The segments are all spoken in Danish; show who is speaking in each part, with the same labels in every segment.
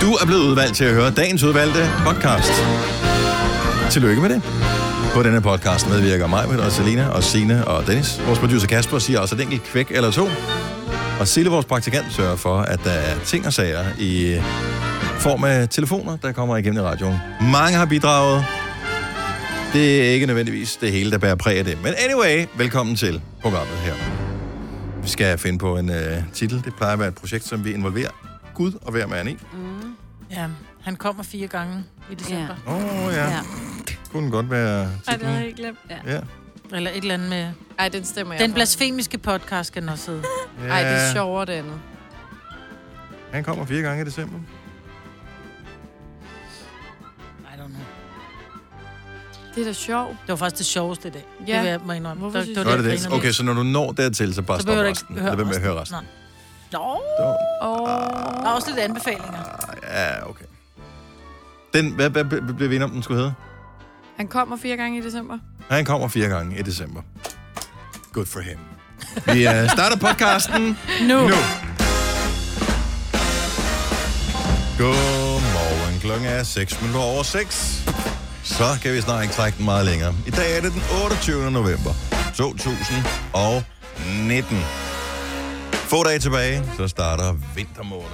Speaker 1: Du er blevet udvalgt til at høre dagens udvalgte podcast. Tillykke med det. På denne podcast medvirker mig, og Selina, og Sine og Dennis. Vores producer Kasper siger også et enkelt kvæk eller to. Og Sille, vores praktikant, sørger for, at der er ting og sager i form af telefoner, der kommer igennem i radioen. Mange har bidraget. Det er ikke nødvendigvis det hele, der bærer præg af det. Men anyway, velkommen til programmet her. Vi skal finde på en øh, titel. Det plejer at være et projekt, som vi involverer Gud og hver mand i.
Speaker 2: Ja, han kommer fire gange i december.
Speaker 1: Åh oh, ja. ja.
Speaker 3: Ja.
Speaker 1: Kunne godt være titlen.
Speaker 4: jeg glemt.
Speaker 3: Ja.
Speaker 1: Ja.
Speaker 2: Ja. Eller et eller andet med...
Speaker 4: Ej, den stemmer jeg
Speaker 2: Den
Speaker 4: for.
Speaker 2: blasfemiske podcast skal den også hedde.
Speaker 1: ja.
Speaker 4: Ej, det er sjovere, det andet.
Speaker 1: Han kommer fire gange i december.
Speaker 2: I don't know.
Speaker 4: Det er da sjovt.
Speaker 2: Det var faktisk det sjoveste i dag. Ja.
Speaker 4: Ja.
Speaker 2: Det vil jeg må indrømme.
Speaker 4: Hvorfor
Speaker 2: Det-
Speaker 4: synes
Speaker 2: det,
Speaker 1: Nå,
Speaker 2: var
Speaker 1: er
Speaker 2: det,
Speaker 1: det
Speaker 2: jeg
Speaker 1: det.
Speaker 2: griner
Speaker 1: Okay,
Speaker 2: mest.
Speaker 1: så når du når dertil, så bare
Speaker 2: Så
Speaker 1: stop
Speaker 2: behøver du
Speaker 1: resten.
Speaker 2: ikke
Speaker 1: Eller
Speaker 2: høre
Speaker 1: hvad med at høre resten?
Speaker 2: resten. Nå,
Speaker 4: Åh,
Speaker 2: der er også lidt anbefalinger.
Speaker 1: Ja, okay. Den, hvad, hvad ble- blev vi enige om, den skulle hedde?
Speaker 4: han kommer fire gange i december.
Speaker 1: Han kommer fire gange i december. Good for him. Vi øh, starter podcasten
Speaker 2: Nu.
Speaker 1: nu. Godmorgen. Klokken er 6 minutter over 6. Så kan vi snart ikke trække den meget længere. I dag er det den 28. november 2019. Få dage tilbage, så starter vintermåneden.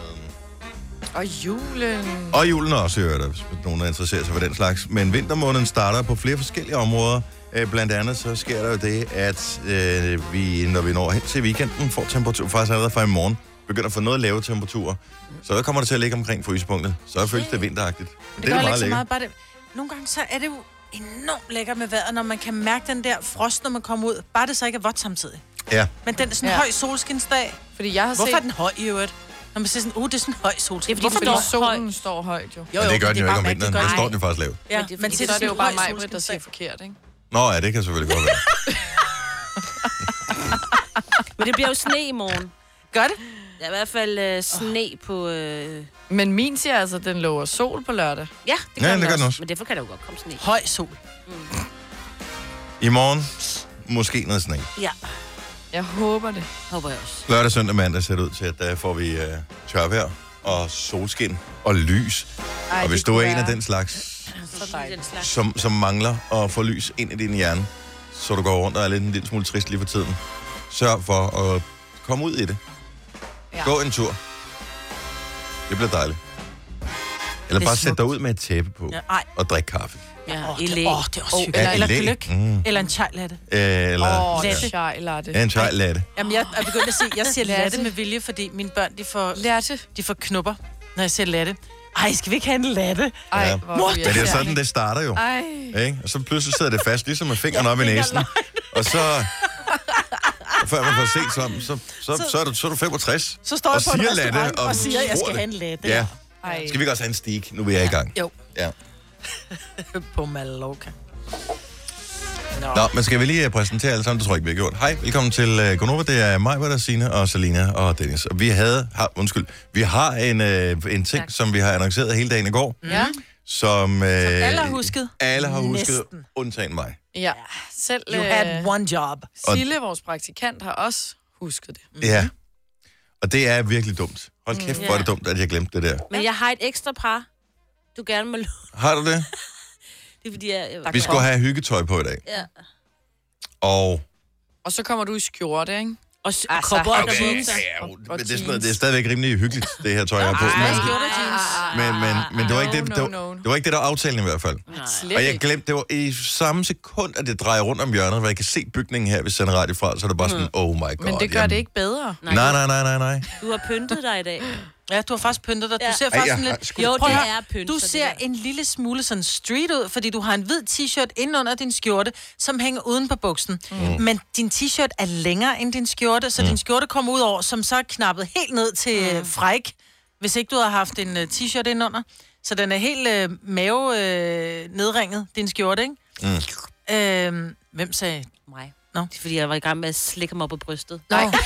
Speaker 4: Og julen.
Speaker 1: Og julen er også, hører hvis nogen er interesseret sig for den slags. Men vintermåneden starter på flere forskellige områder. Øh, Blandt andet så sker der jo det, at øh, vi, når vi når hen til weekenden, får temperatur, faktisk allerede fra i morgen, begynder at få noget lave temperaturer. Så der kommer det til at ligge omkring frysepunktet. Så føles det vinteragtigt. Men
Speaker 2: Det, det gør
Speaker 1: da
Speaker 2: ikke så
Speaker 1: lækkert.
Speaker 2: meget, bare det. Nogle gange så er det jo enormt lækkert med vejret, når man kan mærke den der frost, når man kommer ud. Bare det så ikke er vådt samtidig.
Speaker 1: Ja.
Speaker 2: Men den er sådan en
Speaker 4: Ja.
Speaker 2: ja. høj solskinsdag.
Speaker 4: Fordi jeg har
Speaker 2: Hvorfor er
Speaker 4: set...
Speaker 2: den høj i øvrigt? Når man siger sådan, uh, det er sådan en høj solskin.
Speaker 3: Det er fordi,
Speaker 2: Hvorfor
Speaker 3: den
Speaker 4: Fordi
Speaker 3: står
Speaker 4: solen står højt, jo.
Speaker 2: Jo,
Speaker 1: Men det gør
Speaker 2: men
Speaker 1: den jo ikke om
Speaker 2: bare mærkeligt,
Speaker 1: vinteren.
Speaker 2: det
Speaker 1: Der
Speaker 2: gør
Speaker 1: står den faktisk lavt.
Speaker 2: Ja,
Speaker 3: Men det er
Speaker 2: men
Speaker 3: fordi,
Speaker 2: til
Speaker 4: Så er det jo bare mig,
Speaker 2: der
Speaker 4: der siger
Speaker 2: siger.
Speaker 4: forkert, ikke?
Speaker 1: Nå ja, det kan selvfølgelig godt være.
Speaker 3: Men det bliver jo sne i morgen.
Speaker 2: Gør det?
Speaker 3: Der er i hvert fald øh, sne på... Øh...
Speaker 4: Men min siger altså, at den lover sol på lørdag.
Speaker 3: Ja, det
Speaker 1: Ja,
Speaker 3: gør, ja,
Speaker 1: det
Speaker 3: den,
Speaker 1: gør den
Speaker 3: også.
Speaker 1: også.
Speaker 3: Men derfor kan der jo godt komme sne.
Speaker 2: Høj sol.
Speaker 1: I morgen, måske noget sne.
Speaker 3: Ja,
Speaker 4: Jeg håber det.
Speaker 3: håber jeg også.
Speaker 1: Lørdag, søndag, mandag ser det ud til, at der får vi øh, tørvejr og solskin og lys. Ej, og hvis du er en af den slags,
Speaker 3: Så
Speaker 4: dejligt.
Speaker 3: dejligt. slags.
Speaker 1: som, som mangler at få lys ind i din hjerne, så du går rundt og er lidt en lille smule trist lige for tiden. Sørg for at komme ud i det. Ja.
Speaker 4: Ja.
Speaker 1: Gå en tur. Det bliver dejligt. Eller
Speaker 2: Det er
Speaker 1: bare sæt
Speaker 2: smukt.
Speaker 1: dig ud med et tæppe på
Speaker 2: Ja,
Speaker 1: ja.
Speaker 2: ej.
Speaker 1: og drik kaffe.
Speaker 3: Ja,
Speaker 2: Åh,
Speaker 3: i
Speaker 2: det,
Speaker 3: læ.
Speaker 2: åh, det er også hyggeligt.
Speaker 1: Ja,
Speaker 2: eller
Speaker 1: i læ.
Speaker 2: gløk.
Speaker 1: Mm.
Speaker 2: Eller en chajlatte.
Speaker 1: Øh, Eller
Speaker 4: Åh,
Speaker 1: oh,
Speaker 4: oh,
Speaker 2: Lasse.
Speaker 4: sjej, Latte.
Speaker 1: ja. en chai latte.
Speaker 2: Jamen, jeg er begyndt at sige, jeg siger
Speaker 4: Latte.
Speaker 2: latte med vilje, fordi mine børn, de får,
Speaker 4: Latte.
Speaker 2: de får knupper, når jeg siger latte. Ej, skal vi ikke have en latte?
Speaker 4: Ej,
Speaker 1: Ja.
Speaker 4: hvor
Speaker 2: Mor,
Speaker 4: er vi
Speaker 1: Men det er
Speaker 4: irriterende.
Speaker 1: sådan, det starter jo.
Speaker 4: Ej,
Speaker 1: Ikke? Og så pludselig sidder det fast, ligesom med fingeren op i næsen. Og så... Og før man får set sådan, så, så, så, så, er, du, så er du 65.
Speaker 2: Så står
Speaker 1: Og
Speaker 2: jeg på en
Speaker 1: siger
Speaker 2: restaurant
Speaker 1: latte, og
Speaker 2: og, siger, jeg
Speaker 1: tror
Speaker 2: skal
Speaker 1: det.
Speaker 2: have en latte.
Speaker 1: Ja.
Speaker 4: ej.
Speaker 1: Skal vi ikke også have en stik? Nu er jeg i gang.
Speaker 2: Jo,
Speaker 1: Ja.
Speaker 2: på Mallorca.
Speaker 1: Nå, men skal vi lige øh, præsentere alle sammen? Det tror jeg ikke, vi har gjort. Hej, velkommen til øh, Gonova. Det er mig, hvor der Signe og Selina og Dennis. Og vi havde, har, undskyld, vi har en, øh, en ting,
Speaker 3: Tak.
Speaker 1: som vi har annonceret hele dagen i går,
Speaker 4: Ja,
Speaker 1: som... Øh,
Speaker 2: alle har husket.
Speaker 1: Alle har husket,
Speaker 2: Næsten.
Speaker 1: undtagen mig.
Speaker 4: ja. Selv
Speaker 2: You had
Speaker 4: øh,
Speaker 2: one job.
Speaker 4: Sille, vores praktikant, har også husket det.
Speaker 1: Ja. Og det er virkelig dumt. Hold kæft, hvor er det dumt, at jeg glemte det der.
Speaker 3: Men jeg har et ekstra par, du gerne må låne.
Speaker 1: Har du det?
Speaker 3: Det er fordi, jeg... jeg
Speaker 1: Vi skulle have hyggetøj på i dag.
Speaker 3: Ja.
Speaker 1: Og...
Speaker 4: Og så kommer du i skjorte, ikke?
Speaker 3: Og s- altså, kopper okay.
Speaker 1: Okay, ja,
Speaker 3: og bukser.
Speaker 1: ja,
Speaker 4: Og-
Speaker 1: men
Speaker 4: og
Speaker 1: det, er sådan noget,
Speaker 4: jeans.
Speaker 1: det er stadigvæk rimelig hyggeligt, det her tøj, jeg har på.
Speaker 3: Ej,
Speaker 1: Men,
Speaker 3: skjorte og jeans.
Speaker 1: men, men, men det, var
Speaker 5: Ah.
Speaker 1: ikke det,
Speaker 4: No,
Speaker 1: det, var,
Speaker 4: no, no.
Speaker 1: det var ikke det, der var aftalen i hvert fald.
Speaker 4: Slet
Speaker 1: Og jeg
Speaker 4: ikke.
Speaker 1: glemte, det var i samme sekund, at det drejer rundt om hjørnet, hvor jeg kan se bygningen her, hvis jeg sender radio fra, så er det bare sådan, oh my god.
Speaker 4: Men det gør det ikke bedre.
Speaker 1: Nej, nej, nej, nej, nej.
Speaker 3: Du har pyntet dig i dag.
Speaker 2: Ja, du har faktisk pyntet dig. Du
Speaker 3: Ja.
Speaker 2: ser
Speaker 1: Ej,
Speaker 2: faktisk
Speaker 1: jeg
Speaker 2: sådan
Speaker 1: har
Speaker 2: lidt...
Speaker 1: sgu da-
Speaker 3: Jo,
Speaker 2: Prøv at
Speaker 3: det
Speaker 2: høre,
Speaker 3: er pyntet.
Speaker 2: Du ser en lille smule sådan street ud, fordi du har en hvid t-shirt indenunder din skjorte, som hænger uden på buksen. Mm. Men din t-shirt er længere end din skjorte, så mm. din skjorte kommer ud over, som så er knappet helt ned til mm. fræk, hvis ikke du har haft en uh, t-shirt indenunder. Så den er helt uh, mave uh, nedringet, din skjorte, ikke? Mm. Øhm, hvem sagde...
Speaker 3: Mig.
Speaker 2: Nå.
Speaker 3: Det er fordi, jeg var i gang med at slikke mig op på brystet.
Speaker 2: Nej.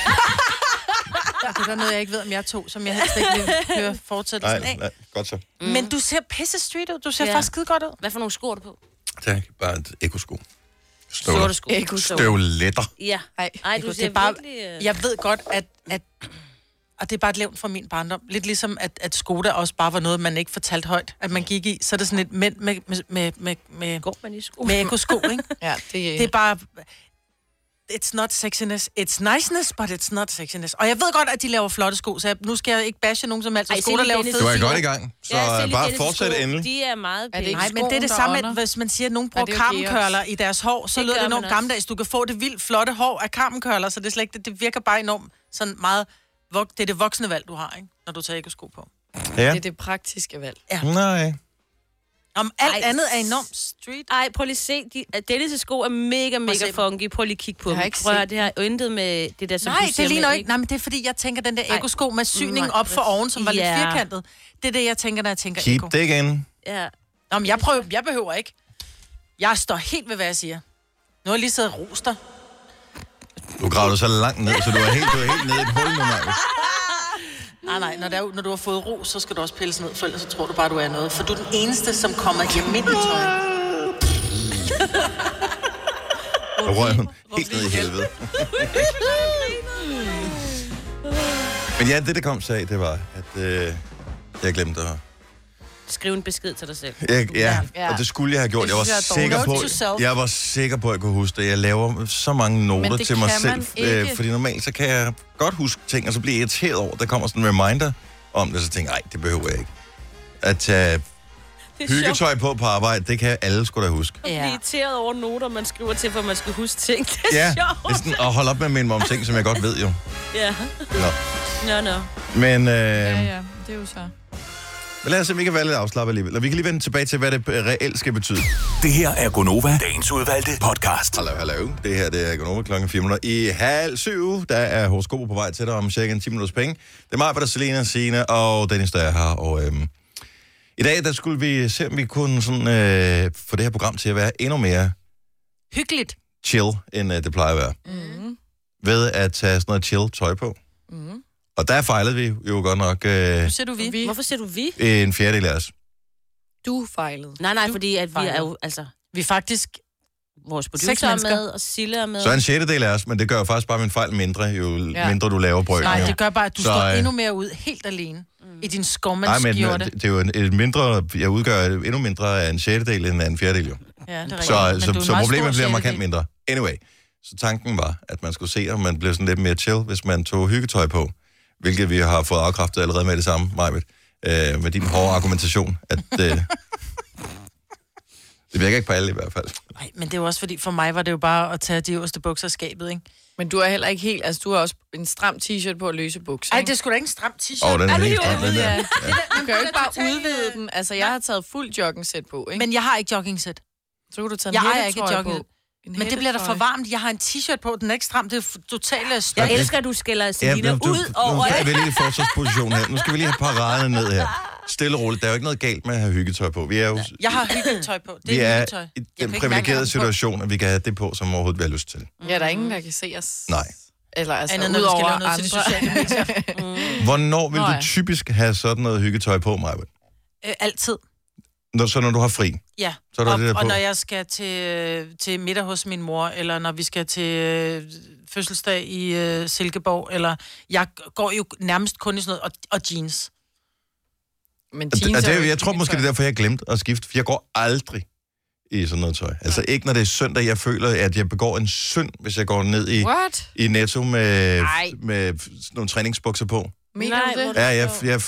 Speaker 2: Det er der noget, jeg ikke ved, om jeg tog, som jeg helst ikke vil høre fortsættelsen
Speaker 1: Nej,
Speaker 2: af.
Speaker 1: nej, godt så.
Speaker 2: Mm. Men du ser pisse street ud. Du ser
Speaker 3: Ja.
Speaker 2: ja. faktisk skide godt ud.
Speaker 3: Hvad for nogle sko er du på?
Speaker 1: Tak. Bare et ekosko.
Speaker 3: Sorte
Speaker 1: Støvler.
Speaker 3: sko.
Speaker 4: Ikke
Speaker 1: Støvletter.
Speaker 3: Ja.
Speaker 2: Ej,
Speaker 3: Ej,
Speaker 2: det
Speaker 3: du
Speaker 2: er
Speaker 3: ser
Speaker 2: bare-
Speaker 3: virkelig... øh,
Speaker 2: Jeg ved godt, at, at Og det er bare et levn fra min barndom. Lidt ligesom, at, at Skoda også bare var noget, man ikke fortalte højt, at man gik i. Så er det sådan et mænd med, med, med, med, med,
Speaker 3: Går man i sko?
Speaker 2: med ekosko, ikke?
Speaker 4: Ja, det,
Speaker 2: Det er bare... It's not sexiness. It's niceness, but it's not sexiness. Og jeg ved godt, at de laver flotte sko, så jeg, nu skal jeg ikke bashe nogen som helst.
Speaker 3: Ej,
Speaker 2: Ej,
Speaker 3: se
Speaker 2: Skoda
Speaker 3: lige
Speaker 2: laver
Speaker 3: Dennis'
Speaker 1: Du
Speaker 2: fede
Speaker 1: var
Speaker 3: sko.
Speaker 1: godt i gang, så
Speaker 3: Ja, se
Speaker 1: ja,
Speaker 3: lige
Speaker 1: bare
Speaker 3: Dennis'
Speaker 1: fortsæt
Speaker 3: sko.
Speaker 1: endelig.
Speaker 3: De er meget
Speaker 4: Er det
Speaker 3: pæne.
Speaker 4: ikke
Speaker 2: Nej, men det er det
Speaker 4: skoen, der
Speaker 2: samme, at
Speaker 4: ånder.
Speaker 2: hvis man siger, at nogen
Speaker 4: det
Speaker 2: bruger
Speaker 4: er jo
Speaker 2: karmenkørler
Speaker 4: gears.
Speaker 2: i deres hår, så
Speaker 3: Det
Speaker 2: lyder
Speaker 3: gør
Speaker 2: det
Speaker 3: man
Speaker 2: enormt
Speaker 3: også.
Speaker 2: gammeldags. Du kan få det vildt flotte hår af karmenkørler, så det, er slet ikke, det, det virker bare enormt sådan meget... vok- Det er det voksne valg, du har, ikke? når du tager ikke sko på.
Speaker 1: Ja.
Speaker 4: det er det praktiske valg.
Speaker 1: Nej.
Speaker 2: Om alt
Speaker 3: Ej.
Speaker 2: Ej. andet er enormt street.
Speaker 3: Ej, prøv lige at se. De, at Dennis' sko er mega,
Speaker 2: se
Speaker 3: mega
Speaker 2: dem.
Speaker 3: funky. Prøv lige at kigge på
Speaker 4: Jeg har
Speaker 3: dem.
Speaker 4: ikke
Speaker 3: Prøv at
Speaker 4: set
Speaker 3: høre, det har intet med
Speaker 4: Altså,
Speaker 3: det der, som
Speaker 2: Nej,
Speaker 3: du siger
Speaker 2: det ligner
Speaker 3: med,
Speaker 2: ikke. Nej, men det er fordi, jeg tænker den der
Speaker 3: Ej.
Speaker 2: ekosko med
Speaker 4: Mm,
Speaker 2: syningen
Speaker 3: Nej,
Speaker 2: op for oven, som var lidt
Speaker 3: ja.
Speaker 2: firkantet. Det er det, jeg tænker, når jeg tænker
Speaker 1: Keep
Speaker 2: eko.
Speaker 1: det igen.
Speaker 3: Ja.
Speaker 2: Nå, men jeg, prøver, jeg behøver ikke. Jeg står helt ved, hvad jeg siger. Nu har jeg lige siddet og roster.
Speaker 1: Du gravede så langt ned, så du er helt, du er helt nede i et hul nu, Maja.
Speaker 2: Nej, nej, når, der, er- når du har fået ro, så skal du også pilles ned, for ellers så tror du bare, du er noget. For du er den eneste, som kommer i almindeligt tøj.
Speaker 1: Og røg hun helt ned i helvede. Men ja, det der kom sag, det var, at øh, jeg glemte at...
Speaker 3: Skriv en besked til dig selv.
Speaker 1: Jeg, ja,
Speaker 4: Ja.
Speaker 1: og det skulle jeg have gjort.
Speaker 4: Det
Speaker 1: Jeg var
Speaker 4: synes jeg er
Speaker 1: sikker
Speaker 2: dårligt. Note to
Speaker 1: på,
Speaker 2: self.
Speaker 1: jeg var sikker på, at jeg kunne huske det. Jeg laver så mange noter
Speaker 4: det
Speaker 1: til mig
Speaker 4: kan
Speaker 1: selv. øh,
Speaker 4: man ikke.
Speaker 1: fordi normalt så kan jeg godt huske ting, og så bliver jeg irriteret over, at der kommer sådan en reminder om det, så tænker jeg, nej, det behøver jeg ikke. At tage
Speaker 3: Det er sjovt.
Speaker 1: hyggetøj på på arbejde, det kan alle skulle da huske.
Speaker 3: Ja.
Speaker 2: Ja.
Speaker 3: Blive irriteret over noter, man skriver til, for man skal huske ting. Det er
Speaker 1: Ja, det
Speaker 3: sjovt.
Speaker 1: er sådan at holde op med at minde mig om ting, som jeg godt ved jo.
Speaker 3: Ja.
Speaker 1: Nå.
Speaker 3: Nå, nå.
Speaker 1: Men øh,
Speaker 4: Ja,
Speaker 1: ja,
Speaker 4: ja, det er jo så.
Speaker 1: ja. lad os se, om vi kan være lidt afslappet alligevel. Og vi kan lige vende tilbage til, hvad det øh, reelt skal betyde.
Speaker 6: Det her er Gonova, dagens udvalgte podcast.
Speaker 1: Hallo, hallo. Det her det er Gunova klokken 4 minutter i halv syv. Der er horoskoper på vej til dig om cirka en 10 minutters penge. Det er mig, der er Selena, Signe og Dennis, der er her. Og, øhm, I dag der skulle vi se, om vi kunne sådan, øh, få det her program til at være endnu mere
Speaker 2: Hyggeligt.
Speaker 1: chill, end øh, det plejer at være.
Speaker 2: Mm-hmm.
Speaker 4: Mm.
Speaker 1: Ved at tage sådan noget chill tøj på.
Speaker 4: Mm.
Speaker 1: Og der fejlede vi jo godt nok øh,
Speaker 2: Nu ser Mm-hmm. du vi.
Speaker 4: Vi,
Speaker 3: Hvorfor siger du vi?
Speaker 1: en fjerdedel af os.
Speaker 4: du fejlede.
Speaker 3: Nej, nej, fordi at vi
Speaker 2: fejler.
Speaker 3: er jo, altså,
Speaker 2: Vi er faktisk...
Speaker 3: vores
Speaker 2: Seks
Speaker 3: producer er
Speaker 2: mennesker.
Speaker 3: med, og Sille er med.
Speaker 1: Så en sjettedel af os, men det gør jo faktisk bare min fejl mindre, jo ja.
Speaker 4: Ja.
Speaker 1: mindre du laver brød.
Speaker 2: Nej,
Speaker 1: jo.
Speaker 2: det gør bare, at du
Speaker 1: Så,
Speaker 2: så, står
Speaker 1: øh,
Speaker 2: endnu mere ud helt alene mm. i
Speaker 1: Nej,
Speaker 2: din
Speaker 1: men øh,
Speaker 2: skovmandsskjorte.
Speaker 1: det, det er jo en, et mindre, jeg udgør endnu mindre af en sjettedel end af en fjerdedel jo.
Speaker 2: Ja, det er
Speaker 1: Så,
Speaker 2: rigtigt. Men
Speaker 1: så,
Speaker 2: du er
Speaker 1: så
Speaker 2: en meget
Speaker 1: problemet
Speaker 2: stor
Speaker 1: bliver markant
Speaker 2: sjæl.
Speaker 1: mindre. Anyway, så tanken var, at man skulle se, om man blev sådan lidt mere chill, hvis man tog hyggetøj på, hvilket vi har fået afkræftet allerede med det samme, Majbet, øh, med din hårde argumentation, at øh, det virker ikke på alle i hvert fald.
Speaker 2: Nej, men det er jo også fordi, for mig var det jo bare at tage de øverste bukser af skabet, ikke?
Speaker 4: Men du er heller ikke helt... Altså, du har også en stram t-shirt på og løse bukser.
Speaker 2: Ej,
Speaker 4: ikke?
Speaker 2: det er sgu da ikke en stram t-shirt.
Speaker 1: Åh, oh, den er
Speaker 2: det
Speaker 1: helt
Speaker 2: jo?
Speaker 1: stram, den der.
Speaker 4: Ja. Du kan jo ikke bare
Speaker 2: Total, øh,
Speaker 4: udvide den. Altså, jeg har taget fuld joggingsæt på, ikke?
Speaker 2: Men jeg har ikke joggingsæt.
Speaker 4: så kan du tage en
Speaker 2: jeg ejer
Speaker 4: hættetrøje
Speaker 2: ikke jogginget.
Speaker 4: på. En
Speaker 2: Men det bliver da for
Speaker 4: hættetrøje.
Speaker 2: varmt. Jeg har en t-shirt på, den er ikke stram. Det er f- totalt øh,
Speaker 3: Jeg
Speaker 2: stort.
Speaker 1: Ja, det-
Speaker 3: elsker, at du skiller
Speaker 1: Ja,
Speaker 3: Selina
Speaker 1: nu, du,
Speaker 3: ud
Speaker 1: nu
Speaker 3: over
Speaker 1: er
Speaker 3: det.
Speaker 1: vi lige i forsvarsposition her. Nu skal vi lige have paraderne ned her. Stille og roligt. Der er jo ikke noget galt med at have hyggetøj på. Vi er jo
Speaker 2: Jeg har hyggetøj på. Det
Speaker 1: vi
Speaker 2: er
Speaker 1: er
Speaker 2: hyggetøj.
Speaker 1: i den
Speaker 2: kan ikke
Speaker 1: privilegerede
Speaker 2: mærke, at jeg har den på.
Speaker 1: situation, at vi kan have det på, som overhovedet vi har lyst til.
Speaker 4: Ja, der er ingen, der kan se os.
Speaker 1: Nej.
Speaker 4: Eller altså,
Speaker 2: Andet,
Speaker 4: Andet,
Speaker 2: når vi skal
Speaker 4: udover
Speaker 2: lave noget til de
Speaker 4: andre.
Speaker 2: sociale medier.
Speaker 1: Hvornår vil
Speaker 4: Nå
Speaker 1: du
Speaker 4: ja.
Speaker 1: typisk have sådan noget hyggetøj på, Maja?
Speaker 2: Øh, altid.
Speaker 1: Når, så når du har fri.
Speaker 2: Ja,
Speaker 1: Så er der
Speaker 2: og,
Speaker 1: det der
Speaker 2: og
Speaker 1: på.
Speaker 2: når jeg skal til, øh, til middag hos min mor, eller når vi skal til øh, fødselsdag i øh, Silkeborg, eller jeg går jo nærmest kun i sådan noget, og, og jeans.
Speaker 4: Men
Speaker 1: Og det- og
Speaker 4: jeans er jo
Speaker 1: det,
Speaker 4: ikke
Speaker 1: jeg tror måske, det er derfor, jeg glemte at skifte, for jeg går aldrig i sådan noget tøj. Altså ikke, når det er søndag. Jeg føler, at jeg begår en synd, hvis jeg går ned i,
Speaker 4: What?
Speaker 1: i Netto med,
Speaker 3: Ej.
Speaker 1: med sådan nogle træningsbukser på.
Speaker 4: Mener
Speaker 3: Nej,
Speaker 4: du
Speaker 3: hvor
Speaker 4: det?
Speaker 3: er
Speaker 1: Ja, jeg, jeg,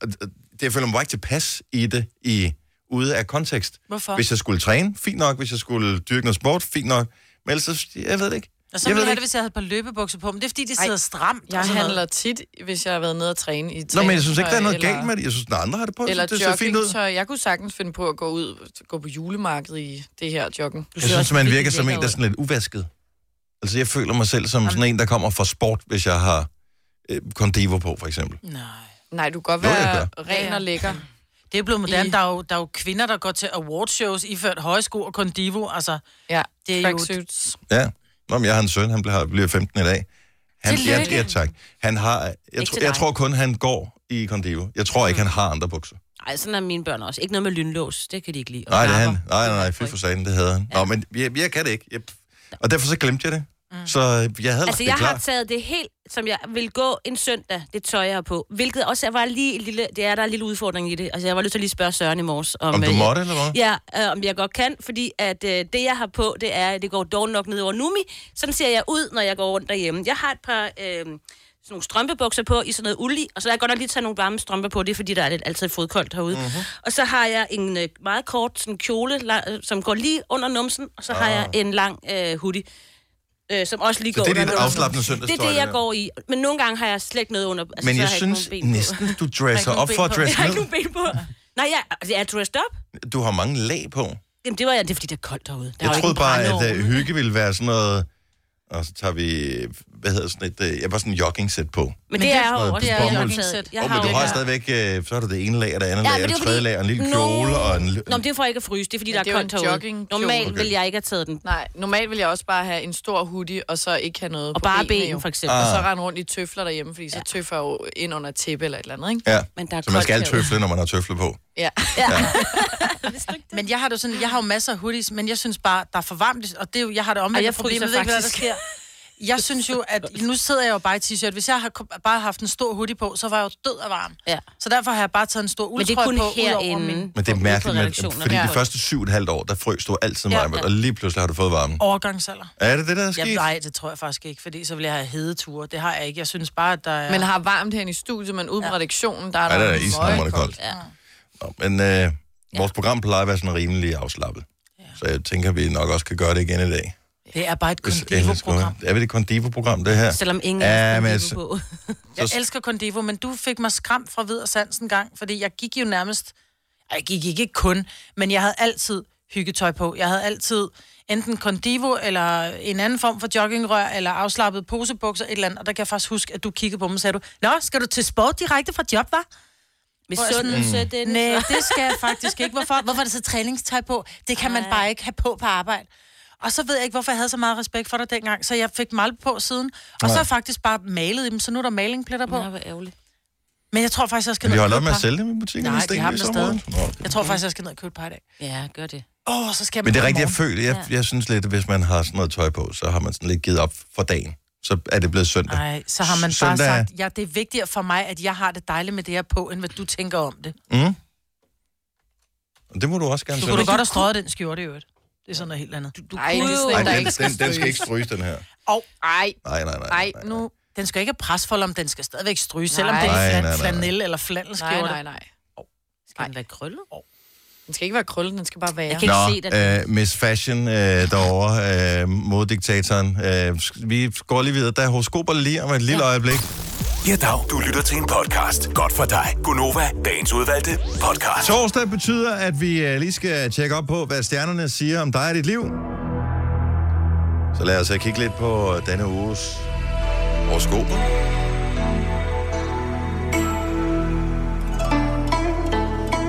Speaker 1: det, jeg føler mig bare ikke tilpas i det, i, ude af kontekst.
Speaker 2: Hvorfor?
Speaker 1: Hvis jeg skulle træne, fint nok. Hvis jeg skulle dyrke noget sport, fint nok. Men ellers, så- jeg ved det ikke.
Speaker 2: og så
Speaker 1: jeg
Speaker 2: ville
Speaker 1: ved
Speaker 2: jeg have
Speaker 1: ikke.
Speaker 2: det, hvis jeg havde et par løbebukser på, men det er fordi, de
Speaker 4: Ej,
Speaker 2: sidder stramt. og
Speaker 4: Jeg
Speaker 2: sådan noget.
Speaker 4: handler tit, hvis jeg har været nede og træne i
Speaker 1: Nå, men jeg synes ikke, der er noget
Speaker 4: eller,
Speaker 1: galt med det. Jeg synes, at andre har det på. Jeg
Speaker 4: Eller
Speaker 1: synes, det ser fint ud.
Speaker 4: joggingtøj. Jeg kunne sagtens finde på at gå ud gå på julemarkedet i det her joggen.
Speaker 3: Du
Speaker 1: Jeg
Speaker 3: ser
Speaker 1: synes,
Speaker 3: også
Speaker 1: man
Speaker 3: virkelig
Speaker 1: virker som en,
Speaker 3: lækker
Speaker 1: der er sådan lidt uvasket. Altså, jeg føler mig selv som sådan en, der kommer fra sport, hvis jeg har øh, Condivo på, for eksempel.
Speaker 2: Nej.
Speaker 4: Nej, du kan godt
Speaker 1: Jo, jeg
Speaker 4: være ren og lækker.
Speaker 2: Det er blevet moderne.
Speaker 4: I-
Speaker 2: Der er, jo, der er jo kvinder, der går til awardshows iført højsko og kondivo. Altså,
Speaker 4: Ja,
Speaker 2: Det er jo-
Speaker 4: tracksuits.
Speaker 1: Ja. Nå, men jeg har en søn, han bliver, bliver 15 i dag. Han,
Speaker 2: Tillykke.
Speaker 1: ja, ja, tak. Han har, jeg, tro, jeg
Speaker 3: til dig. Mm.
Speaker 1: tror kun, han går i Condivo. Jeg tror ikke, han har andre bukser.
Speaker 3: Ej, sådan er mine børn også. Ikke noget med lynlås. Det kan de ikke lide. Og
Speaker 1: Nej, det er han.
Speaker 3: knapper.
Speaker 1: Nej, nej, nej, fy for satan, det havde han. Nå, men jeg, jeg kan det ikke. Jeg, og derfor så glemte jeg det. Mm. Så jeg havde
Speaker 3: Altså,
Speaker 1: altså,
Speaker 3: jeg
Speaker 1: det klar.
Speaker 3: har taget det helt, som jeg vil gå en søndag, det tøj, jeg har på. Hvilket også var lige en lille, det er, der er en lille udfordring i det. Altså, jeg var nødt til at lige spørge Søren i morges. Om,
Speaker 1: Om du
Speaker 3: øh,
Speaker 1: måtte, eller hvad?
Speaker 3: Ja, øh, om jeg godt kan, fordi at øh, det, jeg har på, det er, det går dårligt nok ned over Numi. Sådan ser jeg ud, når jeg går rundt derhjemme. Jeg har et par... Øh, sådan nogle strømpebukser på i sådan noget uld i, og så har jeg godt nok lige taget nogle varme strømper på, det er fordi, der er lidt altid fodkoldt herude.
Speaker 1: Mhm.
Speaker 3: Mm-hmm. Og så har jeg en øh, meget kort sådan kjole, la- øh, som går lige under numsen, og så har jeg en lang øh, hoodie, øh, som også lige
Speaker 1: Ah. Så
Speaker 3: går
Speaker 1: det er
Speaker 3: under
Speaker 1: dit
Speaker 3: numsen.
Speaker 1: afslappende
Speaker 3: Det
Speaker 1: søndagstøj,
Speaker 3: er det,
Speaker 1: det
Speaker 3: jeg
Speaker 1: der.
Speaker 3: går i. Men nogle gange har jeg slet ikke noget under. Altså,
Speaker 1: Men
Speaker 3: så
Speaker 1: jeg
Speaker 3: har
Speaker 1: synes
Speaker 3: ikke nogen ben på.
Speaker 1: næsten, du dresser
Speaker 2: nogen
Speaker 1: op for at
Speaker 2: ben på.
Speaker 1: dresse
Speaker 3: Jeg har
Speaker 1: ned.
Speaker 3: ikke nogen ben på. Nej, jeg, altså, jeg er dressed up.
Speaker 1: Du har mange lag på.
Speaker 3: Jamen, det var jeg, det er, fordi det er koldt derude. Der er
Speaker 1: Jeg
Speaker 3: jo ikke
Speaker 1: troede
Speaker 3: en
Speaker 1: bare,
Speaker 3: brændeovn.
Speaker 1: at uh, hygge ville være sådan noget... Og så tager vi, øh, hvad hedder sådan et... øh, Jeg var sådan en jogging-sæt på.
Speaker 3: Men det er
Speaker 1: sådan
Speaker 3: jo
Speaker 1: noget
Speaker 3: også det
Speaker 1: big
Speaker 3: er
Speaker 1: bomber.
Speaker 3: joggingsæt. Jeg
Speaker 1: Åh, men
Speaker 3: jo
Speaker 1: du har
Speaker 3: det her.
Speaker 1: stadigvæk... øh, Så er der det ene lag, og det andet
Speaker 3: Ja,
Speaker 1: lag,
Speaker 3: men
Speaker 1: og
Speaker 3: det
Speaker 1: det
Speaker 3: er jo
Speaker 1: tredje
Speaker 3: fordi-
Speaker 1: lag, og en lille
Speaker 3: Nå.
Speaker 1: kjole, og en... l-
Speaker 3: Nå, men det er for ikke at fryse, det er fordi, der
Speaker 4: det
Speaker 3: er
Speaker 4: er jo
Speaker 3: koldt
Speaker 4: en
Speaker 3: herude.
Speaker 4: joggingkjole.
Speaker 3: Normalt
Speaker 1: Okay.
Speaker 3: vil jeg ikke have taget den.
Speaker 4: Nej, normalt vil jeg også bare have en stor hoodie, og så ikke have noget
Speaker 3: Og
Speaker 4: på
Speaker 3: bare
Speaker 4: benene,
Speaker 3: ben,
Speaker 4: jo.
Speaker 3: for eksempel.
Speaker 4: Og
Speaker 1: Ah.
Speaker 4: så rende rundt i tøfler derhjemme, fordi så tøffer jeg jo ind under et tæppe eller et eller andet, ikke?
Speaker 1: Ja,
Speaker 3: Men der er
Speaker 1: så man skal
Speaker 3: koldt herude.
Speaker 1: tøfle, når man har tøfle på.
Speaker 4: Ja.
Speaker 2: Men jeg har, det jo sådan, jeg har jo masser af hoodies, men jeg synes bare, der er for varmt, og det er jo, jeg har det
Speaker 3: Ej,
Speaker 2: omvendt
Speaker 3: jeg
Speaker 2: problem.
Speaker 3: fryser
Speaker 2: Jeg ved ikke, hvad der
Speaker 3: faktisk.
Speaker 2: sker. Jeg synes jo, at nu sidder jeg jo bare i t-shirt. Hvis jeg har kom- bare haft en stor hoodie på, så var jeg jo død og varm.
Speaker 3: Ja.
Speaker 2: Så derfor har jeg bare taget en stor
Speaker 3: Men det er
Speaker 2: uldtrøj på,
Speaker 3: kun
Speaker 2: udover
Speaker 3: herinde.
Speaker 2: min
Speaker 1: Men det er
Speaker 3: Ude på
Speaker 1: mærkeligt, med,
Speaker 3: redaktionerne.
Speaker 1: fordi
Speaker 3: Ja.
Speaker 1: de første syv og et halvt år, der frøs du altid
Speaker 3: Ja,
Speaker 1: meget, ja,
Speaker 3: ja.
Speaker 1: og lige pludselig har du fået varmen.
Speaker 2: overgangsalder.
Speaker 1: Er det det, der er sket?
Speaker 2: Jeg, nej, det tror jeg faktisk ikke, fordi så vil jeg have hedeture. Det har jeg ikke. Jeg synes bare, at der er...
Speaker 4: Man har varmt herinde i studiet, men ude på redaktionen, der er
Speaker 1: Ej, der er ishammerende
Speaker 4: møgkoldt.
Speaker 1: koldt. Nå, men øh, vores program plejer at være sådan rimelig afslappet. Så jeg tænker, vi nok også kan gøre det igen i dag.
Speaker 2: det er bare et
Speaker 1: Hvis ellers skulle-
Speaker 2: kondivo-program.
Speaker 1: Er vi det kondivo-program, det her?
Speaker 3: Selvom ingen
Speaker 1: Ja,
Speaker 3: er
Speaker 1: men
Speaker 3: ja,
Speaker 1: altså-
Speaker 3: på.
Speaker 2: Jeg elsker kondivo, men du fik mig skræmt fra vid og sans en gang, fordi jeg gik jo nærmest... Ej, Jeg gik ikke kun, men jeg havde altid hyggetøj på. Jeg havde altid enten kondivo eller en anden form for joggingrør eller afslappet posebukser, et eller andet. Og der kan jeg faktisk huske, at du kiggede på mig og sagde du, Nå, skal du til sport direkte fra job, hva'?
Speaker 3: Med sundelse, mm. den
Speaker 2: Nej, det skal jeg faktisk ikke. Hvorfor, hvorfor er der så træningstøj på? Det kan man bare ikke have på på arbejde. Og så ved jeg ikke, hvorfor jeg havde så meget respekt for dig dengang, så jeg fik mal på siden. Og så har jeg faktisk bare malet i dem, så nu er der malingpletter på.
Speaker 3: Nå, hvor ærgerligt.
Speaker 2: Men jeg tror faktisk, jeg skal
Speaker 1: Men
Speaker 2: ned
Speaker 1: vi
Speaker 2: og
Speaker 1: holder op
Speaker 2: købe
Speaker 1: med at
Speaker 2: par.
Speaker 1: sælge dem i butikken.
Speaker 2: Nej,
Speaker 1: hvis det
Speaker 2: de
Speaker 1: ikke
Speaker 2: har
Speaker 1: er
Speaker 2: dem der
Speaker 1: i
Speaker 2: stadig.
Speaker 1: sommerhus. Nå, okay.
Speaker 2: Jeg tror faktisk, jeg skal ned og købe et par i dag.
Speaker 3: Ja, gør det.
Speaker 2: Åh, oh, så skal jeg
Speaker 1: Men det er
Speaker 2: ned i
Speaker 1: rigtigt, jeg
Speaker 2: morgen.
Speaker 1: føler, jeg, jeg synes lidt, at hvis man har sådan noget tøj på, så har man sådan lidt givet op for dagen. Så er det blevet søndag.
Speaker 2: Nej, så har man bare
Speaker 1: Søndag er-
Speaker 2: sagt, ja, det er vigtigere for mig, at jeg har det dejligt med det her på, end hvad du tænker om det.
Speaker 1: Mm? Og Det må du også gerne
Speaker 2: Du
Speaker 1: selv-
Speaker 2: kunne da godt have strøget den skjorte i øvrigt. Det er sådan noget helt andet. Du, du,
Speaker 4: Ej, det er sådan
Speaker 1: Ej,
Speaker 4: en, der
Speaker 1: den,
Speaker 4: ikke skal
Speaker 1: den, den skal ikke stryges, den her.
Speaker 2: og,
Speaker 4: Ej,
Speaker 1: Nej, nej, nej.
Speaker 4: ej, nu.
Speaker 2: den skal ikke have presfold om, den skal stadigvæk stryge, selvom
Speaker 4: Nej.
Speaker 2: det er en
Speaker 1: Nej, nej,
Speaker 2: flan,
Speaker 1: nej, nej.
Speaker 2: flanel eller
Speaker 4: Nej,
Speaker 2: flanelskjorte.
Speaker 4: nej, nej.
Speaker 3: Skal den være krøllet?
Speaker 4: Den skal ikke være krøllet, den skal bare være.
Speaker 3: Jeg
Speaker 4: Jeg
Speaker 3: kan-
Speaker 4: kan...
Speaker 1: Nå,
Speaker 3: se
Speaker 1: øh, Miss Fashion øh, derovre, øh, moddiktatoren. Øh, sk- vi går lige videre. Der er horoskoper lige om et lille øjeblik.
Speaker 6: Ja, dag. Du lytter til en podcast. Godt for dig. Gunova, dagens udvalgte podcast.
Speaker 1: Altså. Torsdag betyder, at vi øh, lige skal tjekke op på, hvad stjernerne siger om dig og dit liv. Så lad os øh, kigge lidt på øh, denne uges horoskoper.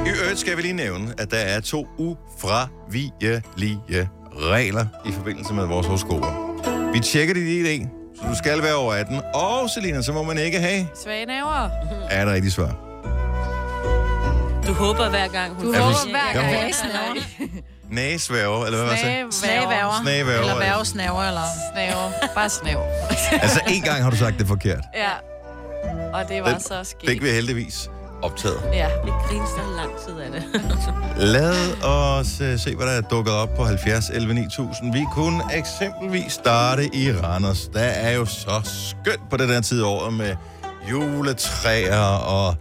Speaker 1: I øvrigt skal vi lige nævne, at der er to ufravigelige regler i forbindelse med vores horoskoper. Vi tjekker dit ID, så du skal være over 18. Og Selina, så må man ikke have,
Speaker 4: Svage naver.
Speaker 1: er det rigtige svar.
Speaker 3: Du håber hver gang, hun...
Speaker 4: Du
Speaker 1: Er
Speaker 4: håber
Speaker 1: du-
Speaker 4: hver
Speaker 1: Ja,
Speaker 4: gang.
Speaker 1: hun- Næsværge, eller hvad var det? jeg sagde?
Speaker 4: Snaver.
Speaker 1: Snævæver.
Speaker 2: Eller værvesnaver, eller...
Speaker 4: Snaver. Bare snaver.
Speaker 1: Altså, en gang har du sagt det forkert.
Speaker 4: Ja. Og det var
Speaker 1: Den
Speaker 4: så skidt.
Speaker 1: Fik vi heldigvis optaget.
Speaker 4: Ja.
Speaker 3: Vi griner så lang tid af det.
Speaker 1: Lad os øh, se, hvad der er dukket op på 70 11 9000. Vi kunne eksempelvis starte i Randers. Der er jo så skønt på den her tid af året med juletræer og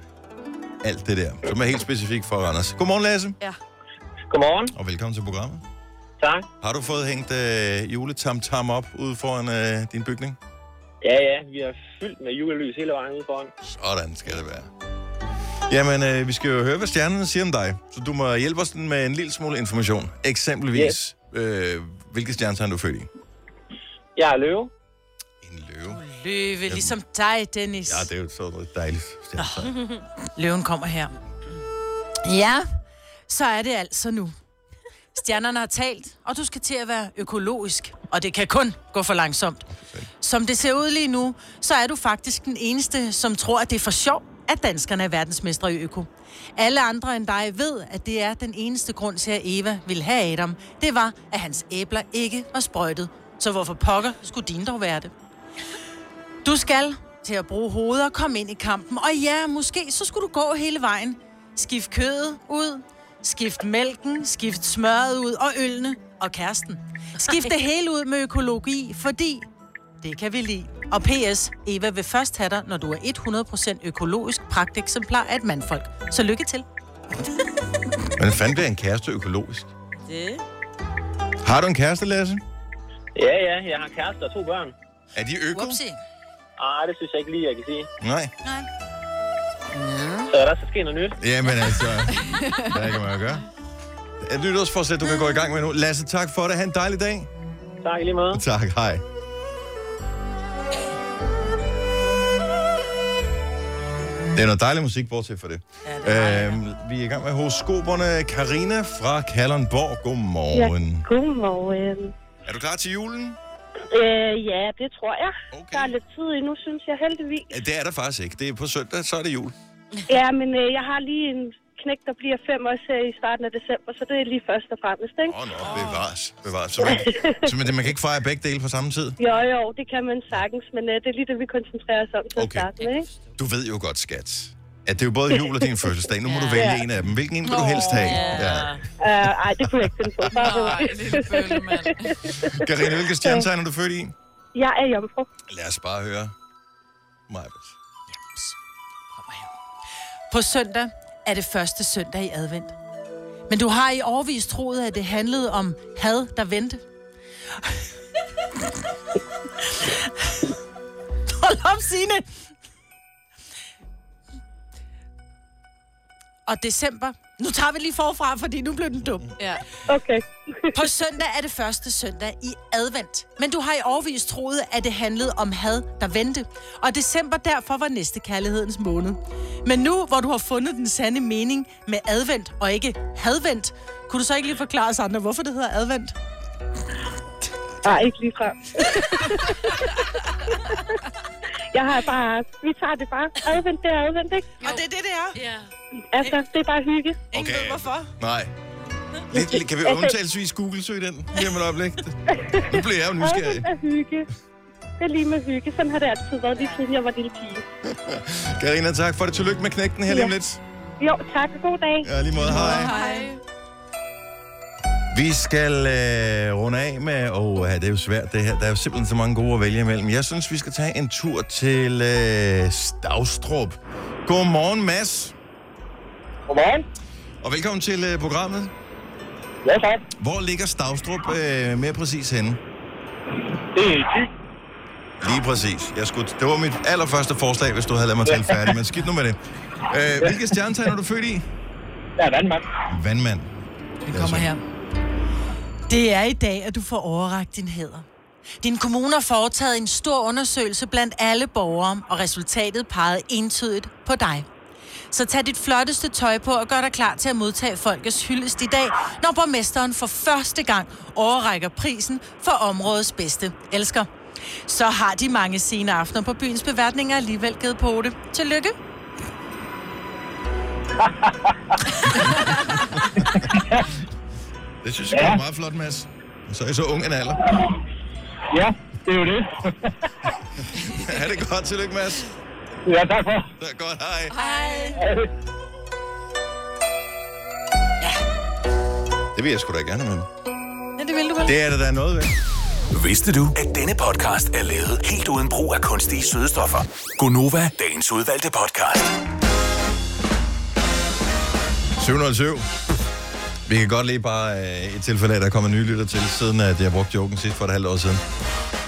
Speaker 1: alt det der, som er helt specifikt for Randers. Godmorgen, Lasse,
Speaker 7: Godmorgen.
Speaker 1: og velkommen til programmet.
Speaker 7: Tak.
Speaker 1: Har du fået hængt øh, juletamtam op ude foran øh, din bygning?
Speaker 7: Ja, ja, vi er fyldt med julelys hele vejen ude foran.
Speaker 1: Sådan skal det være. Jamen, øh, vi skal jo høre, hvad stjernerne siger om dig. Så du må hjælpe os med en lille smule information. Eksempelvis, øh, hvilke stjernetegn du er født i.
Speaker 7: Jeg er løve.
Speaker 1: En løve.
Speaker 2: Løve, ligesom dig, Dennis.
Speaker 1: Ja, det er jo sådan noget dejligt stjernetegn.
Speaker 2: Løven kommer her. Ja, så er det altså nu. Stjernerne har talt, og du skal til at være økologisk. Og det kan kun gå for langsomt. Som det ser ud lige nu, så er du faktisk den eneste, som tror, at det er for sjov, at danskerne er verdensmestre i øko. Alle andre end dig ved, at det er den eneste grund til, at Eva ville have Adam. Det var, at hans æbler ikke var sprøjtet Så hvorfor pokker skulle din dog være det? Du skal til at bruge hovedet og komme ind i kampen. Og ja, måske så skulle du gå hele vejen. Skift kødet ud, skift mælken, skift smøret ud og ølene og kæresten. Skift det hele ud med økologi, fordi det kan vi lide. Og PS, Eva vil først have dig, når du er 100% økologisk pragteksemplar af et mandfolk. Så lykke til.
Speaker 1: Hvordan fanden bliver en kæreste økologisk?
Speaker 3: Det.
Speaker 1: Har du en kæreste, Lasse?
Speaker 7: Ja, ja, jeg har kæreste og to børn.
Speaker 1: Er de øko?
Speaker 2: Whoopsie.
Speaker 7: Ah, det synes jeg ikke lige, jeg kan sige.
Speaker 1: Nej.
Speaker 2: Nej.
Speaker 7: Så er der så sker noget nyt.
Speaker 1: Jamen altså, hvad kan man jo gøre? Et nytårsforsæt, du kan gå i gang med nu. Lasse, tak for det. Ha' en dejlig dag.
Speaker 7: Tak i lige måde.
Speaker 1: Tak, hej. Det er noget dejlig musik, bortset for det. Ja, det øhm, vi er i gang med horoskoperne. Karina fra Kalundborg. Godmorgen. Ja.
Speaker 8: Godmorgen.
Speaker 1: Er du klar til julen?
Speaker 8: øhm, Øh, ja, det tror jeg.
Speaker 1: Okay.
Speaker 8: Der er lidt tid endnu, synes jeg heldigvis.
Speaker 1: Ja, Det er der faktisk ikke. Det er på søndag, så er det jul.
Speaker 8: Ja, men øh, jeg har lige en knæk, der bliver fem år her i starten af december, så det er lige først og fremmest, ikke?
Speaker 1: Åh, oh, nå, bevares. bevares. Så, man, så man, man kan ikke fejre begge dele på samme tid.
Speaker 8: Jo, jo, det kan man sagtens, men øh, det er lige det, vi koncentrerer os om til at
Speaker 1: Okay.
Speaker 8: starte med, ikke?
Speaker 1: Du ved jo godt, skat, at det er jo både jul og din fødselsdag. Nu må du vælge en af dem. Hvilken en vil du helst have? Ja.
Speaker 8: Øh, ej, det kunne jeg ikke finde på. Bare
Speaker 4: Nej,
Speaker 8: rolig. Øh,
Speaker 4: lille bøllemand.
Speaker 1: Karina, hvilke stjernetegn er du født i?
Speaker 8: jeg er jomfru.
Speaker 1: Lad os bare høre. Majbert.
Speaker 2: På søndag er det første søndag i advent. Men du har i årvis troet, at det handlede om had, der vendte. Hold op, Signe! Og december. Nu tager vi lige forfra, fordi nu blev den dum.
Speaker 4: Ja.
Speaker 8: Okay.
Speaker 2: På søndag er det første søndag i advent. Men du har i årvis troet, at det handlede om had, der vendte. Og december derfor var næste kærlighedens måned. Men nu, hvor du har fundet den sande mening med advent og ikke hadvent, kunne du så ikke lige forklare os andre, hvorfor det hedder advent?
Speaker 8: Nej, ikke lige frem. jeg har bare... Vi tager det bare. Advent, det er advent, ikke?
Speaker 2: Og det er det, det er.
Speaker 4: ja.
Speaker 8: Altså, det er bare hygge.
Speaker 2: Ingen ved hvorfor.
Speaker 1: Nej. Lidt, lidt- kan vi undtagelsesvis google-søge den lige om et øjeblik? Nu bliver jeg jo nysgerrig.
Speaker 8: Advent er hygge. Det er lige med hygge. Sådan har det altid været, lige siden jeg var lille pige.
Speaker 1: Karina, tak for det. Tillykke med knægten her lige om lidt.
Speaker 8: Jo, tak og god dag.
Speaker 1: Ja, lige måde. Hej.
Speaker 4: Hej.
Speaker 1: Vi skal øh, runde af med, og øh, det er jo svært det her. Der er jo simpelthen så mange gode at vælge imellem. Jeg synes, vi skal tage en tur til øh, Stavstrup. Godmorgen, Mads.
Speaker 7: Godmorgen.
Speaker 1: Og velkommen til øh, programmet.
Speaker 7: Ja, tak.
Speaker 1: Hvor ligger Stavstrup øh, mere præcis henne?
Speaker 7: Det er Thy.
Speaker 1: Lige præcis. Jeg skulle, det var mit allerførste forslag, hvis du havde ladet mig tale færdig, men skidt nu med det. Øh, hvilke stjernetegn er du født i?
Speaker 7: Der er Danmark.
Speaker 1: Vandmand.
Speaker 4: Vi kommer her.
Speaker 2: Det er i dag, at du får overragt din hæder. Din kommune har foretaget en stor undersøgelse blandt alle borgere, og resultatet pegede entydigt på dig. Så tag dit flotteste tøj på og gør dig klar til at modtage folkets hyldest i dag, når borgmesteren for første gang overrækker prisen for områdets bedste elsker. Så har de mange sene aftener på byens beværtninger alligevel givet på det. Tillykke!
Speaker 1: Det synes jeg ja. er meget flot, Mads. Så er I så ung en alder.
Speaker 7: Ja, det er jo det.
Speaker 1: ha' det godt. Tillykke, Mads.
Speaker 7: ja, tak for.
Speaker 1: Det er godt. Hej. Det vil jeg sgu da gerne med.
Speaker 2: Ja, det vil du vel?
Speaker 1: Det er det, der er noget ved.
Speaker 6: Vidste du, at denne podcast er lavet helt uden brug af kunstige sødestoffer? Gonova, dagens udvalgte podcast.
Speaker 1: 707. Vi kan godt lige bare øh, et tilfælde af, at der kommer nye lytter til, siden at jeg brugte joken sidst for et halvt år siden.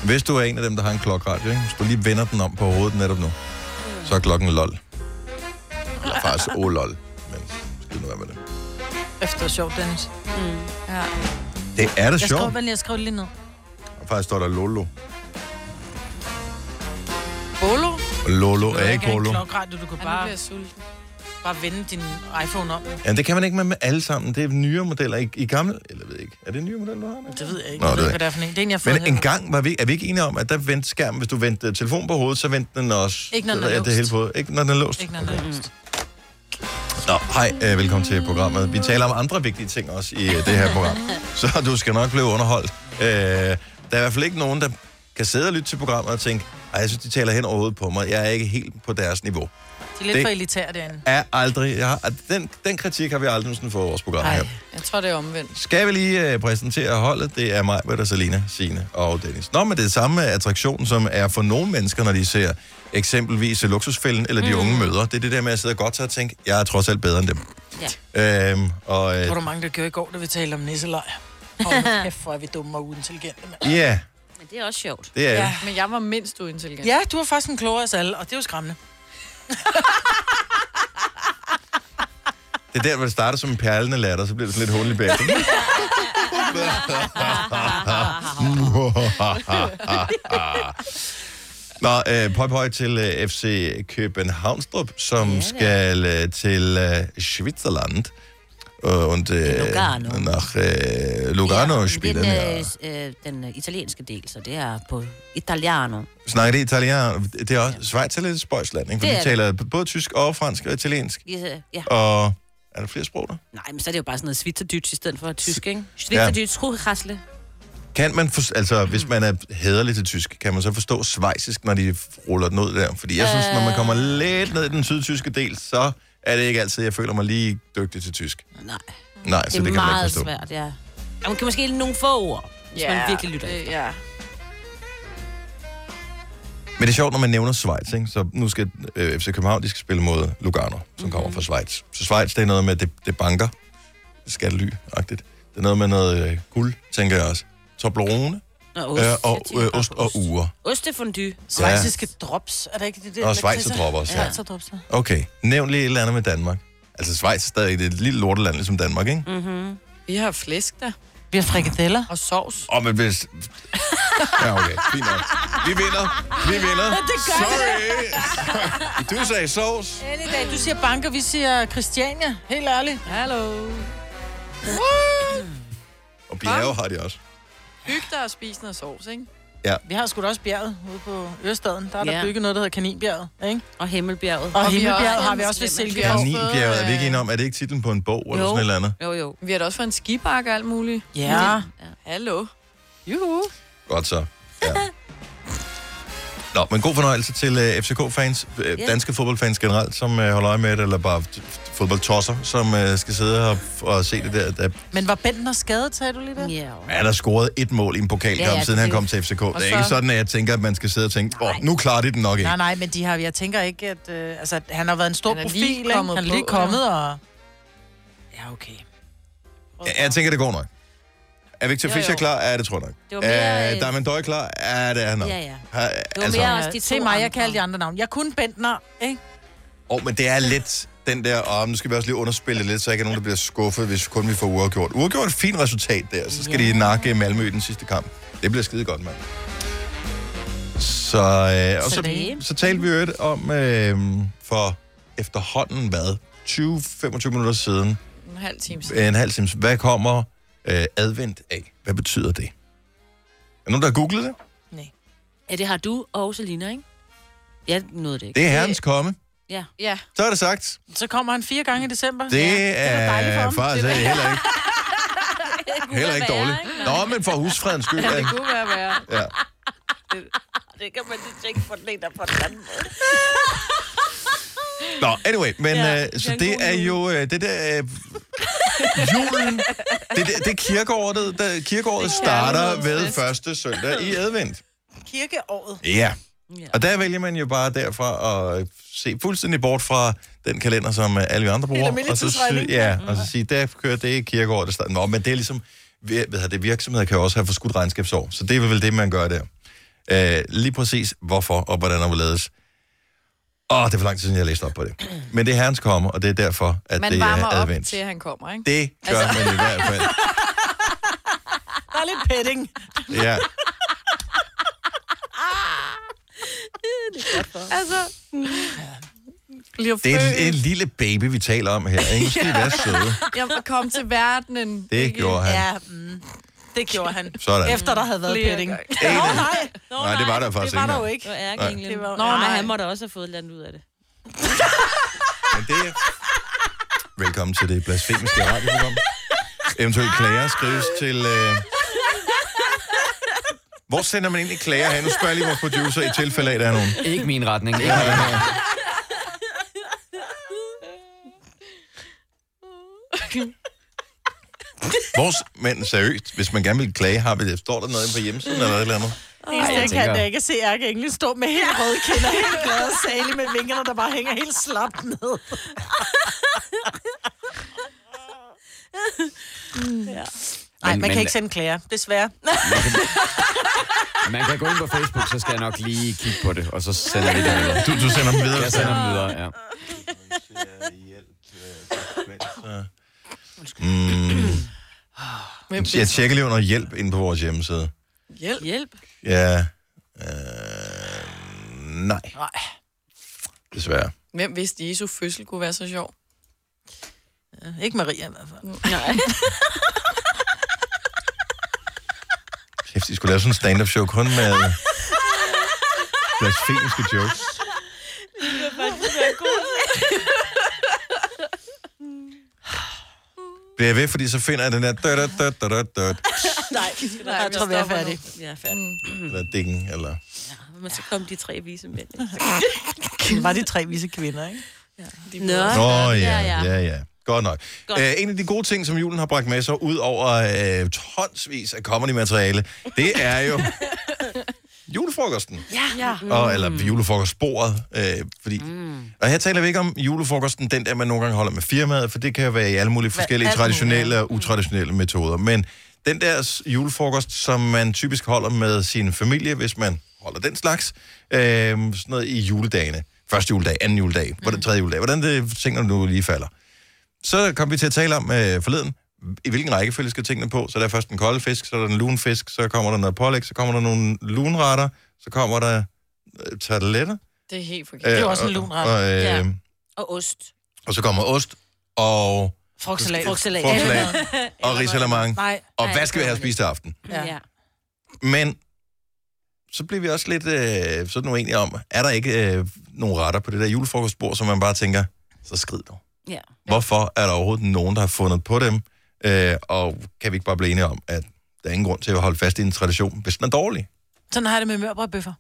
Speaker 1: Hvis du er en af dem, der har en klokradio, ikke? hvis du lige vender den om på hovedet netop nu, så er klokken lol. Eller faktisk oh lol. Men skal nu være med det.
Speaker 2: Efter sjovt, Dennis.
Speaker 1: Det er da
Speaker 2: Mm. Jeg skriver,
Speaker 1: sjovt.
Speaker 2: hvad jeg skriver det lige ned.
Speaker 1: Og faktisk står der Lolo.
Speaker 2: Bolo?
Speaker 1: Lolo er
Speaker 2: ikke
Speaker 1: ikke Lolo.
Speaker 2: klokkeradio, du kan
Speaker 4: Ej, nu bliver
Speaker 2: bare,
Speaker 4: jeg sulten.
Speaker 2: bare vende din iPhone om.
Speaker 1: Ja, det kan man ikke med, med alle sammen. Det er nyere modeller. I, i gamle, eller jeg ved ikke. Er det nye modeller, du har? Det
Speaker 2: Det ved jeg ikke.
Speaker 1: Nå,
Speaker 2: Nå,
Speaker 1: det ved
Speaker 2: jeg ved ikke, hvad det er for en. Det er en, jeg har fået
Speaker 1: Men en
Speaker 2: her.
Speaker 1: gang var vi, er vi ikke enige om, at der vendte skærmen, hvis du vendte øh, telefonen på hovedet, så vendte den også.
Speaker 2: Ikke, når den er
Speaker 1: Ja, Det
Speaker 2: låst.
Speaker 1: hele på. Ikke når den er låst.
Speaker 2: Ikke noget andet.
Speaker 1: Nå, hej, øh, velkommen til programmet. Vi taler om andre vigtige ting også i øh, det her program, så du skal nok blive underholdt. Øh, Der er i hvert fald ikke nogen, der kan sidde og lytte til programmet og tænke, ej, jeg synes, de taler hen over hovedet på mig. Jeg er ikke helt på deres niveau.
Speaker 2: De er lidt
Speaker 1: Det-
Speaker 2: det... for elitære derinde.
Speaker 1: Er aldrig... Jeg har, den, den kritik har vi aldrig nogensinde fået i vores program her.
Speaker 4: Nej, jeg tror, det er omvendt.
Speaker 1: Skal vi lige øh, præsentere holdet? Det er mig, Britta, Selina, Signe og Dennis. Nå, men det er samme øh, attraktion, som er for nogle mennesker, når de ser eksempelvis øh, luksusfælden eller de unge møder. Det er det der med at sidde og godt sig og tænke, jeg er trods alt bedre end dem. Ja. Øhm, og øh,
Speaker 2: Hvor du mange, der gjorde i går, da vi talte om nisselej. Hold nu kæft, hvor er vi dumme og uintelligente, mand.
Speaker 1: ja,
Speaker 3: Men det er også sjovt.
Speaker 1: det er ja.
Speaker 2: Ja.
Speaker 4: Men jeg var mindst uintelligent.
Speaker 2: Ja, du var faktisk en klogere af os alle, og det er jo skræmmende.
Speaker 1: det er der, hvor det starter som en perlende latter, så bliver det sådan lidt hul i bagefter. Nå, øh, pøj pøj til øh, FC Københavnstrup, som ja, skal øh, til øh, Schwitzerland. Og, und, øh,
Speaker 3: Lugano.
Speaker 1: Nach øh, Lugano ja, spiller her.
Speaker 3: den, øh, øh, den øh, italienske del, så det er på italiano.
Speaker 1: Snakker det italiensk? Det er også Schweiz er lidt et spøjsland, ikke? For
Speaker 3: Det
Speaker 1: de
Speaker 3: er
Speaker 1: taler både tysk og fransk og italiensk.
Speaker 3: Ja, ja.
Speaker 1: Og er der flere sprog der?
Speaker 3: Nej, men så er det jo bare sådan noget svitserdyt i stedet for tysk, ikke? Svitserdyt, skrukrasle.
Speaker 1: Kan man, for, altså hvis man er hederlig til tysk, kan man så forstå svejsisk, når de ruller den ud der? Fordi jeg synes, når man kommer
Speaker 3: Øh.
Speaker 1: lidt ned i den sydtyske del, så er det ikke altid, jeg føler mig lige dygtig til tysk.
Speaker 3: Nej,
Speaker 1: Nej,
Speaker 3: det
Speaker 1: så
Speaker 3: er
Speaker 1: det kan man ikke
Speaker 3: meget
Speaker 1: forstå.
Speaker 3: svært, ja. Og man kan måske nogle få ord, hvis man virkelig lytter
Speaker 4: det-
Speaker 3: efter.
Speaker 4: Ja.
Speaker 1: Men det er sjovt, når man nævner Schweiz, ikke? så nu skal øh, FC København, de skal spille mod Lugano, som mm-hmm.
Speaker 3: Mhm.
Speaker 1: kommer fra Schweiz. Så Schweiz, det er noget med, det, det banker, skattely-agtigt. Det er noget med noget øh, guld, tænker jeg også. Toblerone
Speaker 3: Nå,
Speaker 1: øh,
Speaker 3: jeg
Speaker 1: og
Speaker 3: tænker
Speaker 1: øh,
Speaker 3: bare
Speaker 1: ost
Speaker 3: på
Speaker 1: og uger.
Speaker 3: Ostefondue.
Speaker 2: Svejsiske ja. drops, er det ikke det? der
Speaker 1: Og
Speaker 2: lakridser?
Speaker 1: schweizerdrop også, ja.
Speaker 2: ja. Schweizerdrops, ja.
Speaker 1: Okay, nævn lige et eller andet med Danmark. Altså Schweiz er stadig det er et lille lorteland, ligesom Danmark, ikke? Mm.
Speaker 3: Mm-hmm.
Speaker 4: Vi har flæsk der,
Speaker 2: Vi har frikadeller.
Speaker 4: og sovs.
Speaker 1: Og men hvis... Ja, okay, fint nok. Vi vinder, vi vinder. Det gør Sorry. Du sagde sovs.
Speaker 2: Heldig dag. Du siger banker, vi siger Christiania. Helt ærligt.
Speaker 4: Hallo.
Speaker 1: Og bjerge har de også.
Speaker 4: Hyg dig og spis noget sovs, ikke?
Speaker 2: Vi har sgu da også bjerget ude på Ørestaden. Der er der
Speaker 3: Ja.
Speaker 2: bygget noget, der hedder Kaninbjerget. Ikke?
Speaker 3: Og Himmelbjerget.
Speaker 4: vi
Speaker 2: Og, og
Speaker 4: har
Speaker 2: Himmelbjerget
Speaker 4: også
Speaker 2: har vi også ved
Speaker 4: en slem-
Speaker 2: Silkeborg.
Speaker 4: Ja.
Speaker 1: Kaninbjerget, er vi ikke enige om? Er det ikke titlen på en bog eller sådan et eller andet?
Speaker 3: Jo, jo.
Speaker 4: Vi har da også fået en skibakke og alt muligt.
Speaker 2: Ja.
Speaker 4: Hallo. Juhu.
Speaker 1: Godt så. Ja. Nå, men god fornøjelse til uh, FCK-fans, uh, danske fodboldfans generelt, som uh, holder øje med det, eller bare f- f- fodboldtosser, som uh, skal sidde og, og se det der. Der
Speaker 2: Men var Bentner skadet, sagde du lige der?
Speaker 3: Ja.
Speaker 1: er der scoret et mål i en pokalkamp,
Speaker 3: Ja,
Speaker 1: ja,
Speaker 3: ja,
Speaker 1: ja, siden han
Speaker 3: det-
Speaker 1: kom til FCK. Det er
Speaker 4: så-
Speaker 1: ikke sådan, at jeg tænker, at man skal sidde og tænke, åh, nu klarer de den nok ikke.
Speaker 2: Nej, nej, men de har, jeg tænker ikke, at... Øh, altså, at han har været en stor
Speaker 4: Han er
Speaker 2: profil,
Speaker 4: lige
Speaker 2: ikke? Han
Speaker 4: kommet
Speaker 2: er
Speaker 4: på,
Speaker 2: lige kommet, og... Ja, okay.
Speaker 1: Jeg, jeg tænker, det går nok. Er Victor
Speaker 4: Jo,
Speaker 1: Fischer
Speaker 4: jo.
Speaker 1: klar? Er det, tror jeg nok.
Speaker 3: Det var mere,
Speaker 1: Er
Speaker 3: øh,
Speaker 1: Diamond Døj klar? Er det er han nok.
Speaker 3: Ja, ja.
Speaker 1: Ha,
Speaker 3: var
Speaker 1: altså,
Speaker 3: mere-
Speaker 1: mere...
Speaker 3: også de
Speaker 2: Ja,
Speaker 3: to
Speaker 2: se mig, jeg
Speaker 3: andre.
Speaker 2: kalder de andre navn. Jeg kunne Bentner, ikke?
Speaker 1: oh, men det er lidt den der, og nu skal vi også lige underspille det lidt, så ikke er nogen, der bliver skuffet, hvis kun vi får uafgjort. Uafgjort er et fint resultat der, så skal de nakke Malmø i den sidste kamp. Det bliver skide godt, mand. Så, øh, og så,
Speaker 3: Så
Speaker 1: så,
Speaker 3: det-
Speaker 1: så talte vi jo et om øh, for efterhånden, hvad, 20-25 minutter siden,
Speaker 4: En halv time siden.
Speaker 1: en halv time. Hvad kommer øh, advent af? Hvad betyder det? Er nogen, der har googlet det?
Speaker 2: Nej.
Speaker 3: Ja, det har du og Selina, ikke? Jeg nåede det ikke.
Speaker 1: Det er herrens komme.
Speaker 3: Ja.
Speaker 4: Ja,
Speaker 1: Så er det sagt.
Speaker 2: Så kommer han fire gange i december.
Speaker 1: Det
Speaker 2: Ja, da dejligt for
Speaker 1: er
Speaker 2: ham.
Speaker 1: faktisk
Speaker 2: Det er da-
Speaker 1: heller ikke, heller ikke
Speaker 3: være,
Speaker 1: dårligt.
Speaker 3: ikke?
Speaker 1: Nå, men for husfredens skyld.
Speaker 4: det
Speaker 1: Ja.
Speaker 4: kunne være værre.
Speaker 1: Ja.
Speaker 3: Det kan man lige tænke på den ene og på den anden måde.
Speaker 1: Nå, anyway, men
Speaker 3: Ja,
Speaker 1: ja, øh, så
Speaker 3: det er en
Speaker 1: det
Speaker 3: god
Speaker 1: er
Speaker 3: jul.
Speaker 1: jo øh, det der... Øh, julen, det, det, det er kirkeåret, der, kirkeåret starter ved første søndag i advent.
Speaker 2: Kirkeåret.
Speaker 1: Ja.
Speaker 3: Ja.
Speaker 1: Og der vælger man jo bare derfra at se fuldstændig bort fra den kalender, som øh, alle vi andre bruger.
Speaker 2: almindelig
Speaker 1: Og så, sy-
Speaker 2: tidsregning.
Speaker 1: ja, og så sige, der kører det i kirkeåret. Der starter. Nå, men det er ligesom, ved, ved det, virksomheder kan jo også have forskudt regnskabsår, så det er vel det, man gør der. Øh, lige præcis hvorfor og hvordan og hvorledes. Åh, det er for lang tid siden, jeg læste op på det. Men det er herrens komme, og det er derfor, at
Speaker 4: Man
Speaker 1: det
Speaker 4: varmer
Speaker 1: er
Speaker 4: op
Speaker 1: advent.
Speaker 4: til, at han kommer, ikke?
Speaker 1: Det gør altså... man i hvert fald.
Speaker 2: Der er lidt petting.
Speaker 1: Ja.
Speaker 4: Altså,
Speaker 2: mm.
Speaker 4: bliver
Speaker 1: Det er
Speaker 4: født.
Speaker 1: en, en lille baby, vi taler om her. Ikke? Nu skal I være søde.
Speaker 4: Jeg kom til verdenen.
Speaker 1: Det gjorde han.
Speaker 2: Ja, mm, det gjorde han.
Speaker 1: Sådan.
Speaker 2: Efter der havde været
Speaker 4: Flere
Speaker 2: petting.
Speaker 4: gange.
Speaker 2: Nå, nej.
Speaker 1: Nej, det var der faktisk
Speaker 2: Det var
Speaker 1: ikke
Speaker 2: der jo
Speaker 1: engang.
Speaker 3: Det var ærgerligt.
Speaker 2: ikke. Det
Speaker 3: Nå,
Speaker 2: var-
Speaker 3: nej.
Speaker 4: nej.
Speaker 3: han må da også have fået et eller andet ud af det.
Speaker 1: Men det er... Velkommen til det blasfemiske radioprogram. Eventuelt klager skrives til... Øh... Hvor sender man egentlig klager hen? Nu spørger jeg lige vores producer i tilfælde af, at der er nogen.
Speaker 5: Ikke min retning. Ikke min retning.
Speaker 1: Vores, men seriøst, hvis man gerne vil klage, har vi det. Står der noget inde på hjemmesiden eller noget eller andet?
Speaker 2: Eneste, jeg
Speaker 5: tænker-
Speaker 2: kan da ikke se Ærke Engel stå med helt røde kinder, helt glad og salig med vingerne, der bare hænger helt slapt ned. Nej,
Speaker 5: Men-
Speaker 2: man
Speaker 5: men-
Speaker 2: kan ikke sende klager, desværre.
Speaker 5: Man kan gå ind på Facebook, så skal jeg nok lige kigge på det, og så sender vi det videre.
Speaker 1: Du, du sender dem videre.
Speaker 5: Jeg sender dem videre, ja.
Speaker 4: Hvem
Speaker 1: Hmm. Jeg tjekker lige under hjælp inde på vores hjemmeside.
Speaker 4: Hjælp.
Speaker 3: Hjælp.
Speaker 1: Ja. Øh, nej.
Speaker 4: Nej.
Speaker 1: Desværre.
Speaker 4: Hvem vidste, Jesu fødsel kunne være så sjov?
Speaker 2: Ikke Maria i hvert fald.
Speaker 4: Nej.
Speaker 1: Kæft, de skulle lave sådan en stand-up show kun med blasfemiske jokes. Det er ved, fordi så finder jeg den der død, død, død, død, død, død,
Speaker 3: Nej, vi skal
Speaker 2: Jeg tror, vi er færdige.
Speaker 3: Vi er færdige.
Speaker 1: eller dingen, eller...
Speaker 3: Men så kom de tre vise mænd. ikke?
Speaker 2: Det var de tre vise kvinder, ikke?
Speaker 3: Nå,
Speaker 1: Nå ja,
Speaker 3: ja.
Speaker 1: ja, ja. Godt nok.
Speaker 3: Godt.
Speaker 1: Æ, en af de gode ting, som julen har bragt med sig, ud over øh, tonsvis af comedy-materiale, det er jo julefrokosten.
Speaker 2: Ja. ja.
Speaker 5: Mm.
Speaker 1: og, eller julefrokostbordet. Øh, fordi, mm. Og her taler vi ikke om julefrokosten, den der, man nogle gange holder med firmaet, for det kan jo være i alle mulige forskellige
Speaker 2: alt
Speaker 1: traditionelle og utraditionelle metoder. Men den der s- julefrokost, som man typisk holder med sin familie, hvis man holder den slags, øh, sådan noget i juledagene. Første juledag, anden juledag, mm. tredje juledag, hvordan det tingene nu lige falder. Så kom vi til at tale om øh, forleden, i hvilken rækkefølge skal tingene på. Så der er først den kolde fisk, så er der den lune fisk, så kommer der noget pålæg, så kommer der nogle lunretter, så kommer der øh, tarteletter.
Speaker 4: Det er helt forkert.
Speaker 1: Det
Speaker 2: er jo også en lun ret.
Speaker 1: Øh, Og, øh,
Speaker 3: Ja. Og ost.
Speaker 1: og så kommer ost og
Speaker 2: Frugtsalat.
Speaker 3: Frugtsalat.
Speaker 1: frugtsalat og risalamande.
Speaker 2: Nej.
Speaker 1: Og hvad skal vi have at spise til aften?
Speaker 2: Ja.
Speaker 3: Ja.
Speaker 1: Men så bliver vi også lidt øh, sådan uenige om, er der ikke øh, nogen retter på det der julefrokostbord, som man bare tænker, så skrid dog.
Speaker 3: ja.
Speaker 1: Hvorfor er der overhovedet nogen, der har fundet på dem? Øh, og kan vi ikke bare blive enige om, at der er ingen grund til at holde fast i en tradition, hvis den er dårlig?
Speaker 2: Sådan har jeg det med mørbrødbøffer.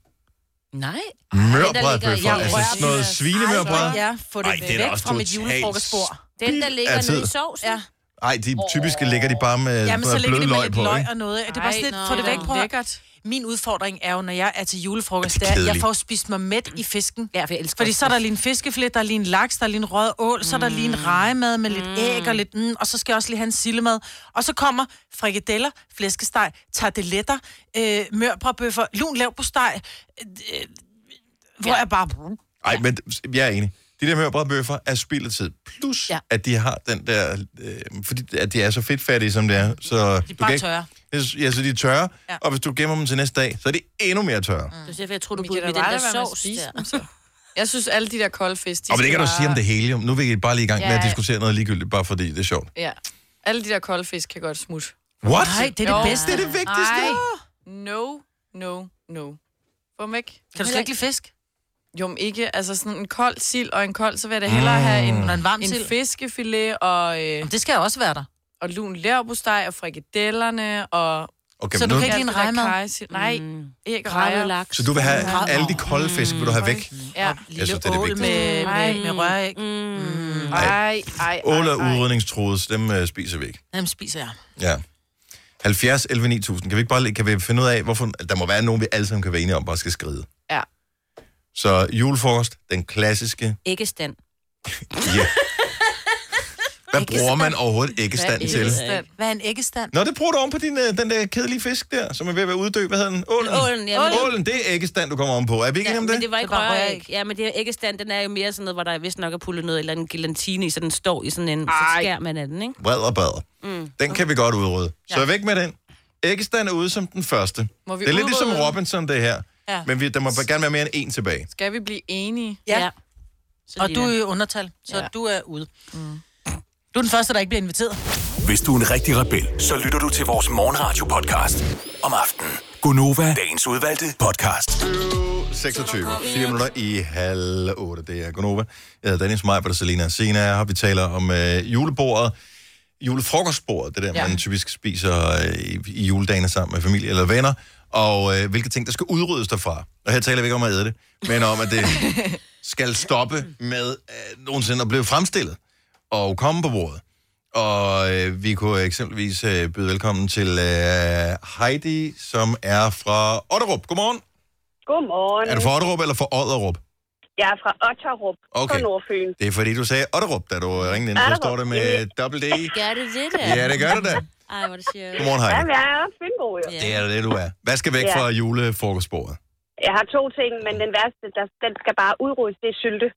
Speaker 3: Nej.
Speaker 1: Mørbrædbøffer,
Speaker 3: ligger i-
Speaker 1: altså sådan noget svinemørbrød.
Speaker 2: Ja, få det
Speaker 1: Ej, det er da
Speaker 2: væk
Speaker 1: også
Speaker 2: fra mit
Speaker 1: totalt
Speaker 2: julefrokostbord.
Speaker 3: Den, der ligger
Speaker 1: af tid.
Speaker 3: nede i sovsen.
Speaker 2: Ja.
Speaker 1: Nej, de typiske ligger de bare med
Speaker 2: Jamen, så
Speaker 1: noget
Speaker 2: ligger
Speaker 1: Øh, blød
Speaker 2: det med
Speaker 1: løg
Speaker 2: lidt
Speaker 1: på,
Speaker 2: løg
Speaker 1: ikke?
Speaker 2: og noget. Det er bare
Speaker 4: Ej,
Speaker 2: sådan lidt,
Speaker 4: nå,
Speaker 2: få det væk,
Speaker 4: nå.
Speaker 2: prøv at-
Speaker 4: Lækkert.
Speaker 2: Min udfordring er jo, når jeg er til
Speaker 1: Det
Speaker 2: julefrokost,
Speaker 1: er
Speaker 2: det er, jeg
Speaker 1: kedeligt.
Speaker 2: får spist mig mæt i fisken.
Speaker 3: Ja, for jeg elsker
Speaker 2: Fordi
Speaker 3: også
Speaker 2: så er der lige en fiskeflet, der er lige en laks, der er lige en rød ål, så er der lige en rejemad med lidt æg og lidt, mm, og så skal jeg også lige have en sillemad. Og så kommer frikadeller, flæskesteg, tarteletter, øh, mørbrødbøffer, lun lav på steg, øh, øh, hvor jeg bare...
Speaker 1: Nej, men jeg er enig. De der mørbrødbøffer er spild af tid. Plus, ja.
Speaker 3: Ja.
Speaker 1: at de har den der... Øh, fordi at de er så fedtfattige, som det er. Så de er
Speaker 2: bare tørre.
Speaker 1: Ja, så de er tørre. Ja.
Speaker 2: Ja.
Speaker 1: Og hvis du gemmer dem til næste dag, så er de endnu mere tørre. Mm.
Speaker 3: Det er derfor, jeg tror, du
Speaker 4: Vi
Speaker 3: burde
Speaker 4: kan
Speaker 3: med
Speaker 4: da
Speaker 3: den
Speaker 4: bare
Speaker 3: der
Speaker 4: lade være med at
Speaker 3: sovs
Speaker 4: spise
Speaker 3: der.
Speaker 4: dem, så. Jeg synes, alle de der kolde fisk, de
Speaker 1: Og men det
Speaker 4: skal
Speaker 1: kan du
Speaker 4: bare-
Speaker 1: sige om det hele. jo. Nu vil jeg bare lige i gang med
Speaker 4: Ja,
Speaker 1: at
Speaker 4: ja.
Speaker 1: diskutere noget ligegyldigt, bare fordi det er sjovt.
Speaker 4: Ja. Alle de der kolde fisk kan godt smutte.
Speaker 1: What?
Speaker 2: Nej, det er det
Speaker 4: Jo.
Speaker 2: bedste.
Speaker 1: Det er det vigtigste.
Speaker 4: Nej. No, no, no. Få dem væk.
Speaker 2: Kan du slet ikke lide fisk?
Speaker 4: Jo, men ikke. Altså sådan en kold sild og en kold, så vil jeg da hellere have en,
Speaker 2: Når Mm. en varm
Speaker 4: en
Speaker 2: sild.
Speaker 4: fiskefilet og, øh,
Speaker 2: Det skal også være der.
Speaker 4: og lun lærbosteg og frikadellerne og...
Speaker 1: Okay,
Speaker 2: Så
Speaker 1: men
Speaker 2: du
Speaker 1: nu,
Speaker 2: kan ikke lide en rejmad? Mm.
Speaker 4: Kajsild. Nej, ikke
Speaker 3: Gravet
Speaker 4: rejer.
Speaker 3: laks.
Speaker 1: så du vil have alle de kolde fisk, vil du have væk?
Speaker 4: Ja.
Speaker 1: Jeg synes, det er det
Speaker 2: ål
Speaker 1: vigtigste.
Speaker 2: med, med, med røræg. Mm.
Speaker 4: Ej, ej, ej,
Speaker 1: Ål er
Speaker 4: ej.
Speaker 1: udrydningstruet, så dem øh, spiser vi ikke.
Speaker 2: Jamen, spiser jeg.
Speaker 1: Ja. 70, 11, 9000. Kan vi ikke bare lige- kan vi finde ud af, hvorfor... Der må være nogen, vi alle sammen kan være enige om, bare skal skride.
Speaker 4: Ja.
Speaker 1: Så julefrokost, den klassiske.
Speaker 3: Æggestand.
Speaker 1: Ja. Hvad bruger man overhovedet æggestand til?
Speaker 4: Æggestand.
Speaker 2: Hvad er en æggestand?
Speaker 1: Nå, det bruger du om på din, øh, den der kedelige fisk der, som er ved at være uddød. Hvad hedder den? Ålen.
Speaker 3: Ålen, ja, men-
Speaker 1: Ålen, det er æggestand, du kommer om på. Er vi ikke ja, enige om
Speaker 3: men
Speaker 1: det?
Speaker 3: det var
Speaker 2: Det
Speaker 3: ikke
Speaker 2: var røræg.
Speaker 3: røræg. Ja, men det her æggestand, den er jo mere sådan noget, hvor der vist nok er pullet noget eller en gelatine i, så den står i sådan en, så
Speaker 4: Ej.
Speaker 3: skær man af den, ikke?
Speaker 1: Vred og bad. Mm. Den kan vi godt udrydde. Så væk med den. Æggestand er ude som den første.
Speaker 4: Må vi
Speaker 1: det er lidt ligesom
Speaker 4: udrydde den?
Speaker 1: Robinson, det her. Ja.
Speaker 2: Ja.
Speaker 1: Men vi, der må gerne være mere end en tilbage.
Speaker 4: Skal vi blive enige?
Speaker 3: Så
Speaker 2: Og
Speaker 3: lige
Speaker 2: du er
Speaker 3: der.
Speaker 2: i undertal, så
Speaker 4: Ja.
Speaker 2: du er ude.
Speaker 3: Mm.
Speaker 2: Du er den første, der ikke bliver inviteret.
Speaker 6: Hvis du er en rigtig rebel, så lytter du til vores morgenradio-podcast om aftenen. Gunova, dagens udvalgte podcast.
Speaker 1: 26. 4 minutter i halv 8. Det er Gunova. Jeg hedder Dennis Maj, og Selina Sina er her. Vi taler om øh, julebordet. julefrokostbordet, det der, ja.
Speaker 4: Ja.
Speaker 1: man typisk spiser øh, i, i juledagene sammen med familie eller venner, og øh, hvilke ting, der skal udryddes derfra. Og her taler vi ikke om at æde det, men om, at det skal stoppe med øh, nogensinde at blive fremstillet og komme på bordet. Og øh, vi kunne eksempelvis øh, byde velkommen til øh, Heidi, som er fra Otterup. Godmorgen.
Speaker 8: Godmorgen.
Speaker 1: Er du fra Otterup eller fra Odderup?
Speaker 8: Jeg er fra Otterup på
Speaker 1: Okay.
Speaker 8: Nordfyn.
Speaker 1: Det er fordi, du sagde Otterup, da du ringede ind. Så
Speaker 8: Otterup.
Speaker 1: står det med dobbelt D.
Speaker 3: Gør det det der?
Speaker 1: Ja, det gør det da.
Speaker 3: Ej, hvor er det sjovt.
Speaker 1: Godmorgen, Heidi.
Speaker 8: Jamen, jeg er også fynbo, jo.
Speaker 1: Det er det, du er. Hvad skal væk
Speaker 8: Ja.
Speaker 1: fra julefrokostbordet?
Speaker 8: Jeg har to ting, men den værste, der, den skal bare udryddes, det er sylte.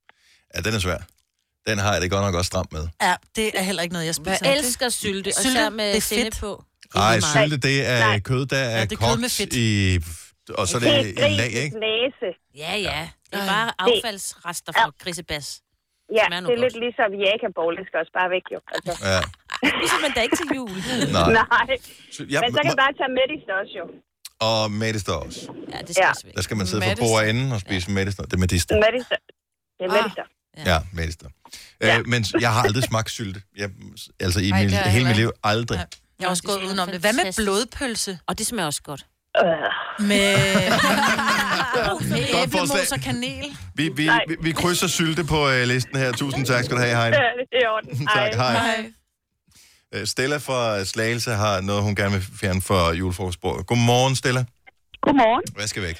Speaker 1: Ja, den er svær. Den har jeg det godt nok også stramt med.
Speaker 2: Ja, det er heller ikke noget, jeg spiser.
Speaker 3: Jeg elsker sylte, og
Speaker 2: Sylte,
Speaker 3: så
Speaker 2: det
Speaker 3: med
Speaker 2: er
Speaker 3: sennep
Speaker 2: fedt.
Speaker 3: på.
Speaker 1: Nej,
Speaker 2: meget.
Speaker 1: sylte, det er
Speaker 8: Nej.
Speaker 1: kød, der er,
Speaker 2: det er kød med
Speaker 1: kogt
Speaker 2: fedt.
Speaker 1: i... Og så er
Speaker 8: Det
Speaker 1: det
Speaker 8: er
Speaker 1: i lag, ikke?
Speaker 8: grisens næse.
Speaker 3: Ja, ja. Det er bare affaldsrester fra grisebas.
Speaker 8: Ja,
Speaker 3: Smager nu
Speaker 8: det er
Speaker 3: godt.
Speaker 8: lidt ligesom jakabål, det skal også bare væk, jo. Altså,
Speaker 1: Ja,
Speaker 3: Ligesom man da ikke til jul.
Speaker 1: nej.
Speaker 8: nej,
Speaker 1: Sy- Ja,
Speaker 8: men så kan
Speaker 1: ma-
Speaker 8: jeg bare tage med i også, jo.
Speaker 1: og medister også.
Speaker 3: Ja, det skal
Speaker 8: Ja.
Speaker 3: også væk.
Speaker 1: Der skal man sidde på
Speaker 4: Medister.
Speaker 1: bordet enden og spise medister. Det er medister.
Speaker 8: Med det Det er med
Speaker 4: Ah.
Speaker 8: det
Speaker 1: Ja, medister.
Speaker 8: Ja.
Speaker 1: Øh, men jeg har aldrig smagt sylte. Jeg, altså i
Speaker 4: Ej,
Speaker 1: min,
Speaker 4: det har jeg
Speaker 1: hele mit
Speaker 4: heller
Speaker 1: liv aldrig.
Speaker 2: Nej. Jeg har også
Speaker 3: Nå, det
Speaker 2: gået
Speaker 3: smager
Speaker 2: udenom det. Hvad med
Speaker 3: fantastisk.
Speaker 2: blodpølse?
Speaker 3: Og det smager også godt.
Speaker 8: øh,
Speaker 2: Med med
Speaker 1: Godt forslag.
Speaker 2: æblemos og kanel?
Speaker 1: Vi, vi,
Speaker 8: Nej.
Speaker 1: vi, vi krydser sylte på øh, listen her. Tusind tak skal du have, Heine.
Speaker 8: det er i orden. Ej.
Speaker 1: Tak, hej.
Speaker 4: Nej.
Speaker 1: Øh, Stella fra Slagelse har noget, hun gerne vil fjerne fra julefrokostbordet. Godmorgen, Stella.
Speaker 8: Godmorgen.
Speaker 1: Hvad skal væk?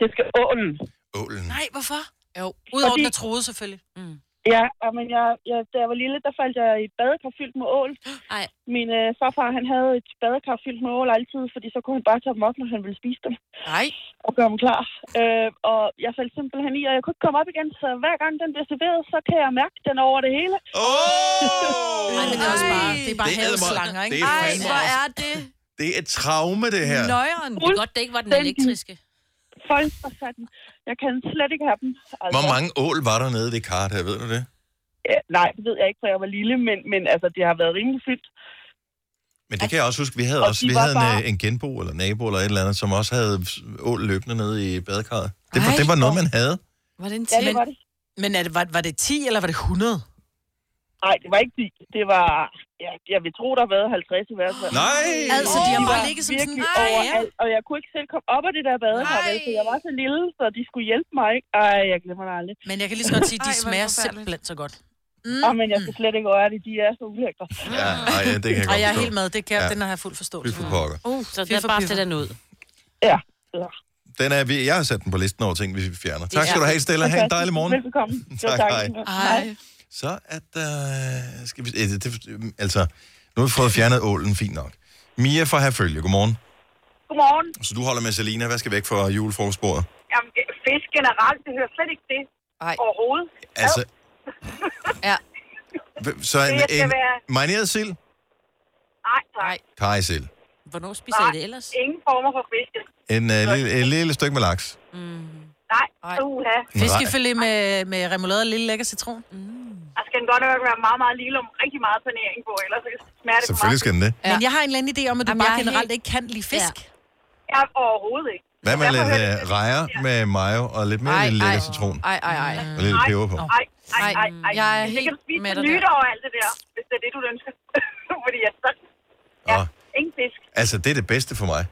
Speaker 8: Det skal ålen.
Speaker 1: Ålen.
Speaker 2: Nej, hvorfor?
Speaker 4: Jo.
Speaker 2: Udover
Speaker 8: Fordi-
Speaker 2: den er troet, selvfølgelig.
Speaker 3: Mm.
Speaker 8: Ja, og men jeg, jeg, da jeg var lille, der faldt jeg i et badekar fyldt med ål.
Speaker 3: Ej.
Speaker 8: Min øh, farfar, han havde et badekar fyldt med ål altid, fordi så kunne han bare tage dem op, når han ville spise dem
Speaker 4: Nej.
Speaker 8: og gøre dem klar. Øh, og jeg faldt simpelthen i, og jeg kunne ikke komme op igen, så hver gang den bliver serveret, så kan jeg mærke den over det hele.
Speaker 1: Åh!
Speaker 2: Ej, men det er også bare, det er bare
Speaker 1: Det er
Speaker 2: havslanger,
Speaker 1: eddermame.
Speaker 2: ikke?
Speaker 1: Det er
Speaker 4: Ej,
Speaker 1: fandme
Speaker 4: hvor er det?
Speaker 1: Det er et traume, det her.
Speaker 4: Nøjeren.
Speaker 3: Det er godt, det ikke var den elektriske.
Speaker 8: Folk fra satan. Jeg kan slet ikke have dem. Altså,
Speaker 1: Hvor mange ål var der nede i det kart her, ved du det?
Speaker 8: øh, nej, det ved jeg ikke, for jeg var lille, men, men altså, det har været rimelig fyldt.
Speaker 1: Men
Speaker 4: Altså-
Speaker 1: det kan jeg også huske, vi havde,
Speaker 8: Og
Speaker 1: også,
Speaker 8: de
Speaker 1: vi
Speaker 8: var
Speaker 1: havde en,
Speaker 8: bare-
Speaker 1: øh, en genbo eller nabo eller et eller andet, som også havde ål løbende nede i badekarret. Det, var-
Speaker 4: Ej,
Speaker 1: det var noget, man havde.
Speaker 4: Var det en
Speaker 8: Ja,
Speaker 4: til?
Speaker 8: det var det.
Speaker 2: Men er det, var, var det 10, eller var det 100?
Speaker 8: Nej, det var ikke 10. Det var... Ja, jeg vil tro, der har været 50 i hvert fald.
Speaker 1: Nej!
Speaker 2: Altså, de har
Speaker 8: De
Speaker 2: bare
Speaker 8: var
Speaker 2: ligget som sådan...
Speaker 8: virkelig
Speaker 2: Ej, ja.
Speaker 8: overalt, og jeg kunne ikke selv komme op af det der badekar, vel, for jeg var så lille, så de skulle hjælpe mig, ikke? Ej, jeg glemmer det aldrig.
Speaker 2: Men jeg kan lige så godt sige, at de
Speaker 4: Ej, hvor er det
Speaker 2: smager
Speaker 4: forfærdeligt.
Speaker 2: simpelthen så godt.
Speaker 8: Mm. Oh, men jeg skal slet ikke røre det, de er så ulækre.
Speaker 1: Ja, ej, ja, det kan jeg
Speaker 2: Og jeg er
Speaker 1: godt
Speaker 2: helt
Speaker 1: forstå.
Speaker 2: med, det kan jeg,
Speaker 1: Ja.
Speaker 2: den har jeg fuld
Speaker 1: Fy
Speaker 2: forståelse for.
Speaker 1: for pokker.
Speaker 2: Uh,
Speaker 3: Så det er bare at den ud.
Speaker 8: Ja. ja.
Speaker 1: Den er, vi- jeg har sat den på listen over ting, vi fjerner. Tak skal du have, Stella. Ha' en
Speaker 8: Fantastisk.
Speaker 1: dejlig morgen.
Speaker 8: Velbekomme. Jo,
Speaker 1: Tak, hej.
Speaker 4: Ej.
Speaker 1: Så er der... Skal vi, eh, det, det, altså, nu har vi fået fjernet ålen, fint nok. Mia fra Herfølge, godmorgen.
Speaker 8: Godmorgen.
Speaker 1: Så du holder med Selina. Hvad skal væk fra julefrokostbordet?
Speaker 8: Jamen, fisk generelt, det hører slet ikke det
Speaker 4: Ej.
Speaker 8: overhovedet.
Speaker 1: Altså...
Speaker 4: Ja.
Speaker 1: Hv- Så en,
Speaker 8: Det skal
Speaker 1: en
Speaker 8: være-
Speaker 1: marineret sild?
Speaker 8: Nej,
Speaker 4: Ej.
Speaker 1: Kajsild.
Speaker 3: Hvornår spiser I det ellers?
Speaker 8: Ingen former for fisk.
Speaker 1: En, uh, lille, en lille stykke med laks.
Speaker 8: Nej,
Speaker 4: Ej.
Speaker 8: uha.
Speaker 1: En rej-
Speaker 2: Fiskefilet med, med remoulade og lille lækker citron.
Speaker 4: Mm.
Speaker 8: Der skal Altså, den godt nok være meget, meget lille om rigtig meget panering på, ellers smager
Speaker 1: Selvfølgelig skal den det.
Speaker 2: Men jeg har en eller anden idé om, at du
Speaker 4: Jamen,
Speaker 2: bare
Speaker 4: jeg er
Speaker 2: generelt
Speaker 4: helt-
Speaker 2: ikke kan lide fisk.
Speaker 8: Ja, overhovedet ikke.
Speaker 1: Hvad med lidt
Speaker 8: Derfor hører
Speaker 1: uh, rejer med mayo og lidt mere
Speaker 4: Ej,
Speaker 1: lille lækker
Speaker 4: ej.
Speaker 1: citron?
Speaker 4: Ej, ej, ej.
Speaker 1: Og lidt peber på.
Speaker 8: Ej, ej, ej, ej.
Speaker 4: Jeg er
Speaker 8: Det
Speaker 4: helt
Speaker 8: kan du spise
Speaker 4: med
Speaker 8: til
Speaker 4: dig der.
Speaker 8: nytår og alt det der, hvis det er det, du ønsker. Fordi jeg så... Ja,
Speaker 1: Og,
Speaker 8: ingen fisk.
Speaker 1: altså, det er det bedste for mig.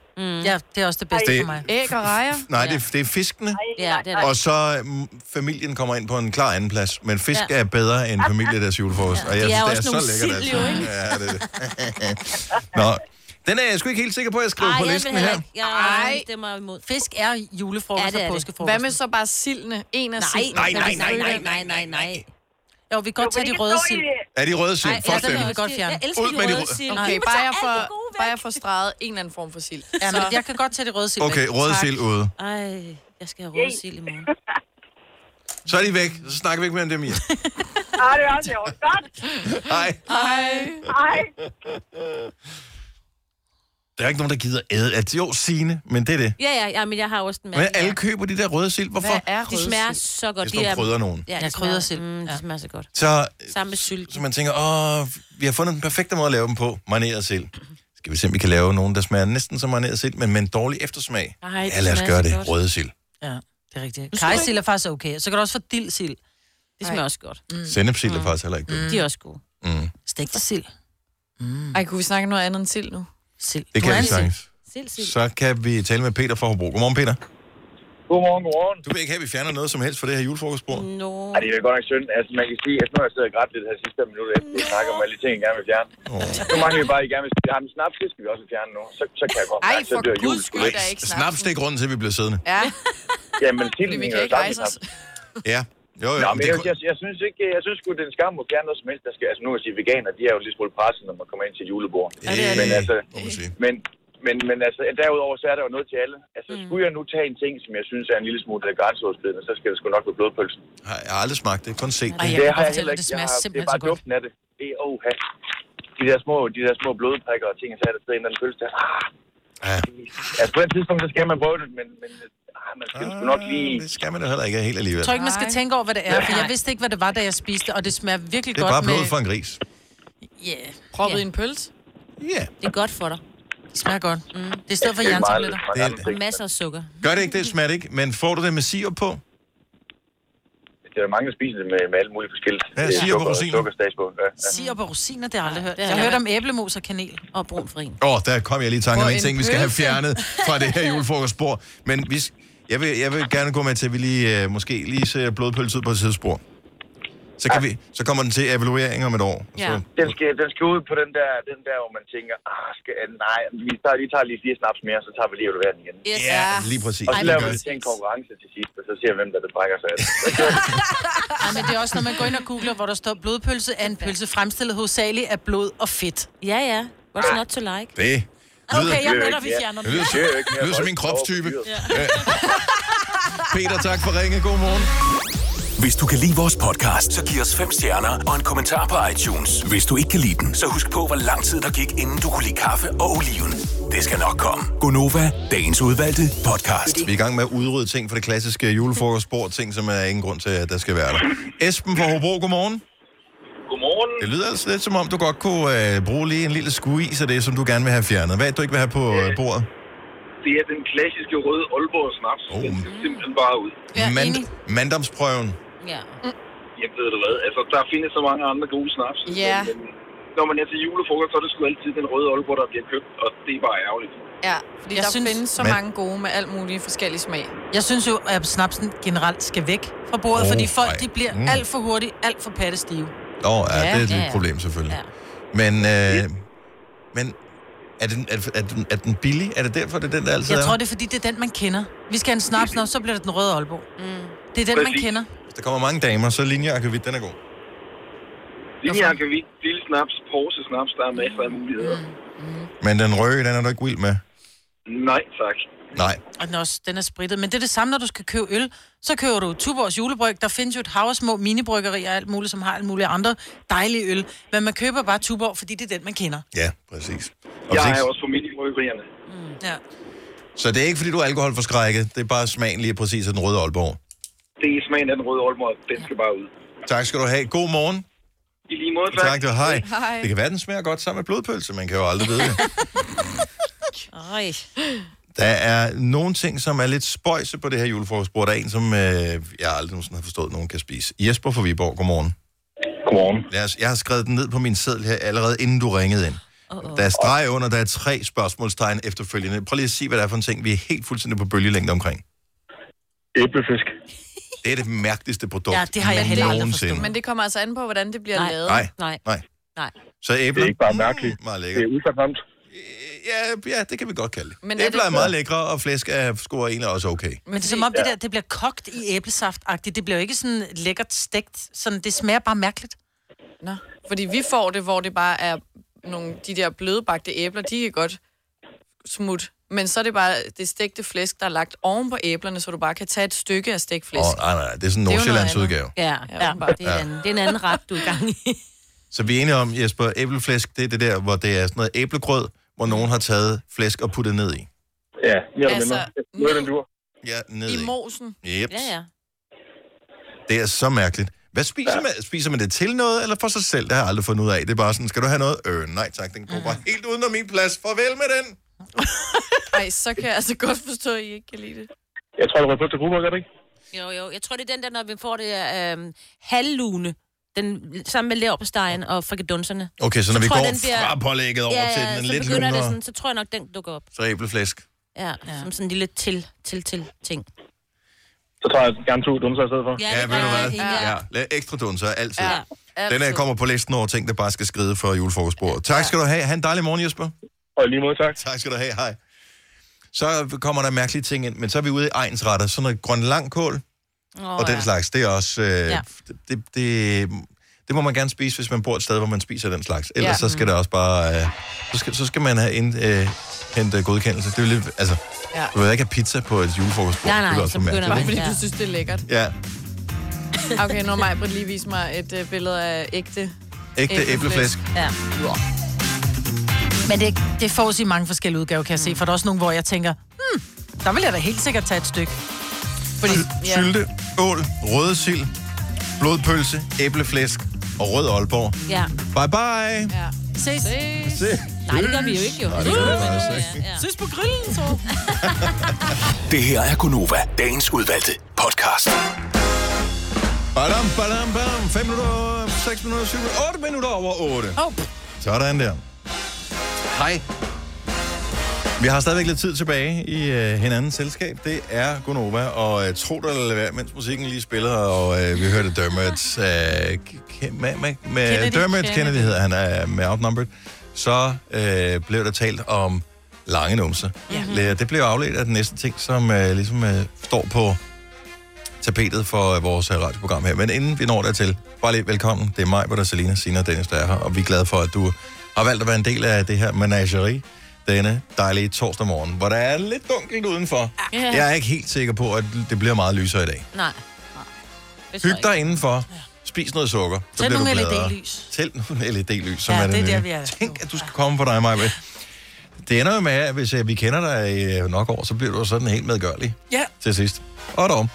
Speaker 2: Ja, det er også det bedste
Speaker 1: Det-
Speaker 2: for mig.
Speaker 4: Mm. Æg og rejer.
Speaker 1: Nej, det, er- det er fiskene.
Speaker 3: Ja, det er
Speaker 1: Og så mm, familien kommer ind på en klar anden plads. Men fisk
Speaker 3: Ja.
Speaker 1: er bedre end familie deres julefrokost. Ja. Og jeg
Speaker 3: De
Speaker 1: synes,
Speaker 3: er
Speaker 1: det er
Speaker 3: også
Speaker 1: så
Speaker 3: nogle
Speaker 1: lækkert. altså.
Speaker 3: sild, jo, ikke?
Speaker 1: Ja, det er det. Nå, den er jeg sgu ikke helt sikker på, at jeg skriver
Speaker 3: Ej,
Speaker 1: på
Speaker 3: jeg
Speaker 1: listen
Speaker 3: vil heller
Speaker 1: her.
Speaker 3: ikke. Jeg
Speaker 4: Ej.
Speaker 3: stemmer imod.
Speaker 2: Fisk er julefrokost
Speaker 3: Ja, det er
Speaker 2: og
Speaker 3: det.
Speaker 2: påskefrokost.
Speaker 4: Hvad med så bare sildene? En af
Speaker 3: Nej,
Speaker 4: sildene.
Speaker 1: Nej, nej, nej, nej,
Speaker 3: nej, nej, nej.
Speaker 2: Jo, vi kan godt tage de røde sild.
Speaker 1: Er de røde sild?
Speaker 2: ja,
Speaker 1: Fuck
Speaker 2: den
Speaker 1: dem.
Speaker 2: er vi godt fjerne.
Speaker 3: Jeg elsker
Speaker 1: Ud
Speaker 3: de
Speaker 1: med de
Speaker 3: røde
Speaker 1: røde.
Speaker 3: sild.
Speaker 4: Okay, bare jeg, får, bare jeg får streget en eller anden form for sild.
Speaker 2: Ja, men jeg kan godt tage de røde sild.
Speaker 1: Okay,
Speaker 2: væk.
Speaker 1: røde
Speaker 2: Tak.
Speaker 1: sild ude.
Speaker 3: Ej, jeg skal have røde sild i morgen.
Speaker 1: Så er de væk. Så snakker vi ikke mere om dem i.
Speaker 8: Ja, det er også jo. Godt.
Speaker 1: Nej,
Speaker 4: Ej.
Speaker 8: Ej,
Speaker 1: der er ikke nogen, der gider æde. At jo, sine, men det er det.
Speaker 3: Ja, ja, ja, men jeg har også den med.
Speaker 1: Men alle køber de der røde sild. Hvorfor?
Speaker 4: Hvad er
Speaker 3: De
Speaker 4: røde
Speaker 3: smager
Speaker 4: sild?
Speaker 3: så godt.
Speaker 1: Hvis du krydder nogen.
Speaker 3: Ja, de
Speaker 2: Ja,
Speaker 3: smager-
Speaker 2: krydder sild.
Speaker 3: Mm, de
Speaker 2: Ja.
Speaker 3: smager så godt.
Speaker 1: Så,
Speaker 3: Sammen med sylt.
Speaker 1: så man tænker, åh, vi har fundet den perfekte måde at lave dem på. Marineret sild. Skal vi se, om vi kan lave nogen, der smager næsten som marineret sild, men med en dårlig eftersmag?
Speaker 3: Ej,
Speaker 1: Ja, lad os gøre det. Røde sild.
Speaker 2: Ja, det er rigtigt. Kajsild er faktisk okay. Så kan du også få dildsild.
Speaker 3: Det smager også godt.
Speaker 2: Mm.
Speaker 1: Mm. Sennepsild er faktisk heller ikke dumt.
Speaker 3: De er også gode.
Speaker 2: Stegte sild.
Speaker 3: Mm.
Speaker 4: Ej, kunne vi snakke noget andet end sild nu?
Speaker 2: Sild.
Speaker 1: Det
Speaker 2: Du er
Speaker 1: kan vi
Speaker 2: en sild.
Speaker 1: sagtens.
Speaker 3: Sild, sild.
Speaker 1: Så kan vi tale med Peter fra Hobro. Godmorgen, Peter.
Speaker 9: Godmorgen, godmorgen.
Speaker 1: Du vil ikke have, at vi fjerner noget som helst fra det her julefrokostbord?
Speaker 3: Nå.
Speaker 9: Ej, det er godt nok synd. Altså, man kan sige, at nu har jeg siddet og grædt lidt her sidste fem minutter, efter vi snakker om alle de ting, jeg gerne vil fjerne.
Speaker 1: Åh.
Speaker 9: Nu mangler vi bare, at I gerne vil sige, jamen snaps, det skal vi også fjerne nu. Så, så kan jeg godt
Speaker 4: Ej,
Speaker 9: mærke, så
Speaker 4: for
Speaker 9: dør jul.
Speaker 4: guds skyld, der er ikke snaps.
Speaker 1: Snaps, det er grunden til, at vi bliver siddende.
Speaker 4: Ja,
Speaker 9: Jamen, til
Speaker 4: fordi
Speaker 9: det
Speaker 4: vi
Speaker 9: hænger
Speaker 4: kan
Speaker 9: jo
Speaker 4: ikke
Speaker 9: sammen
Speaker 4: rejse
Speaker 9: med
Speaker 4: os.
Speaker 9: snaps.
Speaker 1: Ja. Jo, jo.
Speaker 9: Nå,
Speaker 1: men
Speaker 9: men
Speaker 1: det,
Speaker 9: jeg,
Speaker 1: er kun-
Speaker 9: jeg, jeg, synes ikke, jeg synes sgu, det er en skam at fjerne noget som helst. Der skal, altså, nu vil jeg sige, veganer, de er jo lige smule presset, når man kommer ind til julebord.
Speaker 1: Øh,
Speaker 9: Men altså,
Speaker 1: må man sige.
Speaker 9: men, men, men altså, derudover, så er der jo noget til alle. Altså,
Speaker 2: Mm.
Speaker 9: skulle jeg nu tage en ting, som jeg synes er en lille smule grænseoverskridende, så skal det sgu nok være blodpølsen.
Speaker 1: Har- Jeg har aldrig smagt det, kun set
Speaker 2: Ej,
Speaker 1: det.
Speaker 2: jeg kan
Speaker 9: har jeg
Speaker 2: bare fortælle,
Speaker 9: heller
Speaker 2: at det
Speaker 9: ikke. Jeg
Speaker 2: smager
Speaker 9: har- Det
Speaker 2: simpelthen
Speaker 9: er
Speaker 2: så
Speaker 9: bare
Speaker 2: godt.
Speaker 9: duften af det. Det er oha. De der små, de der små blodprikker og ting, og så er der stadig en eller anden pølse der. Ah,
Speaker 1: Ja.
Speaker 9: altså på et tidspunkt, så skal man prøve det, men, men ah, man skal sgu nok lige...
Speaker 1: Ah, Det skal man da heller ikke helt alligevel.
Speaker 2: Jeg tror ikke, man skal
Speaker 4: Nej.
Speaker 2: tænke over, hvad det er, for jeg vidste ikke, hvad det var, da jeg spiste, og det smager virkelig
Speaker 1: Det er
Speaker 2: godt
Speaker 1: bare blod
Speaker 2: med...
Speaker 1: for en gris.
Speaker 2: Ja, yeah.
Speaker 4: proppet i en pølse.
Speaker 1: Ja.
Speaker 3: Det er godt for dig.
Speaker 2: det smager godt. Mm. Det er i stedet for
Speaker 9: Det er meget
Speaker 2: jerntabletter.
Speaker 9: lidt fra en
Speaker 1: Det-
Speaker 9: anden ting.
Speaker 3: Masser af sukker.
Speaker 1: Gør det ikke, det smager det ikke, men får du det med sirup på?
Speaker 9: Det er der mange, der spiser det med, med alle mulige forskellige
Speaker 1: Ja,
Speaker 9: øh,
Speaker 1: sirup og
Speaker 9: sukker,
Speaker 1: rosiner.
Speaker 9: sukkerstads på. Ja, ja.
Speaker 2: Sirup og rosiner, det har jeg aldrig hørt.
Speaker 3: det har
Speaker 2: Jeg har
Speaker 3: jeg
Speaker 2: hørt om æblemos og kanel.
Speaker 3: Og brun farin.
Speaker 1: Åh, oh, der kom jeg lige i tanke om
Speaker 4: Hvor
Speaker 1: en
Speaker 4: en
Speaker 1: ting, vi skal have
Speaker 4: pølse.
Speaker 1: fjernet fra det her julefrokostbord. Men vi, s- jeg, vil, jeg vil gerne gå med til, at vi lige, øh, måske lige ser blodpølse ud på et sidespor. Så, kan vi, så kommer den til evaluering om et år. og Så,
Speaker 9: Den skal, den skal ud på den der, den der, hvor man tænker, ah, skal, nej, vi tager, lige tager lige fire snaps mere, så tager vi lige evalueringen igen.
Speaker 3: Yes.
Speaker 1: ja, lige præcis.
Speaker 9: Og så
Speaker 1: det
Speaker 9: laver vi
Speaker 1: gør det.
Speaker 9: det til en konkurrence til sidst, og så ser vi, hvem der det brækker sig. af det.
Speaker 2: Ej, men det er også, når man går ind og googler, hvor der står blodpølse er en pølse fremstillet hovedsageligt af blod og fedt.
Speaker 3: Ja, ja. What's not to like?
Speaker 1: Det lyder,
Speaker 2: Okay, jeg
Speaker 9: det er
Speaker 2: melder,
Speaker 9: ikke-
Speaker 2: vi
Speaker 9: ja.
Speaker 2: fjerner
Speaker 1: det
Speaker 2: den.
Speaker 1: lyder,
Speaker 9: Det er jo ikke
Speaker 1: det
Speaker 9: mere
Speaker 1: lyder som
Speaker 9: vold
Speaker 1: min kropstype.
Speaker 9: over fyret.
Speaker 1: Peter, tak for ringe. God morgen.
Speaker 6: Hvis du kan lide vores podcast, så giv os fem stjerner og en kommentar på iTunes. Hvis du ikke kan lide den, så husk på, hvor lang tid der gik, inden du kunne lide kaffe og oliven. Det skal nok komme. Gonova, dagens udvalgte podcast.
Speaker 1: Vi er i gang med at udrydde ting fra det klassiske julefrokostbord, ting, som er ingen grund til, at der skal være der. Esben fra Hobro, godmorgen.
Speaker 9: Godmorgen.
Speaker 1: Det lyder altså lidt som om, du godt kunne øh, bruge lige en lille skuis af det, som du gerne vil have fjernet. Hvad er det, du ikke vil have på øh, bordet?
Speaker 9: Det er den klassiske røde Aalborg snaps.
Speaker 1: Oh.
Speaker 9: Den skal simpelthen bare ud.
Speaker 2: Ja,
Speaker 1: Mand-
Speaker 2: enig.
Speaker 1: manddomsprøven.
Speaker 3: Ja.
Speaker 9: Jeg ved det hvad. Altså, der findes så mange andre gode snaps.
Speaker 4: Ja.
Speaker 9: Men, når man er til julefrokost, så er det sgu altid den røde Aalborg, der bliver købt, og det er bare ærgerligt.
Speaker 4: Ja, fordi
Speaker 2: Jeg
Speaker 4: jeg der
Speaker 2: synes-
Speaker 4: synes, findes så
Speaker 1: Men-
Speaker 4: mange gode med alt muligt forskellige smag.
Speaker 2: Jeg synes jo, at snapsen generelt skal væk fra bordet,
Speaker 1: Åh,
Speaker 2: oh, fordi folk
Speaker 1: nej.
Speaker 2: de bliver
Speaker 1: Mm.
Speaker 2: alt for hurtigt, alt for pattestive.
Speaker 1: Åh, oh, ja,
Speaker 3: Ja,
Speaker 1: det er et
Speaker 3: ja,
Speaker 1: ja,
Speaker 3: ja.
Speaker 1: problem selvfølgelig.
Speaker 3: Ja.
Speaker 1: Men, øh, men er, den, er, er, den, er den billig? Er det derfor, det er den, der altid
Speaker 2: Jeg
Speaker 1: er?
Speaker 2: tror, det er, fordi det er den, man kender. Vi skal have en snaps,
Speaker 4: Mm.
Speaker 2: når så bliver det den røde Aalborg. Mm. Det er den, man
Speaker 9: Præcis.
Speaker 2: kender.
Speaker 1: Hvis der kommer mange damer, så linje akavit, den er god.
Speaker 9: Linjeakavit, lille snaps, pause snaps, der er masser af muligheder.
Speaker 1: Men den røde, den er du ikke vild med?
Speaker 9: Nej, tak.
Speaker 1: Nej.
Speaker 2: Og den er, også, den er spritet. Men det er det samme, når du skal købe øl. Så køber du Tuborgs julebryg. Der findes jo et hav af små minibryggerier og alt muligt, som har alle mulige andre dejlige øl. Men man køber bare Tuborg, fordi det er den, man kender.
Speaker 1: Ja, præcis. Og
Speaker 9: Jeg
Speaker 1: hvis
Speaker 9: er
Speaker 1: ikke,
Speaker 9: også familie i bryggerierne.
Speaker 2: Ja.
Speaker 1: så det er ikke, fordi du er alkoholforskrækket. Det er bare smagen lige præcis af den røde Aalborg.
Speaker 9: Det er smagen af den røde Aalborg, den skal bare ud.
Speaker 1: Tak skal du have. God morgen.
Speaker 9: I lige måde, tak.
Speaker 1: Tak, du. Hej.
Speaker 4: Hej.
Speaker 1: Det kan være, den smager godt sammen med blodpølse. Man kan jo aldrig vide det.
Speaker 3: Øj.
Speaker 1: Der er nogle ting, som er lidt spøjse på det her julefrokostbord. Der er en, som øh, jeg aldrig nogensinde har forstået, at nogen kan spise. Jesper fra Viborg, godmorgen.
Speaker 9: Godmorgen.
Speaker 1: Lad os, jeg har skrevet den ned på min seddel her, allerede inden du ringede ind. Der er streg under, der er tre spørgsmålstegn efterfølgende. Prøv lige at sige, hvad det er for en ting, vi er helt fuldstændig på bølgelængde omkring.
Speaker 9: Æblefisk.
Speaker 1: Det er det mærkeligste produkt
Speaker 2: Ja, det har jeg heller aldrig
Speaker 1: nogensinde.
Speaker 2: forstået.
Speaker 4: Men det kommer altså an på, hvordan det bliver
Speaker 3: Nej.
Speaker 4: lavet.
Speaker 1: Nej,
Speaker 3: Nej.
Speaker 1: nej.
Speaker 3: Nej.
Speaker 1: Så æbler.
Speaker 9: Det er ikke bare mærkeligt.
Speaker 1: Mm, meget
Speaker 9: Det
Speaker 1: lækkert.
Speaker 9: er ufornemt.
Speaker 1: Ja, ja, det kan vi godt kalde det.
Speaker 4: Men
Speaker 1: Men
Speaker 4: er
Speaker 1: æbler er,
Speaker 4: det-
Speaker 1: meget lækre, og flæsk er scorer egentlig også okay.
Speaker 2: Men det er som om, det der det bliver kogt i æblesaft-agtigt. Det bliver jo ikke sådan lækkert stegt. Sådan, det smager bare mærkeligt.
Speaker 4: Nå. Fordi vi får det, hvor det bare er nogle, de der blødbagte æbler, de kan godt smut. Men så er det bare det stegte flæsk, der er lagt oven på æblerne, så du bare kan tage et stykke af stegt flæsk.
Speaker 1: Åh, nej, nej, det er sådan en
Speaker 4: Det er jo noget
Speaker 1: Nordsjællands
Speaker 4: andet.
Speaker 1: udgave.
Speaker 3: Ja, ja.
Speaker 4: åbenbart.
Speaker 3: Det, er en, det er en anden ret, du er i gang i.
Speaker 1: Så vi er enige om, Jesper, æbleflæsk, det er det der, hvor det er sådan noget æblegrød, hvor nogen har taget flæsk og puttet ned i.
Speaker 9: Ja, mere eller
Speaker 4: Altså,
Speaker 9: mindre. Nu er den dur.
Speaker 1: Ja, ned
Speaker 4: I
Speaker 1: i.
Speaker 4: mosen.
Speaker 1: Yep.
Speaker 3: Ja, ja.
Speaker 1: Det er så mærkeligt. Hvad spiser ja. man? Spiser man det til noget, eller for sig selv? Det har jeg aldrig fundet ud af. Det er bare sådan, skal du have noget? Øh, nej tak, den går bare helt udenom min plads. Farvel med den.
Speaker 4: Ej, så kan jeg altså godt forstå, at I ikke kan lide det.
Speaker 9: Jeg tror, det var på til Gruber, gør det ikke?
Speaker 3: Jo, jo. Jeg tror, det er den der, når vi får det øh, øhm, halvlune. Den, sammen med leverpostejen og frikadunserne.
Speaker 1: Okay, så når vi
Speaker 3: tror jeg,
Speaker 1: går
Speaker 3: den bliver-
Speaker 1: fra pålægget over
Speaker 3: ja,
Speaker 1: til
Speaker 3: ja,
Speaker 1: den
Speaker 3: så
Speaker 1: lidt
Speaker 3: begynder det
Speaker 1: lunere-
Speaker 3: sådan, så tror jeg nok, den dukker op.
Speaker 1: Så æbleflæsk.
Speaker 3: Ja, ja. som sådan en lille til, til, til ting.
Speaker 9: Så tager jeg gerne to dumser i stedet for.
Speaker 1: Ja, ved du hvad?
Speaker 3: Ja.
Speaker 1: Ja, la- ekstra dunser altid.
Speaker 3: Ja.
Speaker 1: Den her kommer på listen over ting, der bare skal skride for julefrokostbordet. Tak skal du have. Ha' en dejlig morgen, Jesper.
Speaker 9: Og lige måde, tak.
Speaker 1: Tak skal du have. Hej. Så kommer der mærkelige ting ind, men så er vi ude i egensretter. Sådan noget grøn langkål
Speaker 3: Oh,
Speaker 1: og den slags, det er også... Øh,
Speaker 2: Ja.
Speaker 1: det, det, det må man gerne spise, hvis man bor et sted, hvor man spiser den slags. Ellers
Speaker 4: Ja.
Speaker 1: så skal det også bare... Øh, så, skal, så skal man have ind, øh, hente godkendelse. Det er jo lidt... Altså,
Speaker 4: Ja.
Speaker 1: du vil ikke have pizza på et julefrokostbord.
Speaker 3: Nej, nej,
Speaker 1: det vil også
Speaker 3: så
Speaker 1: være
Speaker 3: begynder
Speaker 4: Bare
Speaker 1: mærkeligt,
Speaker 3: man.
Speaker 4: fordi du
Speaker 3: Ja.
Speaker 4: synes, det er lækkert.
Speaker 1: ikke? Ja,
Speaker 4: Okay, nu har Majbrit lige vist mig et øh, billede af ægte.
Speaker 1: ægte æbleflæsk.
Speaker 4: Æbleflæsk.
Speaker 2: Ja. Men det, det får sig i mange forskellige udgaver, kan jeg
Speaker 3: Mm.
Speaker 2: se. For der er også nogle, hvor jeg tænker, hmm, der vil jeg da helt sikkert tage et stykke.
Speaker 4: Fordi, ja,
Speaker 1: Altså, Sylte, ål, røde sild, blodpølse, æbleflæsk og rød Aalborg.
Speaker 3: ja.
Speaker 1: Bye bye!
Speaker 4: ja.
Speaker 2: Ses.
Speaker 1: Se.
Speaker 3: Nej, det gør vi jo ikke, jo.
Speaker 1: Nej, det gør vi faktisk ikke.
Speaker 2: Ses på grillen, så.
Speaker 6: Det her er Gonova, dagens udvalgte podcast.
Speaker 1: Badam, badam, badam. 5 minutter, 6 minutter, 7 minutter, 8 minutter over 8.
Speaker 2: Hov.
Speaker 1: Sådan der. Hej. Vi har stadigvæk lidt tid tilbage i øh, hinandens selskab. Det er Gonova, og øh, tro det eller lad være, mens musikken lige spiller, og øh, vi hørte Dermot, øh, Ke- med, med, med
Speaker 2: Kennedy,
Speaker 1: Kennedy, Dermot Kennedy,
Speaker 2: Kennedy.
Speaker 1: Kennedy hedder han, er med Outnumbered, så øh, blev der talt om lange numse. Ja. Det blev afledt af den næste ting, som øh, ligesom øh, står på tapetet for øh, vores øh, radioprogram her. Men inden vi når dertil, bare lige velkommen. Det er mig, hvor der er Selina, Sina og Dennis, der er her. Og vi er glade for, at du har valgt at være en del af det her menagerie denne dejlige torsdag morgen, hvor der er lidt dunkelt udenfor.
Speaker 3: Ja.
Speaker 1: Jeg er ikke helt sikker på, at det bliver meget lysere i dag.
Speaker 3: Nej. Det tror jeg
Speaker 1: Hyg dig indenfor. Spis noget sukker. Så
Speaker 2: Tænd
Speaker 1: bliver du
Speaker 2: nogle
Speaker 1: gladere.
Speaker 2: LED-lys.
Speaker 1: Tænd nogle LED-lys, som
Speaker 2: Ja,
Speaker 1: er det,
Speaker 2: det er
Speaker 1: nye.
Speaker 2: der, vi er.
Speaker 1: Tænk, at du skal komme for dig, Maja. Det ender jo med, at hvis øh, vi kender dig øh, nok år, så bliver du sådan helt medgørlig
Speaker 2: Ja.
Speaker 1: til sidst. Og dog.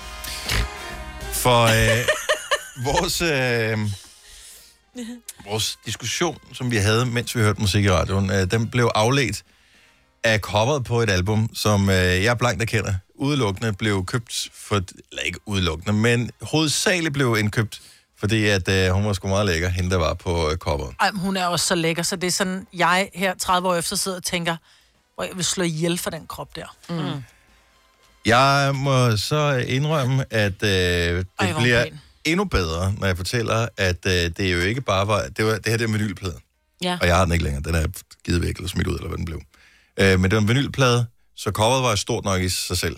Speaker 1: For øh, vores, øh, vores diskussion, som vi havde, mens vi hørte musik i radioen, øh, den blev afledt af coveret på et album, som øh, jeg blankt erkender, udelukkende blev købt for... Eller ikke udelukkende, men hovedsageligt blev indkøbt, fordi at, øh, hun var sgu meget lækker, hende der var på øh, coveret.
Speaker 2: Ej, men hun er også så lækker, så det er sådan, jeg her 30 år efter sidder og tænker, hvor jeg vil slå ihjel for den krop der.
Speaker 3: Mm.
Speaker 1: Jeg må så indrømme, at øh, det
Speaker 2: Ej,
Speaker 1: Ej,
Speaker 2: hvor
Speaker 1: bliver
Speaker 2: pæn.
Speaker 1: endnu bedre, når jeg fortæller, at øh, det er jo ikke bare var... Det, var, det her det er en vinylplade,
Speaker 3: ikke. Ja.
Speaker 1: og jeg har den ikke længere. Den er givet væk eller smidt ud, eller hvad den blev. Øh, men det var en vinylplade, så coveret var stort nok i sig selv.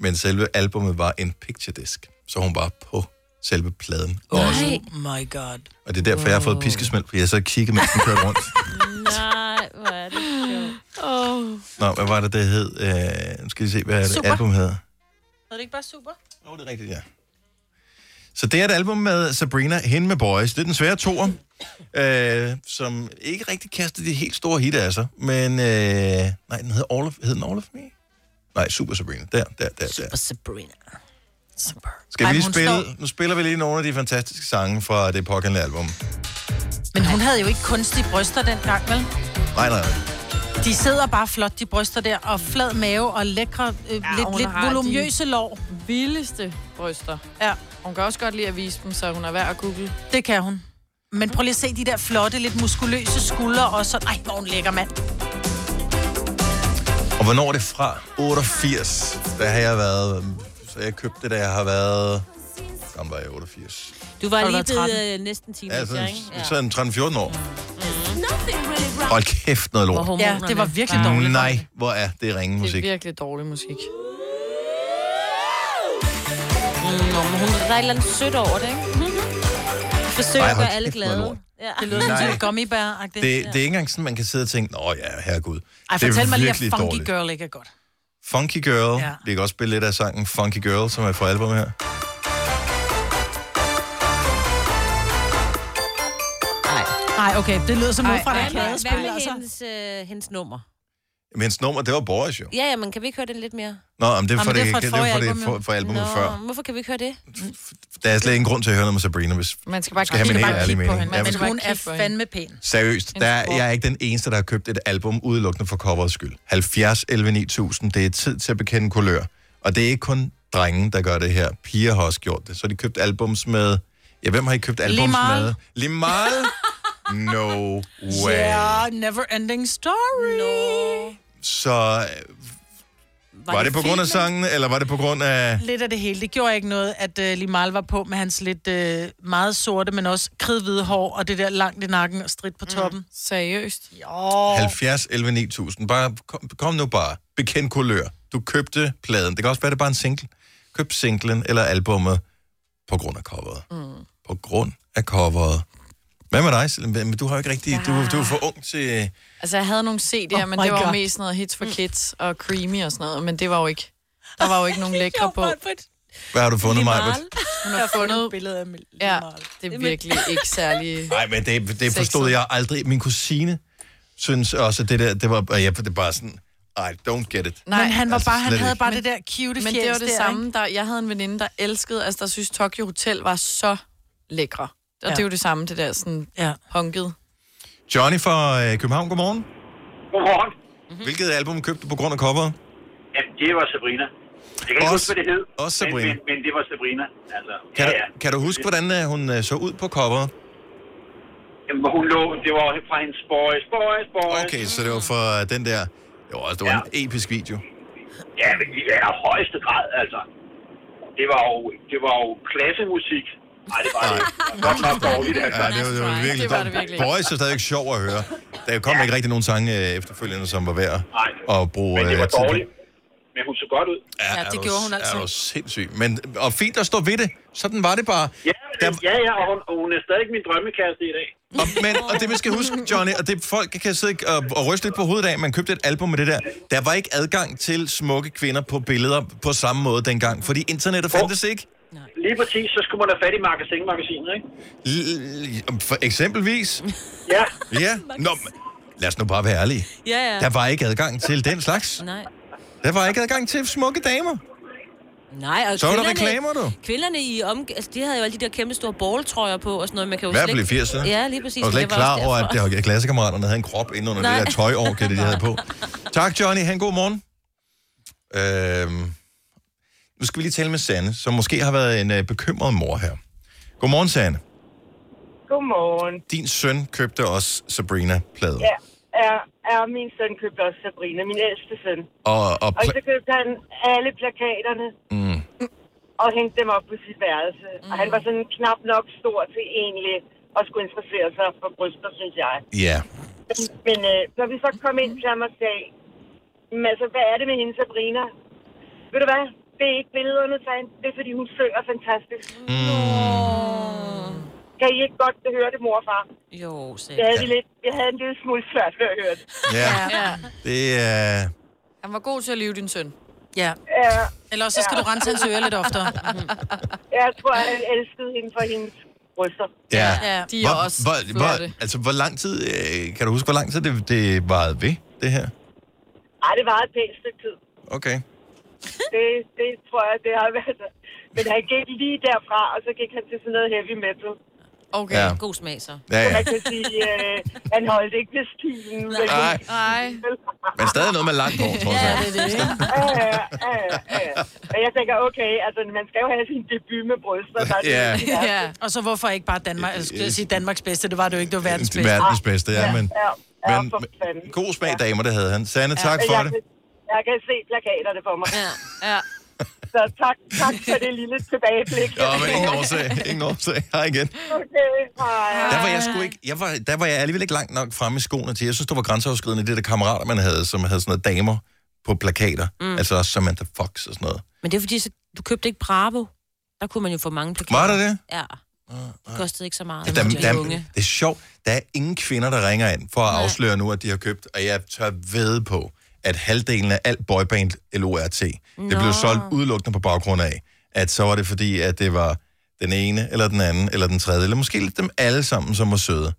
Speaker 1: Men selve albummet var en picture disc, så hun var på selve pladen. Og,
Speaker 3: Nej,
Speaker 2: Oh my god.
Speaker 1: og det er derfor, jeg har fået piskesmæld, fordi jeg så kiggede, mens den kørte rundt.
Speaker 3: nej, hvor er det sjovt.
Speaker 1: Nå, hvad var det, det hed? Øh, nu skal vi se, hvad det
Speaker 2: Super.
Speaker 1: album hedder.
Speaker 2: Havde det ikke bare super?
Speaker 1: Jo, det er rigtigt, ja. Så det er et album med Sabrina, hende med Boys. Det er den svære toer, øh, som ikke rigtig kastede de helt store hit af sig. Men, øh, nej, den hedder All of, hed den All of Me? Nej, Super Sabrina. Der, der, der,
Speaker 3: Super
Speaker 1: der.
Speaker 3: Sabrina.
Speaker 2: Super.
Speaker 1: Skal vi
Speaker 2: Ej,
Speaker 1: lige
Speaker 2: hun
Speaker 1: spille?
Speaker 2: står-
Speaker 1: Nu spiller vi lige nogle af de fantastiske sange fra det pågældende album.
Speaker 2: Men hun havde jo ikke kunstige bryster dengang, vel?
Speaker 1: Nej, nej, nej.
Speaker 2: De sidder bare flot, de bryster der, og flad mave og lækre, øh, ja, lidt,
Speaker 4: hun
Speaker 2: lidt
Speaker 4: har de-
Speaker 2: volumøse lår.
Speaker 4: Vildeste bryster.
Speaker 2: Ja,
Speaker 4: Hun kan også godt lide at vise dem, så hun er værd at google.
Speaker 2: det kan hun. Men prøv lige at se de der flotte, lidt muskuløse skuldre og sådan. Ej, hvor er hun lækker, mand.
Speaker 1: Og hvornår er det fra? 88. Der har jeg været... Så jeg købte det, da jeg har været... Gammel var jeg 88.
Speaker 3: Du var
Speaker 2: Har du
Speaker 3: lige
Speaker 2: været
Speaker 3: blevet øh, næsten teenager,
Speaker 1: Ja, sådan,
Speaker 3: ikke?
Speaker 1: sådan 13-14 år. Hold kæft noget lort.
Speaker 3: Og
Speaker 2: Ja,
Speaker 3: hormonerne.
Speaker 2: det var virkelig dårligt.
Speaker 1: Nej, hvor er det ringe
Speaker 4: Det er
Speaker 1: musik.
Speaker 4: virkelig dårlig musik.
Speaker 3: Nå, men hun der er et eller andet sødt over det, ikke? Forsøger
Speaker 1: Ej,
Speaker 3: at
Speaker 1: hold
Speaker 3: gøre alle
Speaker 1: kæft, hvor er lort.
Speaker 3: glade. Ja.
Speaker 2: Mhm. Det lyder som
Speaker 1: Nej.
Speaker 2: sådan en
Speaker 1: Det,
Speaker 2: gummibær-agtigt.
Speaker 1: det er ikke engang sådan, man kan sidde og tænke, nå ja, herregud.
Speaker 2: Ej,
Speaker 1: det er
Speaker 2: fortæl mig lige, at
Speaker 1: virkelig
Speaker 2: Funky
Speaker 1: dårligt.
Speaker 2: Girl ikke er godt.
Speaker 1: Funky Girl.
Speaker 2: Ja.
Speaker 1: Vi kan også spille lidt af sangen Funky Girl, som er fra albumet her.
Speaker 2: Nej, okay, det lyder som ud fra
Speaker 4: ej,
Speaker 2: en
Speaker 4: ej.
Speaker 3: Hvad
Speaker 2: pladespil,
Speaker 3: med
Speaker 2: altså.
Speaker 3: hendes, øh, hendes nummer?
Speaker 1: Men hendes nummer, det var Boris jo.
Speaker 3: Ja, ja, men kan vi ikke høre den lidt mere?
Speaker 1: Nå, men det er
Speaker 2: Nå,
Speaker 1: for
Speaker 2: men det
Speaker 1: det,
Speaker 2: er fra
Speaker 1: det,
Speaker 2: et
Speaker 1: det, er for
Speaker 2: forrige
Speaker 1: det
Speaker 2: album, jo.
Speaker 1: for, for albumet før.
Speaker 3: hvorfor kan vi ikke høre det?
Speaker 1: Der er slet ingen grund til at høre noget med Sabrina. Hvis,
Speaker 4: Man skal bare
Speaker 1: Skal have
Speaker 4: kigge-
Speaker 1: min
Speaker 4: man
Speaker 1: helt
Speaker 4: bare
Speaker 1: ærlige
Speaker 4: kigge på
Speaker 1: mening.
Speaker 4: hende.
Speaker 1: Ja, men-
Speaker 4: Man
Speaker 2: Men
Speaker 4: skal bare
Speaker 2: hun er
Speaker 4: kigge på hende.
Speaker 2: fandme pæn.
Speaker 1: seriøst, der, er-
Speaker 4: skrub.
Speaker 1: jeg er ikke den eneste, der har købt et album udelukkende for coverets skyld. 70, 11, 9000, det er tid til at bekende kulør. Og det er ikke kun drenge, der gør det her. Piger har også gjort det. Så har de købt albums med Ja, hvem har I købt albumsmad? Limal? No way.
Speaker 2: Yeah, never ending story. No.
Speaker 1: Så øh, var, var det på grund af sangen, eller var det på grund af...
Speaker 2: Lidt af det hele. Det gjorde ikke noget, at uh, Limal var på med hans lidt uh, meget sorte, men også kridhvide hår, og det der langt i nakken og stridt på toppen. Mm.
Speaker 4: Seriøst.
Speaker 2: Jo.
Speaker 1: 70, 11, 9000. Bare, kom, kom nu bare. Bekend kulør. Du købte pladen. Det kan også være, det er bare en single. Køb singlen eller albummet på grund af coveret. Mm. På grund af coveret. Hvad med dig? Selin? Men du har jo ikke rigtig... Ja. Du, du er for ung til...
Speaker 4: Altså, jeg havde nogle CD'er, oh men
Speaker 2: my
Speaker 4: det var jo
Speaker 2: God.
Speaker 4: mest sådan noget hits for kids og creamy og sådan noget, men det var jo ikke... Der var jo ikke nogen lækre på.
Speaker 1: Hvad har du fundet, mig?
Speaker 4: Hun har fundet...
Speaker 2: Billedet af Limal.
Speaker 4: Ja, det er virkelig ikke særlig...
Speaker 1: Nej, men det, det forstod jeg aldrig. Min kusine synes også, at det der... Det var, og ja, det er bare sådan... I don't get it.
Speaker 2: Nej, men han, var
Speaker 1: altså
Speaker 2: bare, han
Speaker 1: slet
Speaker 2: havde
Speaker 1: ikke.
Speaker 2: bare det der cute
Speaker 4: Men
Speaker 2: fjæs
Speaker 4: det var det
Speaker 2: der,
Speaker 4: samme. Der, jeg havde en veninde, der elskede, altså der synes Tokyo Hotel var så lækre. Og ja. det er jo det samme, det der sådan
Speaker 2: Ikke? Ja.
Speaker 4: honket.
Speaker 1: Johnny fra øh, København, godmorgen.
Speaker 9: Godmorgen.
Speaker 1: Hvilket album købte du på grund af coveret?
Speaker 9: Ja, det var Sabrina. Jeg kan ikke
Speaker 1: Også-
Speaker 9: huske, hvad det hed.
Speaker 1: også
Speaker 9: men-
Speaker 1: Sabrina.
Speaker 9: Men, men, det var Sabrina. Altså,
Speaker 1: Kan,
Speaker 9: ja,
Speaker 1: du,
Speaker 9: ja.
Speaker 1: kan du huske, hvordan øh, hun øh, så ud på coveret?
Speaker 9: Jamen, hun lå, det var fra hendes boys, boys, boys.
Speaker 1: Okay, så det var for øh, den der... Det var, også, det var en episk video.
Speaker 9: Ja, men i allerhøjeste grad, altså. Det var jo, det var jo klassemusik. Nej, det var det. ikke. Det var godt nok dårligt, altså.
Speaker 1: Ja, det var, det var virkelig
Speaker 4: Det var det
Speaker 1: dumt.
Speaker 4: virkelig.
Speaker 1: Boys er stadigvæk sjov at høre. Der kom ikke rigtig nogen sange øh, efterfølgende, som var værd
Speaker 9: Nej.
Speaker 1: at bruge
Speaker 9: Men det
Speaker 1: øh,
Speaker 9: var
Speaker 1: tid på.
Speaker 9: dårligt. Men hun så godt ud.
Speaker 1: Ja,
Speaker 2: det
Speaker 1: er du-
Speaker 2: gjorde hun altså.
Speaker 1: Er du sindssyg. Men, og fint at stå ved det. Sådan var det bare.
Speaker 9: Ja,
Speaker 1: Der,
Speaker 9: men- ja, ja, og hun, og hun er stadig min drømmekæreste i dag.
Speaker 1: og, men, og det, man skal huske, Johnny, og det folk kan sidde og, og ryste lidt på hovedet af, man købte et album med det der. Der var ikke adgang til smukke kvinder på billeder på samme måde dengang, fordi internettet fandtes ikke.
Speaker 9: Lige præcis, så skulle man have fat i magasinmagasinet, ikke?
Speaker 1: L- for eksempelvis.
Speaker 9: Ja,
Speaker 1: Ja. Nå, men lad os nu bare være ærlige.
Speaker 3: Ja, ja.
Speaker 1: Der var ikke adgang til den slags.
Speaker 3: Nej.
Speaker 1: Der var ikke adgang til smukke damer.
Speaker 3: Nej, og
Speaker 1: Så var der
Speaker 3: kvinderne-
Speaker 1: reklamer, du.
Speaker 3: Kvinderne i om... Altså, de havde jo alle de der kæmpe store borgeltrøjer på og sådan noget. Man kan jo
Speaker 1: I hvert
Speaker 3: slet
Speaker 1: fald i
Speaker 3: ikke-
Speaker 1: 80'erne.
Speaker 3: Ja, lige præcis.
Speaker 1: Jeg var slet
Speaker 3: Det
Speaker 1: ikke
Speaker 3: også
Speaker 1: klar over, at
Speaker 3: derfor.
Speaker 1: det var- klassekammeraterne havde en krop ind under Nej.
Speaker 3: Nej.
Speaker 1: det der tøjorke, det de havde på. Tak, Johnny. Han god morgen. Øhm, nu skal vi lige tale med Sanne, som måske har været en øh, bekymret mor her. Godmorgen, Sanne.
Speaker 10: Godmorgen.
Speaker 1: Din søn købte også Sabrina-plader.
Speaker 10: Ja, er, er min søn købte også Sabrina, min ældste søn.
Speaker 1: Og, og
Speaker 10: Og
Speaker 1: pla-
Speaker 10: så købte han alle plakaterne
Speaker 1: mm,
Speaker 10: og hængte dem op på sit værelse. Mm. Og han var sådan knap nok stor til egentlig at skulle interessere sig for bryster, synes jeg.
Speaker 1: ja.
Speaker 10: Men øh, når vi så kom ind til ham og sagde, "Men altså, hvad er det med hende, Sabrina? Ved du hvad? Det er ikke billederne, sagde han. Det er, fordi hun synger fantastisk. Kan I ikke godt høre det, mor og far?
Speaker 3: Jo, sæt.
Speaker 10: Det havde, vi lidt, jeg havde en lille smule svært ved at høre det.
Speaker 1: ja.
Speaker 4: Ja.
Speaker 1: Det er...
Speaker 4: Han var god til at leve din søn.
Speaker 2: Ja.
Speaker 10: Ja,
Speaker 2: Eller også, så skal du rense hans ører lidt oftere.
Speaker 10: jeg tror, han elskede hende for hendes bryster.
Speaker 1: Ja.
Speaker 4: Ja, de er
Speaker 1: Hvor,
Speaker 4: også
Speaker 1: hvor, hvor,
Speaker 4: flotte.
Speaker 1: altså, hvor lang tid... Øh, kan du huske, hvor lang tid det, det varede ved, det her?
Speaker 10: Ej, det var et pænt stykke tid.
Speaker 1: Okay.
Speaker 10: Det, det tror jeg, det har været. Men han gik lige derfra, og så gik han til sådan noget heavy metal.
Speaker 4: Okay.
Speaker 1: Ja.
Speaker 4: Ja.
Speaker 3: God smag, så.
Speaker 1: Ja, ja.
Speaker 10: Man kan sige, øh, han holdt ikke ved stilen. vel?
Speaker 1: Nej,
Speaker 4: Nej.
Speaker 1: men stadig noget med langt hår, tror jeg.
Speaker 2: det er det.
Speaker 10: Ja, ja, ja, ja. Og jeg tænker, okay, altså man skal jo have sin debut med bryster. Der er det,
Speaker 1: Ja.
Speaker 10: ja.
Speaker 4: Ja.
Speaker 2: Og så hvorfor ikke bare Danmark? Jeg skulle sige Danmarks bedste. Det var det jo ikke. Det var verdens
Speaker 1: Det er
Speaker 2: bedste.
Speaker 1: verdens bedste, ja, men...
Speaker 10: Ja, ja,
Speaker 1: Men,
Speaker 10: for
Speaker 1: men
Speaker 10: fanden.
Speaker 1: god smag, damer, det havde han. Sanne, tak
Speaker 10: Men
Speaker 1: for
Speaker 10: jeg,
Speaker 1: det.
Speaker 10: kan, jeg kan se plakaterne for mig.
Speaker 3: Ja.
Speaker 4: Ja.
Speaker 10: Så tak, tak for det lille tilbageblik.
Speaker 1: Ja, men ingen årsag, ingen årsag. Hej igen.
Speaker 10: Okay, hej.
Speaker 1: Der var jeg sgu ikke, jeg var, der var jeg alligevel ikke langt nok fremme i skoene til. Jeg synes, det var grænseoverskridende, det der kammerater, man havde, som havde sådan noget damer på plakater. Mm. Altså også Samantha Fox og sådan noget.
Speaker 3: Men det er fordi, så, du købte ikke Bravo. Der kunne man jo få mange plakater.
Speaker 1: Var der det?
Speaker 3: Ja. Det kostede ikke så meget.
Speaker 1: Der,
Speaker 3: Det var
Speaker 1: der,
Speaker 3: de unge.
Speaker 1: det er sjovt. Der er ingen kvinder, der ringer ind for at afsløre nu, at de har købt. Og jeg tør ved på, at halvdelen af alt boyband LORT, det blev solgt udelukkende på baggrund af, at så var det fordi, at det var den ene, eller den anden, eller den tredje, eller måske lidt dem alle sammen, som var søde.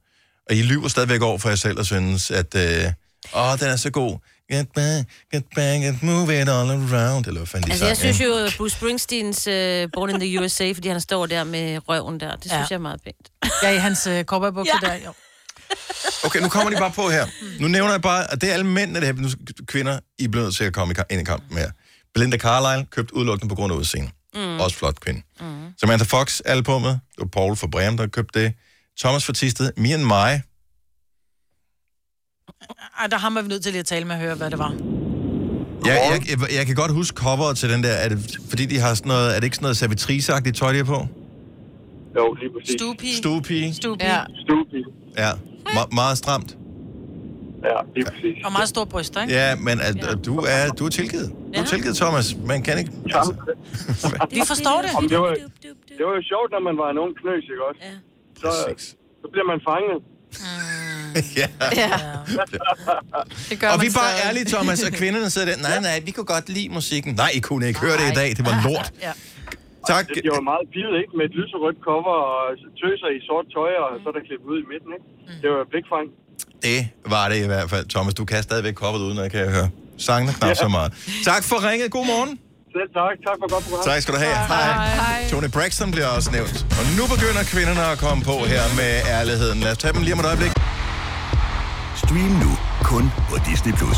Speaker 1: Og I lyver stadigvæk over for jer selv og synes, at øh, åh, den er så god. Get back, get back, and move it all around. Eller hvad fanden de
Speaker 3: Altså,
Speaker 1: sang,
Speaker 3: jeg synes
Speaker 1: ikke?
Speaker 3: jo, at Bruce Springsteens uh, Born in the USA, fordi han står der med røven der, det synes
Speaker 2: Ja.
Speaker 3: jeg er meget pænt.
Speaker 2: Ja, i hans øh, cowboybukser ja. der. Jo.
Speaker 1: Okay, nu kommer de bare på her. Nu nævner jeg bare, at det er alle mændene, det her. Nu skal kvinder, I bliver nødt til at komme i ka- ind i kampen her. Belinda Carlisle købt udelukkende på grund af udseende. Mm. Også flot kvinde. Mm. Samantha Fox, albummet. Det var Paul fra Bremen, der købte det. Thomas fra Tisted, Me and My.
Speaker 2: Ej, der har man nødt til lige at tale med at høre, hvad det var.
Speaker 1: Ja, jeg, jeg, jeg, kan godt huske coveret til den der. Er det, fordi de har sådan noget, er det ikke sådan noget servitriceagtigt tøj, de har på?
Speaker 9: Jo, lige præcis.
Speaker 2: Stupi.
Speaker 1: Stuepige.
Speaker 2: Stupi.
Speaker 4: Ja.
Speaker 2: Ja.
Speaker 9: Stupi.
Speaker 1: Ja, Me- meget stramt.
Speaker 9: Ja, lige præcis.
Speaker 2: Og meget store bryster, ikke?
Speaker 1: Ja, men at, at du, er, du er tilgivet. Du er tilgivet, Thomas. Man kan ikke... Altså,
Speaker 2: Vi forstår det.
Speaker 9: Det var, det var jo sjovt, når man var en ung knøs, ikke også?
Speaker 3: Ja.
Speaker 9: Så, så bliver man fanget.
Speaker 1: ja.
Speaker 4: Det gør
Speaker 1: Og vi
Speaker 4: man
Speaker 1: er bare
Speaker 4: stadig.
Speaker 1: ærlige, Thomas, og kvinderne sidder der. Nej, nej, vi kunne godt lide musikken. Nej, I kunne ikke høre det i dag. Det var lort.
Speaker 4: Ja.
Speaker 1: Tak.
Speaker 9: Det bliver jo meget pivet, ikke? Med et lyserødt cover og tøser i sort tøj, og så er der klippet ud i midten, ikke?
Speaker 2: Mm.
Speaker 9: Det var blikfang.
Speaker 1: Det var det i hvert fald. Thomas, du kan stadigvæk koppet uden, og jeg kan høre. Sangen er knap så meget. Tak for ringet. God morgen.
Speaker 9: Selv tak. Tak for godt program.
Speaker 1: Tak skal du have. Hej. Tony Braxton bliver også nævnt. Og nu begynder kvinderne at komme på her med ærligheden. Lad os tage dem lige om et øjeblik.
Speaker 6: Stream nu kun på Disney+. Plus.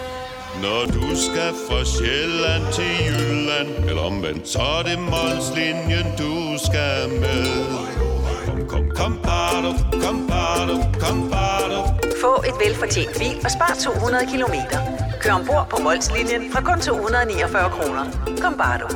Speaker 11: Når du skal fra Sjælland til Jylland, eller omvendt, så er det Molslinjen, du skal med. Kom, kom, kom, bado, kom, bado, kom, bado.
Speaker 12: Få et velfortjent bil og spar 200 kilometer. Kør ombord på Molslinjen fra kun 249 kroner. Kom bare du.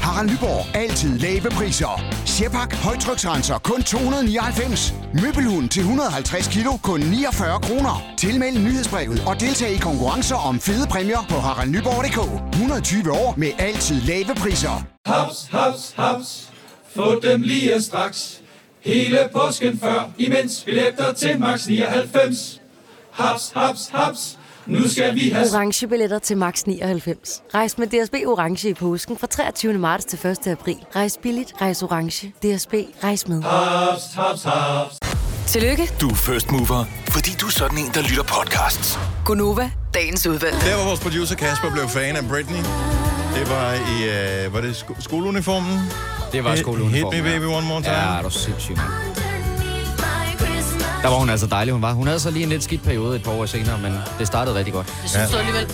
Speaker 11: Harald Nyborg. Altid lave priser. Sjehpak. Højtryksrenser. Kun 299. Møbelhund til 150 kilo. Kun 49 kroner. Tilmeld nyhedsbrevet og deltag i konkurrencer om fede præmier på haraldnyborg.dk. 120 år med altid lave priser.
Speaker 7: Haps, haps, haps. Få dem lige straks. Hele påsken før, imens billetter til max 99. Haps, haps, haps. Nu skal vi have
Speaker 12: Orange billetter til max 99. Rejs med DSB Orange i påsken fra 23. marts til 1. april. Rejs billigt, rejs orange. DSB, rejs med.
Speaker 7: haps, haps, haps.
Speaker 12: Tillykke.
Speaker 6: Du er first mover, fordi du er sådan en, der lytter podcasts.
Speaker 12: Gunova, dagens udvalgte.
Speaker 1: Der var vores producer Kasper blev fan af Britney. Det var i, øh, var det sko- skoleuniformen?
Speaker 5: Det var
Speaker 1: Hit-
Speaker 5: skoleuniformen.
Speaker 1: Hit me baby one more time.
Speaker 5: Ja, det var sindssygt, mand. Der var hun altså dejlig, hun var. Hun havde så lige en lidt skidt periode et par år senere, men det startede rigtig godt.
Speaker 2: Det synes du alligevel.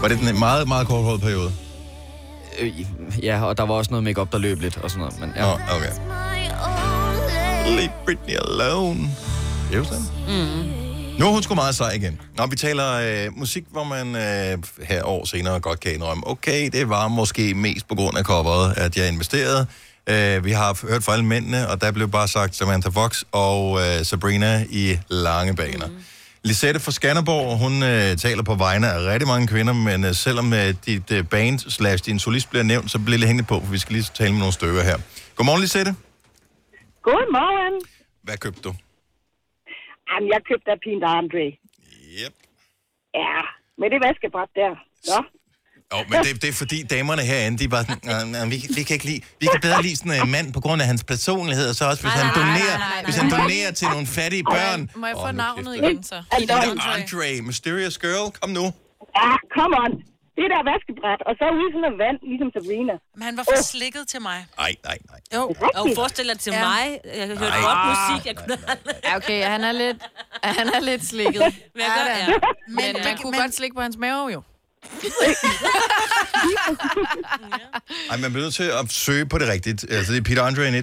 Speaker 1: Var det den meget, meget korthåret periode?
Speaker 5: Øh, ja, og der var også noget makeup der løb lidt og sådan noget, men ja.
Speaker 1: Nå, okay. Leave Britney alone. Det er jo sådan. Mm. Nu er hun sgu meget sej igen. Nå, vi taler øh, musik, hvor man øh, her år senere godt kan indrømme, okay, det var måske mest på grund af coveret, at jeg investerede. Øh, vi har f- hørt fra alle mændene, og der blev bare sagt Samantha Fox og øh, Sabrina i lange baner. Mm. Lisette fra Skanderborg, hun øh, taler på vegne af rigtig mange kvinder, men øh, selvom øh, dit øh, band slash din solist bliver nævnt, så bliver det hængende på, for vi skal lige tale med nogle stykker her. Godmorgen, Lisette.
Speaker 8: Godmorgen.
Speaker 1: Hvad købte du?
Speaker 8: Jamen, jeg købte af Pint Andre.
Speaker 1: Yep.
Speaker 8: Ja, med det vaskebræt der. Nå.
Speaker 1: Jo, men det, det er fordi damerne herinde, de bare sådan, "Nå, nå, vi, vi kan ikke lide, vi kan bedre lide sådan en mand på grund af hans personlighed, og så også hvis
Speaker 2: Nej,
Speaker 1: han
Speaker 2: nej, nej,
Speaker 1: donerer,
Speaker 2: nej, nej,
Speaker 1: hvis han donerer til nogle fattige børn.
Speaker 4: Må jeg få
Speaker 1: Åh, nu
Speaker 4: navnet
Speaker 1: kæft,
Speaker 4: igen, så?
Speaker 8: Altså,
Speaker 1: mand. Andre, Mysterious Girl, kom nu.
Speaker 8: ja, Ah, come on. Det der vaskebræt, og så ud i sådan noget vand, ligesom Sabrina.
Speaker 2: Men han var for slikket til mig.
Speaker 1: Nej, nej, nej.
Speaker 2: Jo.
Speaker 3: Og forestil dig til
Speaker 4: Ja.
Speaker 3: mig. Jeg hørte godt musik. Jeg kunne
Speaker 4: Ja, okay, han er lidt, han er lidt slikket.
Speaker 3: Hvad gør jeg?
Speaker 4: Men man kunne godt slikke på hans mave, jo.
Speaker 1: Ej, man bliver nødt til at søge på det rigtigt. Altså, det er Peter Andre i 1995,
Speaker 4: Er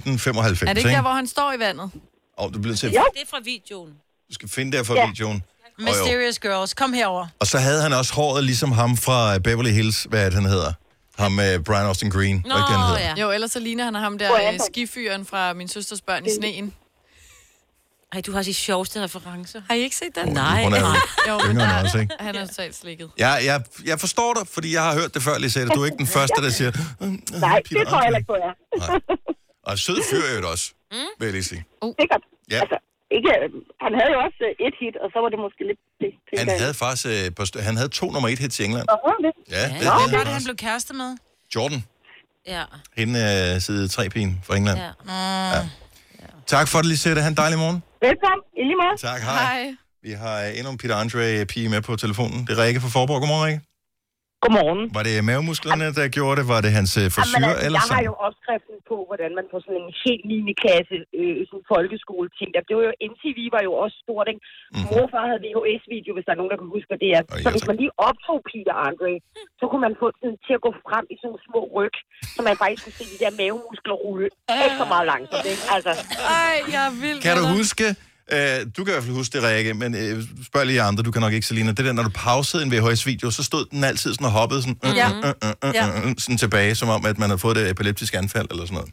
Speaker 4: det ikke der,
Speaker 1: ikke?
Speaker 4: hvor han står i vandet?
Speaker 1: Og du bliver nødt til at
Speaker 3: Det er fra videoen.
Speaker 1: du skal finde det her for videoen. Og, jo.
Speaker 2: Mysterious Girls, kom herover.
Speaker 1: og så havde han også håret ligesom ham fra øh, Beverly Hills, hvad er det, han hedder? Ham med øh, Brian Austin Green. Nå, ikke, det, han hedder?
Speaker 3: ja.
Speaker 4: Jo, ellers så ligner han ham der øh, skifyren fra min søsters børn
Speaker 10: Mm.
Speaker 4: i sneen.
Speaker 3: Ej, du har de sjoveste referencer.
Speaker 4: Har I ikke set den?
Speaker 3: Nej,
Speaker 1: Hun er
Speaker 3: nej.
Speaker 1: jo yngre end os, ikke?
Speaker 4: Han er totalt slikket.
Speaker 1: Jeg, jeg, jeg forstår dig, fordi jeg har hørt det før, Lisette. Du er ikke den første, der siger... "Øhm,
Speaker 8: Nej, det tror jeg heller ikke på jer.
Speaker 1: Og sød fyr er jo det også, mm. vil jeg lige sige.
Speaker 12: Oh.
Speaker 8: Sikkert.
Speaker 1: Ja.
Speaker 8: Altså, ikke, han havde jo også øh, et hit, og så var det måske lidt det. tænker
Speaker 1: Han
Speaker 8: jeg.
Speaker 1: havde faktisk øh, et par stø- han havde to nummer et hits i England.
Speaker 8: Nå, det.
Speaker 1: Ja, det,
Speaker 2: Hvor
Speaker 1: det,
Speaker 2: var det,
Speaker 1: det,
Speaker 2: han blev kæreste med?
Speaker 1: Jordan.
Speaker 3: Ja.
Speaker 1: Hende er side 3-pigen fra England. Ja.
Speaker 2: Mm.
Speaker 1: Ja. Tak for det, Lisette. Han en dejlig morgen.
Speaker 13: Velkommen, i lige måde.
Speaker 1: Tak, hej. Vi har øh, endnu en Peter Andre-pige med på telefonen. Det er Rikke fra Forborg. Godmorgen, Rikke.
Speaker 13: Godmorgen.
Speaker 1: Var det mavemusklerne, der gjorde det? Var det hans øh, frisyr
Speaker 13: Jamen, altså,
Speaker 1: ja, eller
Speaker 13: jeg har
Speaker 1: sådan?
Speaker 13: jo opskriften på, hvordan man på sådan en helt 9. klasse øh, sådan folkeskole ting. Det var jo, MTV var jo også stort, ikke?
Speaker 1: Mhm.
Speaker 13: Mm. Morfar havde VHS-video, hvis der er nogen, der kan huske, hvad det er. så hvis man lige optog Peter Andre, så kunne man få den til at gå frem i sådan nogle små ryg, så man faktisk kunne se de der mavemuskler rulle ekstra meget langsomt, ikke? Altså.
Speaker 4: Ej, jeg er vild
Speaker 1: Kan du huske... Øh, du kan i hvert fald huske det, Rikke, men øh, spørg lige andre, du kan nok ikke, Selina. Det der, når du pausede en VHS-video, så stod den altid sådan og hoppede sådan, øh,
Speaker 2: Ja.
Speaker 1: øh, øh, øh, øh, øh, sådan tilbage, som om, at man havde fået det epileptiske anfald eller sådan noget.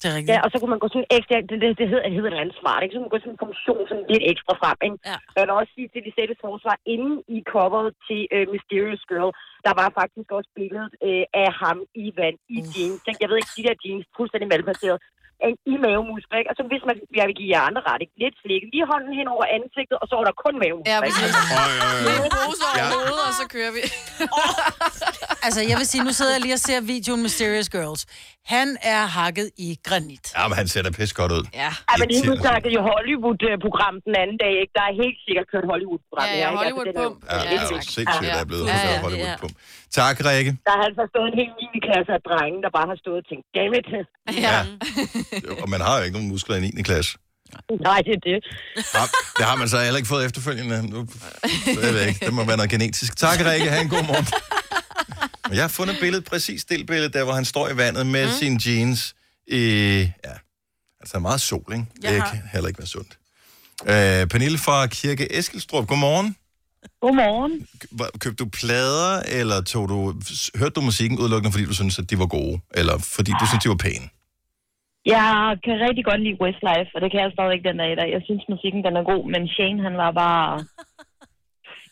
Speaker 2: Det er rigtigt.
Speaker 13: Ja, og så kunne man gå sådan ekstra, det, det, det hedder, det hedder en smart, ikke? Så kunne man gå sådan en kommission sådan lidt ekstra frem, ikke?
Speaker 3: Ja.
Speaker 13: Jeg vil også sige til Lisettes forsvar, inden i coveret til øh, Mysterious Girl, der var faktisk også billedet øh, af ham i vand, i jeans. Ikke? Jeg ved ikke, de der jeans, fuldstændig malplaceret, øh, i mavemuskler, ikke? Og så hvis man, jeg vil give jer andre ret, ikke? Lidt slikket, lige hånden hen over ansigtet, og så var der kun mavemuskler,
Speaker 4: Ja,
Speaker 13: ikke?
Speaker 4: Lidt bruser over hovedet, og så kører vi.
Speaker 2: Altså, jeg vil sige, nu sidder jeg lige og ser videoen Mysterious Girls. Han er hakket i granit.
Speaker 1: Ja, men han ser da pis godt ud.
Speaker 4: Ja.
Speaker 13: Ja, men lige nu snakkede jo Hollywood-program den anden dag, ikke? Der er helt sikkert kørt Hollywood-program.
Speaker 4: Ja, ja,
Speaker 13: her, ikke? Altså, den er jo-
Speaker 4: Hollywood-pump.
Speaker 1: Ja, det er jo sindssygt, der er blevet ja, ja, Hollywood på. Tak, Rikke.
Speaker 13: Der har altså stået en hel 9. klasse af drenge, der bare har stået og tænkt, damn it.
Speaker 1: Ja. Og man har jo ikke nogen muskler i 9. klasse.
Speaker 13: Nej, det er det.
Speaker 1: Har, det har man så heller ikke fået efterfølgende. Nu, det ved jeg ikke. Det må være noget genetisk. Tak, Rikke. Ha' en god morgen. Og Jeg har fundet billedet, præcis det billede, der hvor han står i vandet med mm. sine jeans. I, ja, altså meget sol, ikke?
Speaker 2: Jeg
Speaker 1: det
Speaker 2: har-
Speaker 1: kan heller ikke være sundt. Øh, Pernille fra Kirke Eskilstrup, godmorgen.
Speaker 8: Godmorgen.
Speaker 1: Hva- Købte du plader, eller tog du, s- hørte du musikken udelukkende, fordi du syntes, at de var gode? Eller fordi du syntes, de var pæne?
Speaker 8: Jeg kan rigtig godt lide Westlife, og det kan jeg stadigvæk den dag i dag. Jeg synes, musikken den er god, men Shane, han var bare...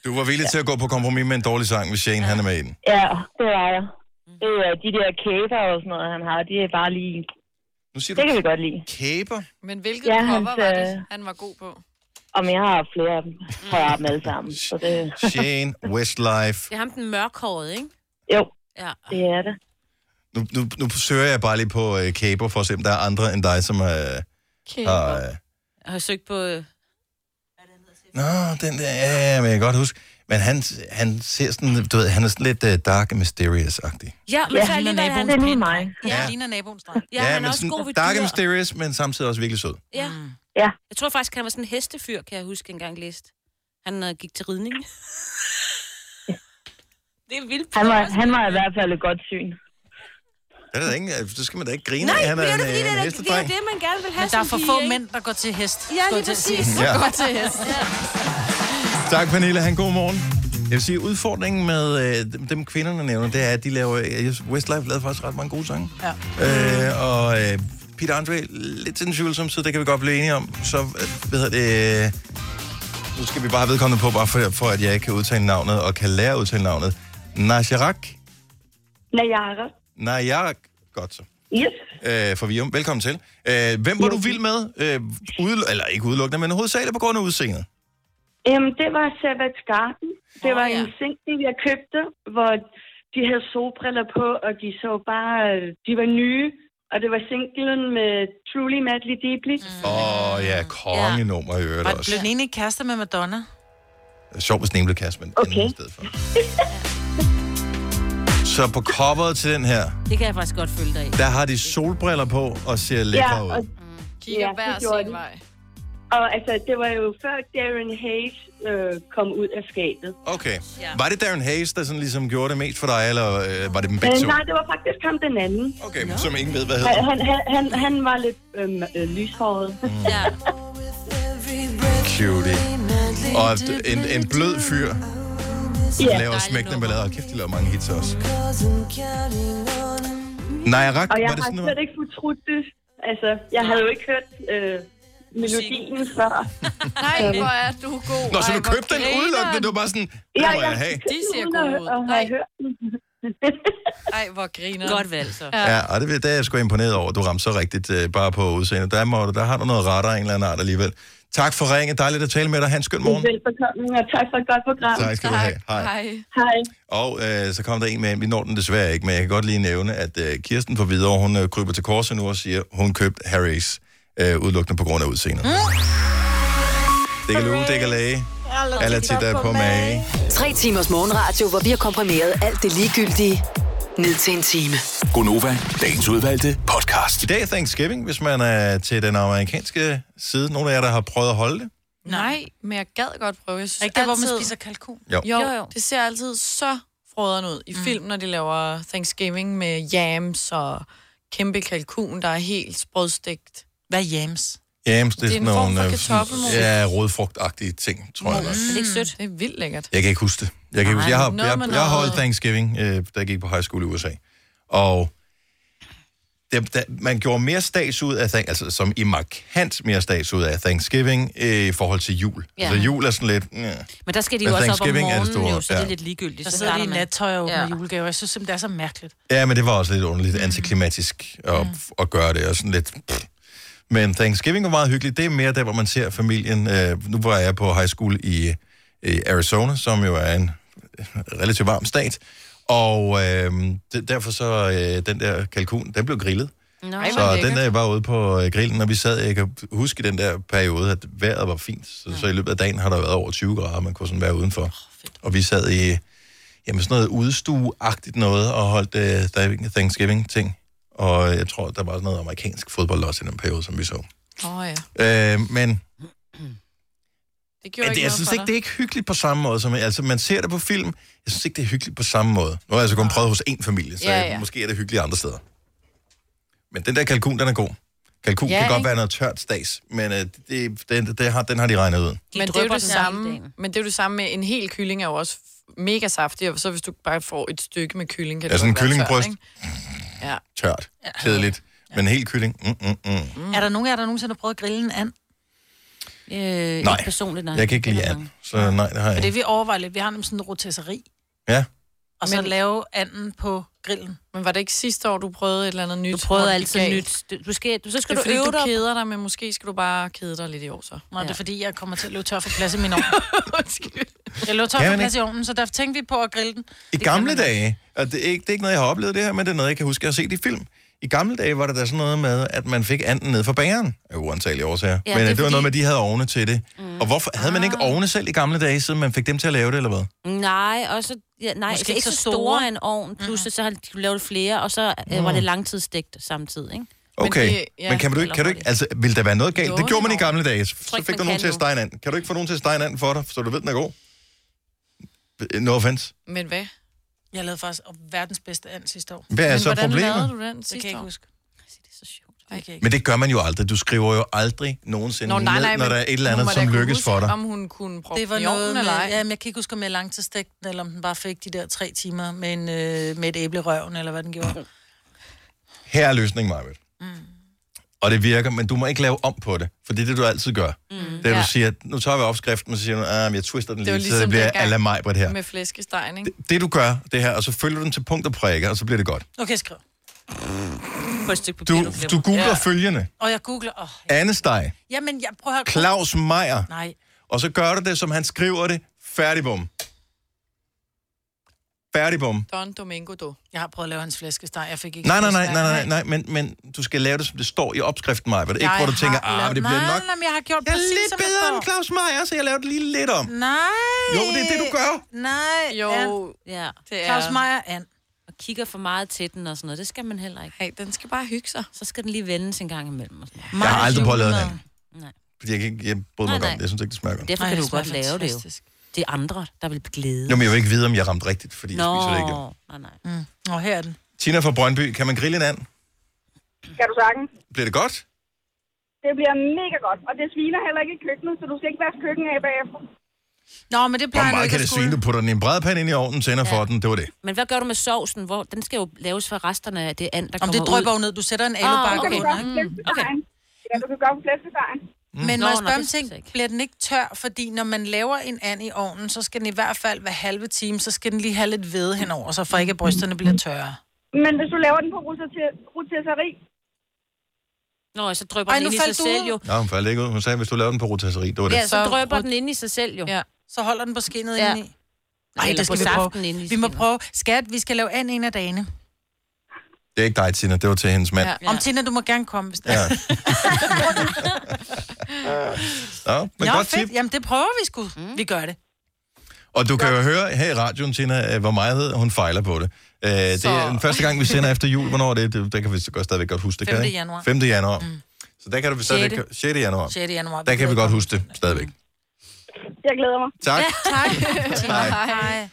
Speaker 1: Du var villig ja. til at gå på kompromis med en dårlig sang, hvis Shane ja. han er med i den.
Speaker 8: Ja, det var jeg. Det er de der kæber og sådan noget, han har, de er bare lige...
Speaker 1: Nu siger
Speaker 8: det kan vi godt lide.
Speaker 1: Kæber?
Speaker 4: Men hvilket
Speaker 8: Ja,
Speaker 4: ja,
Speaker 8: han
Speaker 4: cover var
Speaker 8: sagde-
Speaker 4: det, han var god på?
Speaker 8: Og jeg har flere af dem, har jeg dem alle sammen. Så det...
Speaker 1: Shane, Westlife.
Speaker 3: Det er ham den mørkhårede, ikke?
Speaker 8: Jo,
Speaker 3: Ja.
Speaker 8: det er det.
Speaker 1: Nu, nu, nu søger jeg bare lige på øh, kæber, for at se, om der er andre end dig, som er... Øh, har, øh,
Speaker 3: Jeg har søgt på... øh,
Speaker 1: Nå, den der, ja, ja, men jeg kan godt huske. Men han, han ser sådan, du ved, han er sådan lidt øh, dark and mysterious-agtig.
Speaker 3: Ja, men
Speaker 8: Ja,
Speaker 3: så
Speaker 8: han
Speaker 3: alligevel er han...
Speaker 8: Det er lige mig.
Speaker 2: Ja,
Speaker 1: Ja.
Speaker 2: han ligner naboens dreng.
Speaker 3: Ja, han er
Speaker 1: men
Speaker 3: også god ved
Speaker 1: dark and
Speaker 3: dyr.
Speaker 1: mysterious, men samtidig også virkelig sød.
Speaker 3: Ja.
Speaker 8: Ja.
Speaker 3: Jeg tror faktisk, han var sådan en hestefyr, kan jeg huske jeg engang læst. Han øh, gik til ridning. det er vildt.
Speaker 8: Han var, han var i hvert fald et godt syn.
Speaker 1: Det, er der ikke, øh, det skal man da ikke grine
Speaker 3: Nej,
Speaker 1: af, han
Speaker 3: men
Speaker 1: er
Speaker 3: det er
Speaker 1: en, øh, en
Speaker 3: da, fordi det er, det, det, er
Speaker 1: hestedreng.
Speaker 3: jo det, man gerne vil have
Speaker 2: Men der er
Speaker 3: som
Speaker 2: for
Speaker 3: pige,
Speaker 2: få
Speaker 3: ikke?
Speaker 2: mænd, der går til hest.
Speaker 3: Ja, lige
Speaker 2: skulle jeg til at sige.
Speaker 3: præcis.
Speaker 1: Ja.
Speaker 2: Går til hest.
Speaker 1: Tak, Pernille. Han god morgen. Jeg vil sige, udfordringen med øh, dem- dem, kvinderne nævner, det er, at de laver... Øh, Westlife lavede faktisk ret mange gode sange.
Speaker 2: Ja.
Speaker 1: Øh, og øh, Peter Andre, lidt til den tvivlsom side, det kan vi godt blive enige om. Så, øh, hvad hedder det... Øh, nu skal vi bare have vedkommende på, bare for, for at jeg ikke kan udtale navnet, og kan lære at udtale navnet. Najarak.
Speaker 8: Nayara.
Speaker 1: Najarak. Godt så.
Speaker 8: Yes.
Speaker 1: Øh, for Vium. Velkommen til. Øh, hvem var du vild med? Øh, ude, eller ikke udelukkende, men hovedsageligt på grund af udseendet.
Speaker 8: Jamen, det var Savage Garden. Det var en single, jeg købte, hvor de havde solbriller på, og de så bare, øh, de var nye. Og det var singlen med Truly Madly Deeply.
Speaker 4: Mm.
Speaker 1: Åh oh, ja, kongenummer i øvrigt
Speaker 2: Og blev
Speaker 1: også.
Speaker 2: den ene ikke kæreste med Madonna?
Speaker 1: Det er Sjovt, hvis den ene blev kæreste, men okay.
Speaker 8: Okay.
Speaker 1: anden i stedet for. Så på coveret til den her,
Speaker 3: Det kan jeg faktisk godt følge dig i.
Speaker 1: der har de solbriller på og ser lækre
Speaker 8: Ja,
Speaker 1: ud.
Speaker 8: og-
Speaker 4: Kigger
Speaker 8: Ja,
Speaker 4: ja,
Speaker 8: det
Speaker 4: hver
Speaker 8: gjorde
Speaker 4: sin
Speaker 8: de.
Speaker 4: vej.
Speaker 8: Og altså, det var jo før Darren Hayes øh, kom ud af skabet.
Speaker 1: Okay.
Speaker 3: Ja.
Speaker 1: Var det Darren Hayes, der sådan ligesom gjorde det mest for dig, eller øh, var det dem begge
Speaker 8: Øh,
Speaker 1: to?
Speaker 8: nej, det var faktisk ham den anden.
Speaker 1: Okay, no. som ingen ved, hvad
Speaker 8: Han,
Speaker 1: hedder. Mm.
Speaker 8: han, han- han, han var lidt øh, øh, lyshåret.
Speaker 3: Ja.
Speaker 1: Cutie. Og et- en, en blød fyr,
Speaker 8: Ja,
Speaker 1: der laver smækkende ballader. Hold kæft, de laver mange hits også. Nej, Rak,
Speaker 8: og jeg
Speaker 1: var det
Speaker 8: har
Speaker 1: sådan noget?
Speaker 8: slet ikke fortrudt det. Altså, jeg havde jo ikke hørt øh, melodien før. Øh,
Speaker 4: Nej, hvor er du god.
Speaker 1: Nå, så
Speaker 4: Ej,
Speaker 1: du
Speaker 4: hvor
Speaker 1: købte den
Speaker 4: grineren.
Speaker 1: udelukkende, du var bare sådan,
Speaker 8: Ja,
Speaker 1: den må
Speaker 8: jeg
Speaker 1: jeg have.
Speaker 4: De ser
Speaker 8: uden
Speaker 4: gode
Speaker 8: at,
Speaker 4: ud.
Speaker 8: at
Speaker 4: Nej.
Speaker 8: have hørt den.
Speaker 4: Ej, hvor griner.
Speaker 3: Godt valg, så.
Speaker 1: Ja, og det, ved- det er jeg sgu imponeret over, at du ramte så rigtigt øh, bare på udseendet. Der, må, du- der har du noget radar af en eller anden art alligevel. Tak for ringen. Dejligt at tale med dig. Ha' en skøn morgen.
Speaker 13: Velbekomme, og tak for et godt program.
Speaker 1: Tak skal du have. Hej.
Speaker 13: Hej.
Speaker 1: Og øh, så kom der en med, vi når den desværre ikke, men jeg kan godt lige nævne, at øh, Kirsten fra Hvidovre, hun øh, kryber til korset nu og siger, hun købte Harry's øh, udelukkende på grund af udseendet. Det kan luge, det kan læge. Alla titter på mig.
Speaker 14: Tre timers morgenradio, hvor vi har komprimeret alt det ligegyldige ned til en time.
Speaker 1: Gonova, dagens udvalgte podcast. I dag er Thanksgiving, hvis man er til den amerikanske side. Nogle af jer, der har prøvet at holde det.
Speaker 4: Nej, men jeg gad godt prøve. Jeg synes,
Speaker 2: Er ikke der, hvor man
Speaker 4: altid-
Speaker 2: spiser kalkun?
Speaker 1: Jo.
Speaker 4: Jo, jo, jo. det ser altid så frøderen ud i mm. film, når de laver Thanksgiving med yams og kæmpe kalkun, der er helt sprødstegt.
Speaker 2: Hvad er yams?
Speaker 1: Jamen, det
Speaker 4: Det
Speaker 1: er
Speaker 4: er
Speaker 1: sådan
Speaker 4: en form
Speaker 1: nogle
Speaker 4: for
Speaker 1: øh,
Speaker 4: kartoffelmos.
Speaker 1: ja, rodfrugtagtige ting, tror jeg nok.
Speaker 4: Er det ikke sødt? Mm. Det er vildt lækkert.
Speaker 1: Jeg kan ikke huske det. Jeg, kan ikke huske. jeg, har,
Speaker 4: Noget
Speaker 1: jeg,
Speaker 4: med
Speaker 1: jeg
Speaker 4: noget.
Speaker 1: holdt Thanksgiving, øh, da jeg gik på high school i USA. Og det, da, man gjorde mere stats ud af, Thank- altså som i markant mere stats ud af Thanksgiving øh, i forhold til jul.
Speaker 3: Ja.
Speaker 1: Ja. Altså jul er sådan lidt... Ja.
Speaker 3: Men der skal de
Speaker 1: Men
Speaker 3: jo også op om
Speaker 1: Thanksgiving er det
Speaker 3: morgenen,
Speaker 1: store,
Speaker 3: jo, så det
Speaker 1: ja.
Speaker 3: er lidt ligegyldigt.
Speaker 2: Der
Speaker 3: Så
Speaker 2: sidder de i
Speaker 3: starter man.
Speaker 2: nattøj og
Speaker 3: Ja.
Speaker 2: åbner julegaver. Jeg synes simpelthen, det er så mærkeligt.
Speaker 1: ja, men det var også lidt underligt antiklimatisk at, at gøre det, og sådan lidt... Pff. Men Thanksgiving var meget hyggeligt. Det er mere der, hvor man ser familien. Øh, nu var jeg på high school i øh, Arizona, som jo er en øh, relativt varm stat. Og øh, det, derfor så, øh, den der kalkun, den blev grillet.
Speaker 3: Nej,
Speaker 1: så den der var ude på øh, grillen, og vi sad, jeg kan huske i den der periode, at vejret var fint. Så, så i løbet af dagen har der været over 20 grader, man kunne sådan være udenfor. og vi sad i jamen sådan noget udstueagtigt noget, og holdt øh, stadigvæk Thanksgiving-ting. Og jeg tror, der var sådan noget amerikansk fodbold også i den periode, som vi så.
Speaker 4: Åh oh, ja.
Speaker 1: Øh, men
Speaker 4: Det
Speaker 1: men det, jeg synes ikke, det er ikke hyggeligt på samme måde. Som, altså, man ser det på film. Jeg synes ikke, det er hyggeligt på samme måde. Nu har jeg altså kun prøvet hos én familie, så
Speaker 4: Ja,
Speaker 1: ja, ja.
Speaker 4: ja.
Speaker 1: måske er det hyggeligt andre steder. Men den der kalkun, den er god. Kalkun
Speaker 4: Ja,
Speaker 1: ja, kan godt
Speaker 4: ikke?
Speaker 1: være noget tørt stads, men øh, det, den, det har, den har de regnet ud.
Speaker 4: De men, det er jo det samme, men det er jo det samme med, en hel kylling er jo også f- mega saftig, og så hvis du bare får et stykke med kylling, kan
Speaker 1: Ja,
Speaker 4: det
Speaker 1: sådan en
Speaker 4: godt være
Speaker 1: kyllingebryst.
Speaker 4: tørt, ikke? Ja. Øh,
Speaker 1: Tørt. Kedeligt. Men helt kylling. Mm, mm, mm.
Speaker 2: Mm. Er der nogen af jer, der nogensinde har prøvet at grille en and?
Speaker 3: Øh,
Speaker 1: Nej.
Speaker 3: Ikke personligt, nej.
Speaker 1: Jeg kan ikke lide and, så nej, det har jeg
Speaker 2: For det
Speaker 1: ikke.
Speaker 2: vi overvejer lidt. Vi har nemlig sådan en rotisserie,
Speaker 1: Ja.
Speaker 2: og så lave anden på grillen.
Speaker 4: Men var det ikke sidste år, du prøvede et eller andet nyt?
Speaker 3: Du prøvede
Speaker 4: hvor det
Speaker 3: altid
Speaker 4: gik galt?
Speaker 3: nyt. Du- Du skal, du, så skal
Speaker 4: det er
Speaker 3: du
Speaker 4: fordi,
Speaker 3: øve
Speaker 4: du
Speaker 3: dig.
Speaker 4: keder dig, men måske skal du bare kede dig lidt i år så.
Speaker 2: Nå, det er fordi, jeg kommer til at løbe tør for plads i min ovn. jeg løb
Speaker 1: Kan
Speaker 2: tør for
Speaker 1: man
Speaker 2: plads i
Speaker 1: ikke?
Speaker 2: ovnen, så derfor tænkte vi på at grille den.
Speaker 1: I gamle dage, og det er, ikke, det er ikke noget, jeg har oplevet det her, men det er noget, jeg kan huske, jeg har set i film. I gamle dage var der da sådan noget med, at man fik anden ned fra bageren, af uantagelige årsager.
Speaker 6: Ja,
Speaker 1: Ja, men
Speaker 6: det
Speaker 1: det,
Speaker 6: er
Speaker 1: det var
Speaker 6: fordi-
Speaker 1: noget med, at de havde ovne til det. Mm. Og hvorfor havde man ikke ovne selv i gamle dage, siden man fik dem til at lave det, eller hvad?
Speaker 3: Nej, og så, ja, nej,
Speaker 2: Måske
Speaker 3: altså,
Speaker 2: ikke
Speaker 3: ikke så
Speaker 2: så
Speaker 3: store,
Speaker 2: store.
Speaker 3: en ovn. Plus, så har de lavet flere, og så øh, var
Speaker 1: Mm.
Speaker 3: det langtidsstegt samtidig, ikke?
Speaker 1: Okay, men, ja, men kan, man du ikke, kan du ikke, altså, vil der være noget galt? Det gjorde man i gamle dage, så, så fik
Speaker 3: man
Speaker 1: du nogen
Speaker 3: kan
Speaker 1: til at
Speaker 3: nu.
Speaker 1: stege en anden. Kan du ikke få nogen til at stege en anden for dig, så du ved, den er god? No offense.
Speaker 4: Men hvad?
Speaker 2: Jeg lavede faktisk verdens bedste and sidste år.
Speaker 1: Hvad er Men så hvordan problemet? lavede
Speaker 4: du den
Speaker 2: sidste år? Det kan jeg ikke huske. Det kan jeg ikke.
Speaker 1: Men det gør man jo aldrig. Du skriver jo aldrig nogensinde Nå, nej, nej, ned, når
Speaker 4: men
Speaker 1: der er et eller
Speaker 4: hun
Speaker 1: andet,
Speaker 4: må da
Speaker 1: som
Speaker 4: kunne
Speaker 1: lykkes
Speaker 4: huske,
Speaker 1: for dig.
Speaker 4: Om hun kunne proppe
Speaker 2: Det var
Speaker 4: den i ovnen,
Speaker 2: noget med,
Speaker 4: eller ej.
Speaker 2: ja, men jeg kan ikke huske, om jeg langtidsstegt den, eller om den bare fik de der tre timer med, en, øh, med et æble i røven, eller hvad den gjorde.
Speaker 1: Her er løsningen, Marvitt. Mm. Og det virker, men du må ikke lave om på det, for det er det, du altid gør. Mm. Det er, du
Speaker 4: Ja.
Speaker 1: siger, nu tager vi opskriften, og så siger du, ah, men jeg twister den
Speaker 4: Det var
Speaker 1: lige, så det
Speaker 4: ligesom
Speaker 1: bliver
Speaker 4: dengang
Speaker 1: ala Majbert her.
Speaker 4: Med flæskestegen, ikke?
Speaker 1: Det du gør, det her, og så følger du den til punkt og prikke, og så bliver det godt.
Speaker 2: Okay, skriv.
Speaker 3: På et stykke papir,
Speaker 1: Du, du googler ja. følgende.
Speaker 2: Og jeg googler... Åh,
Speaker 1: Annesteg,
Speaker 2: jamen, jeg prøver at...
Speaker 1: Claus Meier,
Speaker 2: Nej.
Speaker 1: og så gør du det, som han skriver det, færdigbom. Færdigbom.
Speaker 4: Don Domingo, du.
Speaker 2: Jeg har prøvet at lave hans flæskesteg. Jeg fik ikke...
Speaker 1: Nej, nej, nej, nej, nej, nej, men, men du skal lave det, som det står i opskriften, Maja. Ikke hvor du tænker, ah, men det bliver
Speaker 2: nej,
Speaker 1: nok
Speaker 2: Nej, men jeg har gjort
Speaker 1: Jeg er
Speaker 2: præcis,
Speaker 1: lidt
Speaker 2: som
Speaker 1: bedre
Speaker 2: står.
Speaker 1: end Claus Meier, så jeg lavede lige lidt om.
Speaker 2: Nej.
Speaker 1: Jo, det er det, du gør.
Speaker 2: Nej.
Speaker 4: Jo,
Speaker 3: Ja.
Speaker 4: det er-
Speaker 2: Claus Meier and.
Speaker 3: Og kigger for meget til den og sådan noget. Det skal man heller ikke.
Speaker 4: Hey, den skal bare hygge sig.
Speaker 3: Så skal den lige vendes en gang imellem. Og sådan noget.
Speaker 1: Jeg har aldrig prøvet at lave den.
Speaker 3: Nej.
Speaker 1: Fordi jeg, kan ikke, jeg bryder mig
Speaker 3: Nej,
Speaker 1: ikke om
Speaker 3: nej.
Speaker 1: det. Jeg synes ikke, det smager godt.
Speaker 3: Derfor
Speaker 1: Nej,
Speaker 3: kan
Speaker 1: det
Speaker 3: du godt
Speaker 1: smager
Speaker 3: lave det jo.
Speaker 1: fantastisk.
Speaker 3: Det er andre, der vil blive glæde.
Speaker 1: Jo, men jeg vil ikke vide, om jeg ramte rigtigt, fordi jeg spiser det ikke. jo.
Speaker 3: nej, nej.
Speaker 2: Mm. Og her er den.
Speaker 1: Tina fra Brøndby, kan man grille en and?
Speaker 13: Kan du sagtens?
Speaker 1: Bliver det godt?
Speaker 13: Det bliver mega godt, og det sviner heller ikke i køkkenet, så du skal ikke vaske køkkenet af bagefter.
Speaker 2: Nå, men det
Speaker 1: Hvor meget kan det svine? Du putter den i en brædepande ind i ovnen, tænder ja. for den. Det var det.
Speaker 3: Men hvad gør du med sovsen? Hvor, den skal jo laves fra resterne af det and, der
Speaker 2: Om
Speaker 3: kommer
Speaker 2: det drypper
Speaker 3: ud. Ah,
Speaker 2: jo ned. Du sætter en alubakke
Speaker 3: okay.
Speaker 2: under, ikke?
Speaker 1: Mm.
Speaker 13: Okay. Ja, du kan gøre på flæskestegen.
Speaker 3: Mm.
Speaker 2: Men må jeg spørge om ting, bliver den ikke tør? Fordi når man laver en and i ovnen, så skal den i hvert fald hver halve time, så skal den lige have lidt hvede henover, så for ikke at brysterne bliver tørre.
Speaker 13: Men hvis du laver den på rotisserie,
Speaker 3: Nå, så drøber
Speaker 2: Ej,
Speaker 3: Ej, den
Speaker 2: nu
Speaker 3: ind i
Speaker 2: faldt
Speaker 3: sig
Speaker 2: du
Speaker 3: selv
Speaker 2: ud.
Speaker 3: jo.
Speaker 1: Nå, hun faldt ikke ud. Hun sagde, hvis du laver den på rotisserie, det var det.
Speaker 3: Ja, så drøber den ind i sig selv jo.
Speaker 4: Ja.
Speaker 2: Så holder den på skinnet
Speaker 3: Ja.
Speaker 2: ja. indeni. Nej,
Speaker 3: Eller
Speaker 2: det
Speaker 3: på
Speaker 2: skal vi
Speaker 3: saften
Speaker 2: prøve.
Speaker 3: indeni
Speaker 2: Vi må prøve. Skat, vi skal lave an en af dagene.
Speaker 1: Det er ikke dig, Tina. Det var til hendes mand.
Speaker 2: Ja. Om Tina, du må gerne komme. Hvis det
Speaker 1: Ja.
Speaker 2: er.
Speaker 1: Nå, men
Speaker 2: Nå,
Speaker 1: godt
Speaker 2: fedt.
Speaker 1: tip.
Speaker 2: Jamen, det prøver vi sgu. Mm. Vi gør det.
Speaker 1: Og du kan jo høre her i radioen, Tina, øh, hvor meget hun fejler på det. Øh, Det er
Speaker 2: Så.
Speaker 1: den første gang, vi sender efter jul. Hvornår er det? Det, det kan vi så godt, stadigvæk godt huske. Det kan,
Speaker 2: 5.
Speaker 1: ikke?
Speaker 2: januar.
Speaker 1: 5. januar. Mm. Så der kan du stadigvæk... 6.
Speaker 2: Sjette.
Speaker 1: januar.
Speaker 2: 6. januar.
Speaker 1: Der kan vi godt huske det stadigvæk.
Speaker 2: Mm.
Speaker 8: Jeg glæder mig.
Speaker 1: Tak.
Speaker 8: Ja, tak.
Speaker 1: Hej.
Speaker 2: Hej.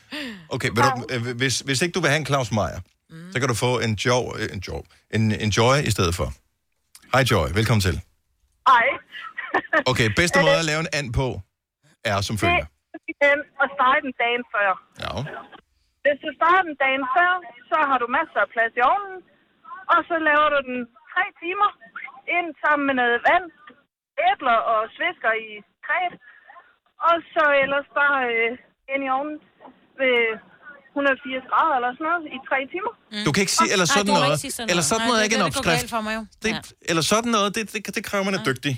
Speaker 1: Okay, vil du, øh, hvis, hvis ikke du vil have en Claus Meier, mm. så kan du få en, jo, øh, en, jo, en, en Joy i stedet for. Hej Joy, velkommen til.
Speaker 15: Ej.
Speaker 1: Okay, bedste måde at lave en and på er som følger.
Speaker 15: Øhm, og starte den dagen før.
Speaker 1: Ja.
Speaker 15: Hvis du starter den dagen før, så har du masser af plads i ovnen. Og så laver du den tre timer ind sammen med noget vand, æbler og svisker i kræb. Og så ellers bare øh, ind i ovnen ved 180 grader eller sådan noget i tre timer.
Speaker 1: Du kan ikke sige, eller sådan noget. Eller sådan noget er ikke en opskrift.
Speaker 2: for mig jo.
Speaker 1: Det, Eller sådan noget, det, det, det kræver, man er dygtig.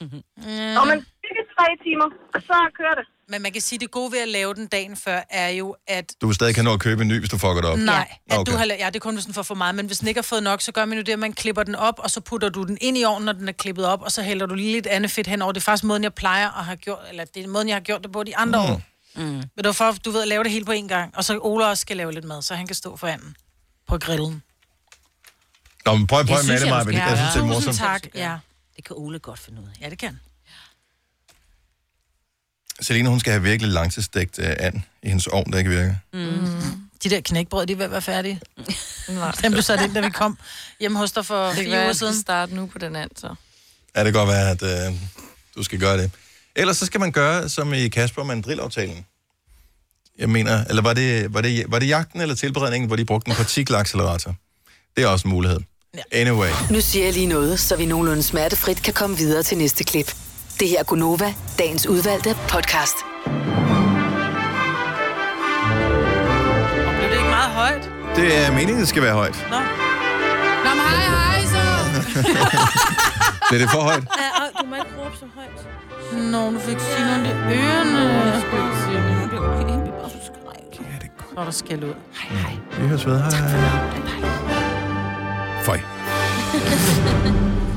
Speaker 2: Mm.
Speaker 15: Og man cirka tre timer, så kører det.
Speaker 2: Men man kan sige, at det gode ved at lave den dagen før, er jo, at
Speaker 1: Du vil stadig kan nå at købe en ny, hvis du fucker det op.
Speaker 2: Nej, at
Speaker 1: okay.
Speaker 2: du har, la- ja, det er kun, hvis den får for meget, men hvis den ikke har fået nok, så gør man jo det, at man klipper den op, og så putter du den ind i ovnen, når den er klippet op, og så hælder du lige lidt andet fedt henover. Det er faktisk måden, jeg plejer at have gjort, eller det er måden, jeg har gjort det på de andre mm. år.
Speaker 3: Mm.
Speaker 2: Men det var for, at du ved at lave det hele på en gang, og så Ola også skal lave lidt mad, så han kan stå for anden på grillen.
Speaker 1: Nå, men prøv, prøv
Speaker 2: Jeg
Speaker 1: med
Speaker 2: synes,
Speaker 1: det,
Speaker 2: jeg
Speaker 1: Maja.
Speaker 2: måske
Speaker 1: Jeg
Speaker 2: er.
Speaker 1: synes, det er
Speaker 2: Tusind
Speaker 1: morsomt.
Speaker 2: tak, ja.
Speaker 3: Det kan Ole godt finde ud af.
Speaker 2: Ja, det kan.
Speaker 1: Selina, hun skal have virkelig langtidsstegt uh, and i hendes ovn, der ikke virker.
Speaker 2: Mm. De der knækbrød, de er ved at være færdige. Den blev sat ind, da vi kom hjemme hos dig for
Speaker 4: Mm. Det kan
Speaker 2: fire
Speaker 4: være,
Speaker 2: uger
Speaker 4: at jeg
Speaker 2: siden.
Speaker 4: skal starte nu på den anden, så.
Speaker 1: Ja, det kan godt være, at øh, du skal gøre det. Ellers så skal man gøre, som i Kasper Mandrill-aftalen. Jeg mener, eller var det, var, det, var det jagten eller tilberedningen, hvor de brugte en partikelaccelerator? Det er også en mulighed. Anyway.
Speaker 14: Nu siger jeg lige noget, så vi nogenlunde smertefrit kan komme videre til næste klip. Det her er Gunova, dagens udvalgte podcast.
Speaker 2: Blev det ikke meget højt?
Speaker 1: Det er meningen, det skal være højt.
Speaker 2: Nå.
Speaker 4: Nå, men hej, hej, så.
Speaker 1: Det er det for højt.
Speaker 3: Ja, og du må ikke råbe så højt.
Speaker 2: Nå, du fik sige noget i ørerne.
Speaker 3: Mm.
Speaker 2: Så er der skæld ud.
Speaker 1: Vi høres ved. Hej. Føj.